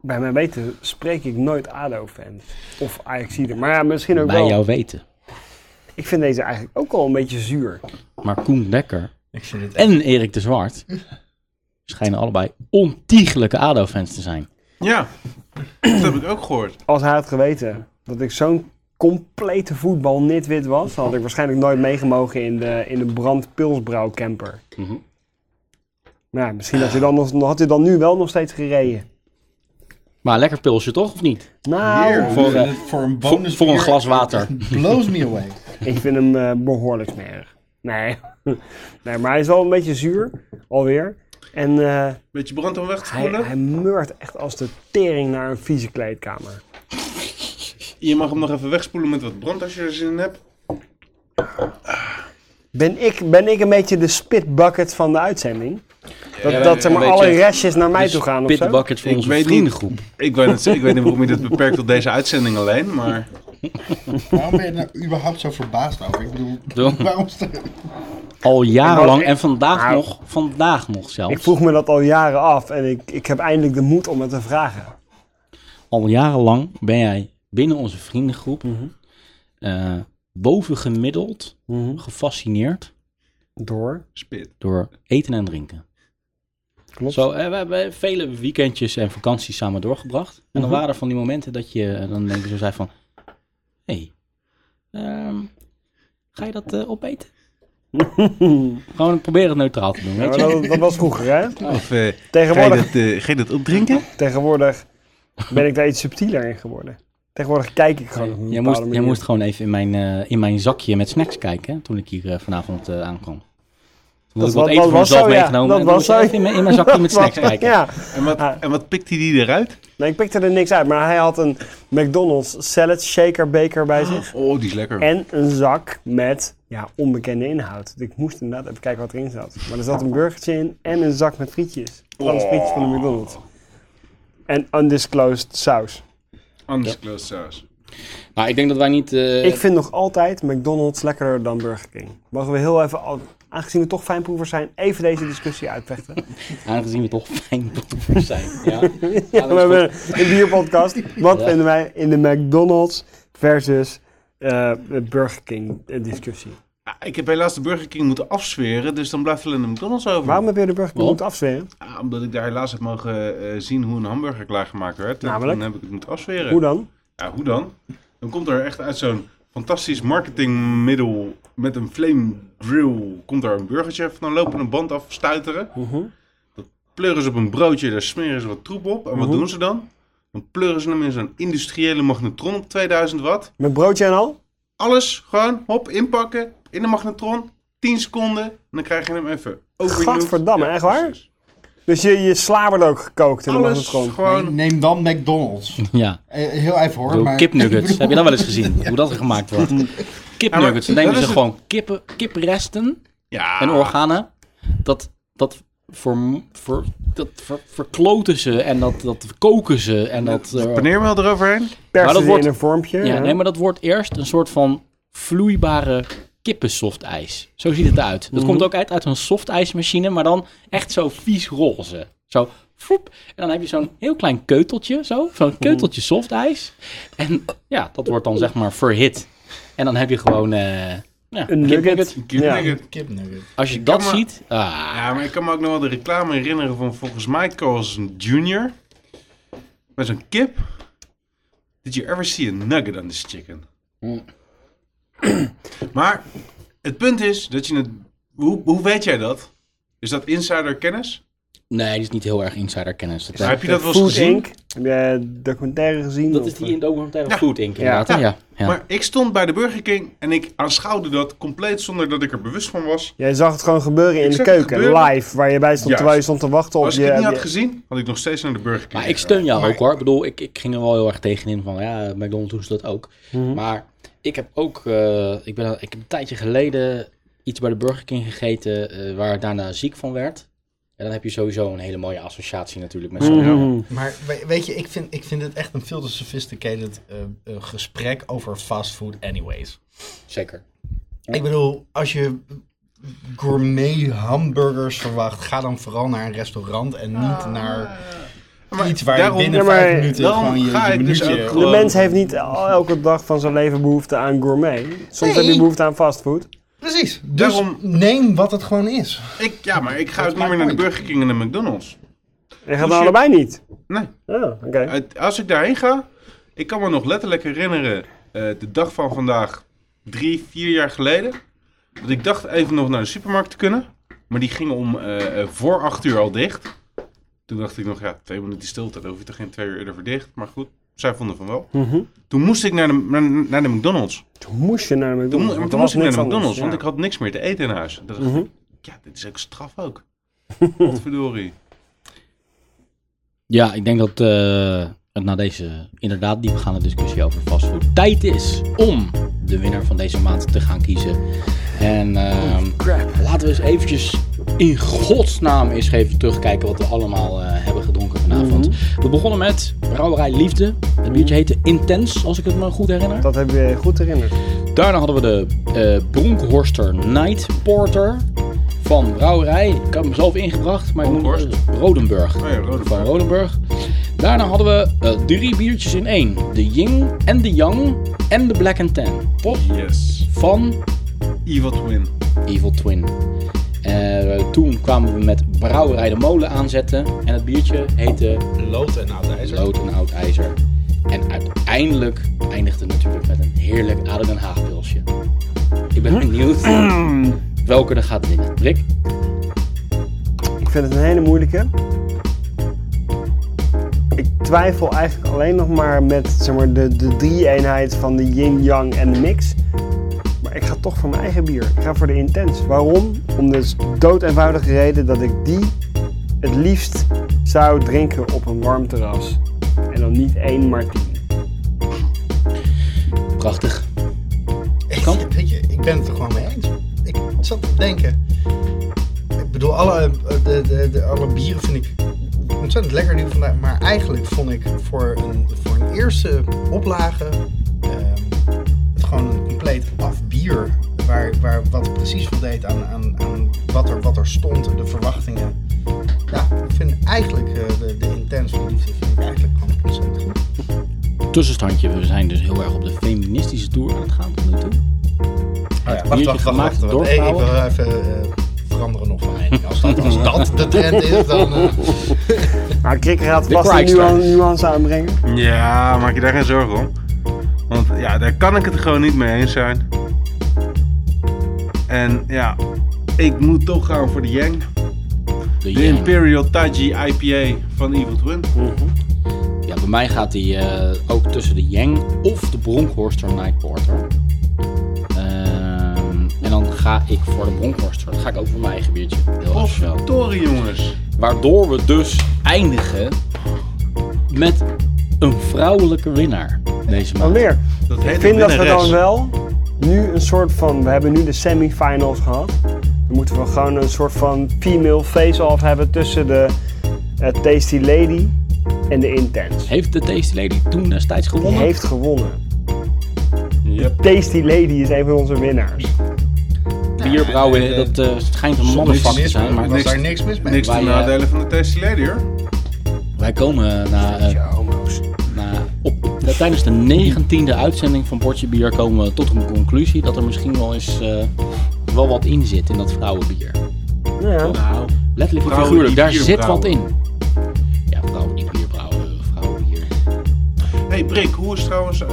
S2: Bij mijn weten spreek ik nooit ADO-fan. Of Ajaxide. Maar ja, misschien ook
S1: Bij
S2: wel.
S1: jou weten.
S2: Ik vind deze eigenlijk ook al een beetje zuur.
S1: Maar Koen Dekker
S3: Ik vind het echt...
S1: en Erik de Zwart schijnen allebei ontiegelijke ADO-fans te zijn.
S4: Ja, dat heb ik ook gehoord.
S2: Als hij had geweten dat ik zo'n complete voetbalnitwit was, dan had ik waarschijnlijk nooit meegemogen in de, in de brandpilsbrouwcamper.
S1: Mhm.
S2: Nou, misschien had hij, dan nog, had hij dan nu wel nog steeds gereden.
S1: Maar lekker pilsje toch, of niet?
S2: Nou,
S3: Hier,
S1: Voor,
S3: voor,
S1: eh,
S3: voor een
S1: Voor,
S3: bonus
S1: voor een
S3: bier.
S1: glas water.
S3: Blows me away.
S2: ik vind hem eh, behoorlijk smerig. Nee. nee, maar hij is wel een beetje zuur, alweer. En eh,
S4: Beetje brand om weg te
S2: hij,
S4: spoelen.
S2: hij meurt echt als de tering naar een vieze kleedkamer.
S4: Je mag hem nog even wegspoelen met wat brand als je er zin in hebt.
S2: Ben ik, ben ik een beetje de spitbucket van de uitzending? Dat,
S1: Ja,
S2: dat zeg maar
S1: een
S2: alle
S1: beetje
S2: restjes naar mij toe gaan of zo?
S1: Dus Pitbucket voor
S4: Ik
S1: onze
S4: weet niet.
S1: vriendengroep.
S4: Ik weet, het, ik weet niet waarom je dit beperkt tot deze uitzending alleen, maar...
S3: Waarom ben je nou überhaupt zo verbaasd over? Ik bedoel,
S1: Doe.
S3: waarom... sta-
S1: Al jarenlang
S2: ik-
S1: en vandaag
S2: Nou,
S1: nog. Vandaag nog zelfs.
S2: Ik vroeg me dat al jaren af en ik, ik heb eindelijk de moed om het te vragen.
S1: al jarenlang ben jij binnen onze vriendengroep
S2: Mhm.
S1: eh, bovengemiddeld gefascineerd
S2: Door?
S4: Spit.
S1: door eten en drinken.
S2: Klopt.
S1: Zo, eh, we hebben vele weekendjes en vakanties samen doorgebracht. En
S2: Mhm.
S1: dan waren er van die momenten dat je eh, dan denk je zo zei van... Hé, hey, ehm, ga je dat eh, opeten? Gewoon proberen neutraal te doen,
S2: Ja,
S1: weet
S2: maar
S1: je?
S2: dat, dat was vroeger, hè?
S4: Of eh, ga, je
S2: Tegenwoordig,
S4: dat, eh, ga je dat opdrinken?
S2: tegenwoordig ben ik daar iets subtieler in geworden. Tegenwoordig kijk ik gewoon op een
S1: Jij
S2: bepaalde
S1: moest, jij
S2: manier.
S1: moest gewoon even in mijn, eh, in mijn zakje met snacks kijken hè, toen ik hier eh, vanavond eh, aankwam. Toen had
S2: Dat
S1: ik wat
S2: wa-
S1: eten
S2: dat
S1: voor
S2: was
S1: mezelf
S2: zo, ja.
S1: meegenomen.
S2: Dat
S1: en toen
S2: was
S1: moest ik
S2: zo.
S1: even in mijn, in mijn zakje met snacks kijken.
S2: Ja,
S4: En wat,
S2: Ah.
S4: en wat pikt hij die eruit?
S2: nee, ik pikte er niks uit, maar hij had een McDonald's salad shaker beker bij zich.
S4: Oh, die is lekker.
S2: En een zak met ja, onbekende inhoud. Dus Ik moest inderdaad even kijken wat erin zat. Maar er zat een burgertje in en een zak met frietjes. Alles frietjes van de McDonald's. En undisclosed saus.
S4: Anders closed saus.
S1: Maar ik denk dat wij niet... eh,
S2: Ik vind nog altijd McDonald's lekkerder dan Burger King. Mogen we heel even al- aangezien we toch fijnproevers zijn, even deze discussie uitvechten.
S1: Aangezien we toch fijn zijn. Ja. Ja, dat is
S2: Ja, we
S1: goed.
S2: hebben een bierpodcast. Wat
S1: Ja.
S2: vinden wij in de McDonald's versus eh, Burger King eh, discussie?
S4: Ah, ik heb helaas de Burger King moeten afsferen, dus dan blijft alleen de McDonald's over.
S2: Waarom heb je de Burger King
S1: Waarom?
S2: moeten afzweren?
S4: Ah, omdat ik daar helaas heb mogen eh, zien hoe een hamburger klaargemaakt werd. En
S2: Namelijk?
S4: toen heb ik het moeten afsferen.
S2: Hoe dan?
S4: Ja, hoe dan? Dan komt er echt uit zo'n fantastisch marketingmiddel met een flame drill, komt er een burgertje van een lopende band afstuiteren.
S2: Mhm.
S4: Pleuren ze op een broodje, daar smeren ze wat troep op. En wat
S2: Mhm.
S4: doen ze dan? Dan pleuren ze hem in zo'n industriële magnetron op 2000 watt.
S2: Met broodje en al?
S4: Alles gewoon, hop, inpakken, in de magnetron, 10 seconden. En dan krijg je hem even overnieuw.
S2: Gadverdamme, echt waar?
S4: precies.
S2: Dus je, je sla wordt ook gekookt in de
S4: Alles
S2: magnetron.
S4: gewoon
S3: Neem dan McDonald's.
S1: Ja,
S3: Eh, heel even
S1: ik
S3: hoor.
S1: bedoel,
S3: Maar
S1: kipnuggets. Heb je dat wel eens gezien? Hoe dat gemaakt wordt? Kipnuggets. Dan
S4: dat
S1: nemen ze
S4: is het-
S1: gewoon kippen, kipresten
S4: Ja.
S1: en organen. Dat, dat, voor, voor, dat ver- verkloten ze en dat, dat koken ze. En dat, eh,
S4: Paneermeel eroverheen.
S2: Persen
S1: dat
S2: ze
S1: wordt-
S2: in een vormpje.
S1: ja,
S2: hè?
S1: nee, maar dat wordt eerst een soort van vloeibare kippensoftijs. Zo ziet het eruit. Dat
S2: Mhm.
S1: komt ook uit, uit een softijsmachine, maar dan echt zo vies roze. Zo, foep. En dan heb je zo'n heel klein keuteltje, zo. Zo'n keuteltje softijs. En ja, dat wordt dan zeg maar verhit. En dan heb je gewoon... eh, ja,
S2: Een nugget.
S1: kipnugget.
S2: Ja.
S4: Kipnugget.
S3: Kipnugget.
S1: Als je dat
S4: maar-
S1: ziet... Ah,
S4: Ja, maar ik kan me ook nog wel de reclame herinneren van volgens mij Carl's Jr. Met zo'n kip. Did you ever see a nugget on this chicken?
S1: Mm.
S4: maar het punt is dat je het... Hoe, hoe weet jij dat? Is dat insider kennis?
S1: nee, die is niet heel erg insiderkennis. Dat,
S4: heb je dat wel eens
S2: Food
S4: gezien?
S2: Inc. Heb jij documentaire gezien?
S1: dat
S2: of, eh,
S1: is die in de documentaire
S4: Ja.
S1: Food Inc. inderdaad, hè? Ja. Ja.
S4: Maar ik stond bij de Burger King en ik aanschouwde dat compleet zonder dat ik er bewust van was.
S2: Jij zag het gewoon gebeuren in
S4: Ik
S2: de
S4: zag het
S2: keuken,
S4: gebeuren.
S2: live, waar je bij stond
S4: Juist.
S2: terwijl je stond te wachten op
S4: Als
S2: je...
S4: ik het niet
S2: je-
S4: had gezien, had ik nog steeds naar de Burger King
S1: Maar ik
S4: gegaan.
S1: steun jou
S4: Maar-
S1: ook hoor. Ik bedoel, ik, ik ging er wel heel erg tegenin van ja, McDonald's doet dat ook. Maar ik heb ook, eh, ik, ben, ik heb een tijdje geleden iets bij de Burger King gegeten eh, waar ik daarna ziek van werd. En dan heb je sowieso een hele mooie associatie natuurlijk met zo'n...
S2: Mhm.
S3: Maar we- weet je, ik vind, ik vind het echt een veel te sophisticated eh, eh, gesprek over fastfood anyways.
S1: Zeker.
S3: Ik bedoel, als je gourmet hamburgers verwacht, ga dan vooral naar een restaurant en niet naar
S4: Maar
S3: iets waar
S4: daarom-
S3: je binnen
S2: Ja, maar
S3: vijf minuten
S4: daarom
S3: gewoon je,
S4: ga
S3: je
S4: ik dus
S3: minuutje...
S4: ook
S2: De
S4: Gewoon- eh,
S2: mens heeft niet el- elke dag van zijn leven behoefte aan gourmet. Soms heb je behoefte aan fastfood.
S3: Precies. Dus
S4: Daarom-
S3: neem wat het gewoon is.
S4: Ik, ja, maar ik ga
S3: Dat
S4: ook niet meer
S3: maakt
S4: naar
S3: moeite.
S4: de Burger King en de McDonald's.
S2: En gaat
S4: Dus
S2: dan
S4: je-
S2: allebei niet.
S4: Nee.
S2: Ah, oké.
S4: Uit- Eh, Als ik daarheen ga, ik kan me nog letterlijk herinneren, eh, de dag van vandaag, drie, vier jaar geleden, dat ik dacht even nog naar de supermarkt te kunnen, maar die gingen om eh, eh, voor acht uur al dicht. Toen dacht ik nog, ja, twee minuten stilte, dan hoef je toch geen twee uur eerder voor dicht, maar goed, zij vonden van wel.
S2: Mhm.
S4: Toen moest ik naar de, naar, naar de McDonald's.
S2: Toen moest je naar de
S4: Toen,
S2: McDonald's.
S4: mo-
S2: want
S4: toen
S2: er was
S4: moest ik naar de
S2: niks
S4: McDonald's,
S2: anders,
S4: want
S2: ja.
S4: ik had niks meer te eten in huis. Dat dacht
S2: Mhm.
S4: ik, ja, dit is ook straf ook. Wat verdorie.
S1: Ja, ik denk dat eh, het na deze inderdaad diepgaande discussie over fastfood tijd is om de winnaar van deze maand te gaan kiezen. En ehm, laten we eens eventjes in godsnaam eens even terugkijken wat we allemaal eh, hebben gedronken vanavond. We begonnen met Brouwerij Liefde. Het biertje heette Intens, als ik het me goed herinner.
S2: Dat heb je goed herinnerd.
S1: Daarna hadden we de eh Bronkhorster Night Porter van Brouwerij. Ik heb hem zelf ingebracht, maar ik moet
S4: Bronkhorst?
S1: Rodenburg
S4: Oh ja, rode
S1: van Rodenburg. Daarna hadden we eh, drie biertjes in één. De Ying en de Yang en de Black and Tan. Top
S4: Yes.
S1: van
S4: Evil Twin.
S1: Evil Twin. Eh, toen kwamen we met Brouwerij de Molen aanzetten. En het biertje heette
S3: Lood en oud
S1: Lood en Oud IJzer. En uiteindelijk eindigde het natuurlijk met een heerlijk Aden Den Haag pilsje. Ik ben benieuwd welke er gaat winnen. Rick?
S2: Ik vind het een hele moeilijke. Ik twijfel eigenlijk alleen nog maar met zeg maar, de, de drie-eenheid van de yin-yang en de mix. Maar ik ga toch voor mijn eigen bier. Ik ga voor de Intens. Waarom? Om de dood eenvoudige reden dat ik die het liefst zou drinken op een warm terras. En dan niet één, maar tien.
S1: Prachtig. Kan.
S3: Ik, weet je, ik ben het er gewoon mee eens. Ik zat te denken. Ik bedoel, alle, eh, de, de, de, alle bieren vind ik ontzettend lekker nu vandaag. Maar eigenlijk vond ik voor een, voor een eerste oplage ehm, het gewoon een compleet af bier. Waar, waar wat precies voldeed aan, aan, aan wat, er, wat er stond, de verwachtingen. Ja, ik vind eigenlijk eh, de, de intense liefde vind ik eigenlijk gewoon ontzettend goed.
S1: Tussenstandje, we zijn dus heel erg op de feministische tour aan het gaan tot nu toe.
S3: Oh ja, wacht,
S1: biertje
S3: wacht, wacht,
S1: gemaakt
S3: wacht.
S1: door
S3: wacht. Hey, ik
S1: vrouwen.
S3: wil even eh, veranderen nog van mening. Als dat, als dat de trend is, dan... eh,
S2: Maar Krikker gaat
S1: De
S2: vast een
S1: Crikster.
S2: nuan- nuance aanbrengen.
S4: Ja, maak je daar geen zorgen om. Want ja, daar kan ik het gewoon niet mee eens zijn. En ja, ik moet toch gaan voor de Yang.
S1: De
S4: De
S1: Yang.
S4: Imperial Taiji IPA van Evil Twin.
S1: Ja, bij mij gaat die eh, ook tussen de Yang of de Bronkhorster Night Porter. Ehm, en dan ga ik voor de Bronkhorster. Dan ga ik ook voor mijn eigen biertje. Heel erg
S4: Of
S1: snel.
S4: Toren, jongens.
S1: Waardoor we dus eindigen met een vrouwelijke winnaar deze maand.
S2: Alweer.
S4: Dat heet
S2: Ik vind dat we dan
S4: winnares.
S2: wel nu een soort van. We hebben nu de semifinals gehad. Dan moeten we gewoon een soort van female face-off hebben tussen de eh, Tasty Lady en de Intense.
S1: Heeft de Tasty Lady toen destijds
S2: Die
S1: gewonnen?
S2: heeft gewonnen. eh,
S4: Yep.
S2: Tasty Lady is een van onze winnaars.
S1: Bierbrouwen,
S3: Ja,
S1: dat eh, schijnt een
S3: Niks
S1: mannenvak te
S3: mis
S1: zijn.
S3: mee,
S1: Maar
S4: niks-
S3: was daar niks mis mee.
S4: Niks
S1: Wij,
S4: ten
S1: eh,
S4: nadelen van de Tasty Lady hoor.
S1: wij komen na, eh, na, op, tijdens de negentiende uitzending van Bordje Bier komen we tot een conclusie dat er misschien wel eens eh, wel wat in zit in dat vrouwenbier.
S2: Ja.
S4: Nou,
S1: Letterlijk en
S4: Vrouwen
S1: figuurlijk,
S4: die
S1: daar
S4: bier
S1: zit wat
S4: brouwen.
S1: in. Ja, vrouwen die bier brouwen, eh, vrouwenbier.
S4: hey Brik, hoe is trouwens eh,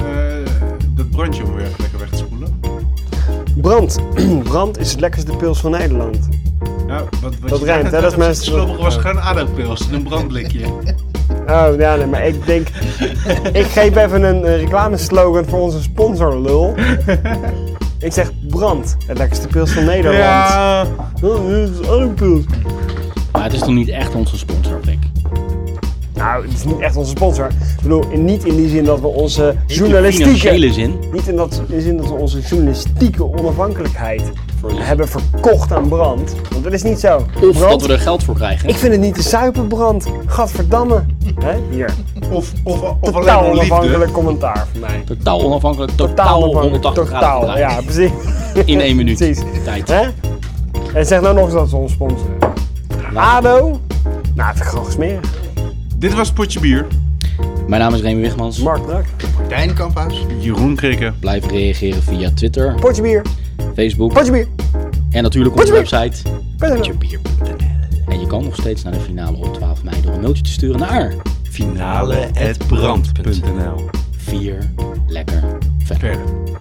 S4: dat brandje om weer even lekker weg te spoelen?
S2: Brand. Brand is het lekkerste pils van Nederland.
S4: Ja, wat, wat
S2: rijmt,
S4: je zei net,
S2: hè, dat is
S4: het
S2: mensen-
S4: sloppige was gewoon aardappels in een brandblikje.
S2: Oh, ja, nee, maar ik denk. ik geef even een eh, reclameslogan voor onze sponsor, lul. ik zeg brand. Het lekkerste pils van Nederland.
S4: ja,
S2: Oh, dit is ook een pils.
S1: Maar het is toch niet echt onze sponsor, Rick?
S2: Nou, het is niet echt onze sponsor. Ik bedoel, in- niet in die zin dat we onze
S1: In financiële
S2: journalistieke...
S1: zin.
S2: Niet in, dat, in de zin dat we onze journalistieke onafhankelijkheid
S1: Voor je-
S2: hebben verkocht aan brand. Want dat is niet zo.
S1: Of
S2: brand,
S1: dat we er geld voor krijgen.
S2: Ik vind het niet de zuipenbrand. Gadverdamme. Hè? Hier,
S4: of, of, of alleen
S2: totaal
S4: maar liefde.
S2: onafhankelijk commentaar van mij.
S1: Totaal onafhankelijk,
S2: Totaal
S1: totaal
S2: onafhankelijk.
S1: 180 graden
S2: Totaal,
S1: gedraaid.
S2: ja, precies.
S1: In één minuut.
S2: Precies.
S1: Tijd.
S2: Hè? En zeg nou nog eens dat ze ons sponsoren. ADO? Nou, het is gewoon smerig.
S4: Dit was Potje Bier.
S1: Mijn naam is Remy Wigmans.
S2: Mark Brak.
S3: Martijn Kamphuis.
S4: Jeroen Krikken.
S1: Blijf reageren via Twitter,
S2: Potje bier.
S1: Facebook
S2: Potje bier.
S1: en natuurlijk onze
S2: Potje
S1: website.
S2: Potje bier.
S1: potjebier.nl. En je kan nog steeds naar de finale op 12 mei door een mailtje te sturen naar
S4: Finale at brand.nl
S1: 4 lekker verder.
S4: Verder.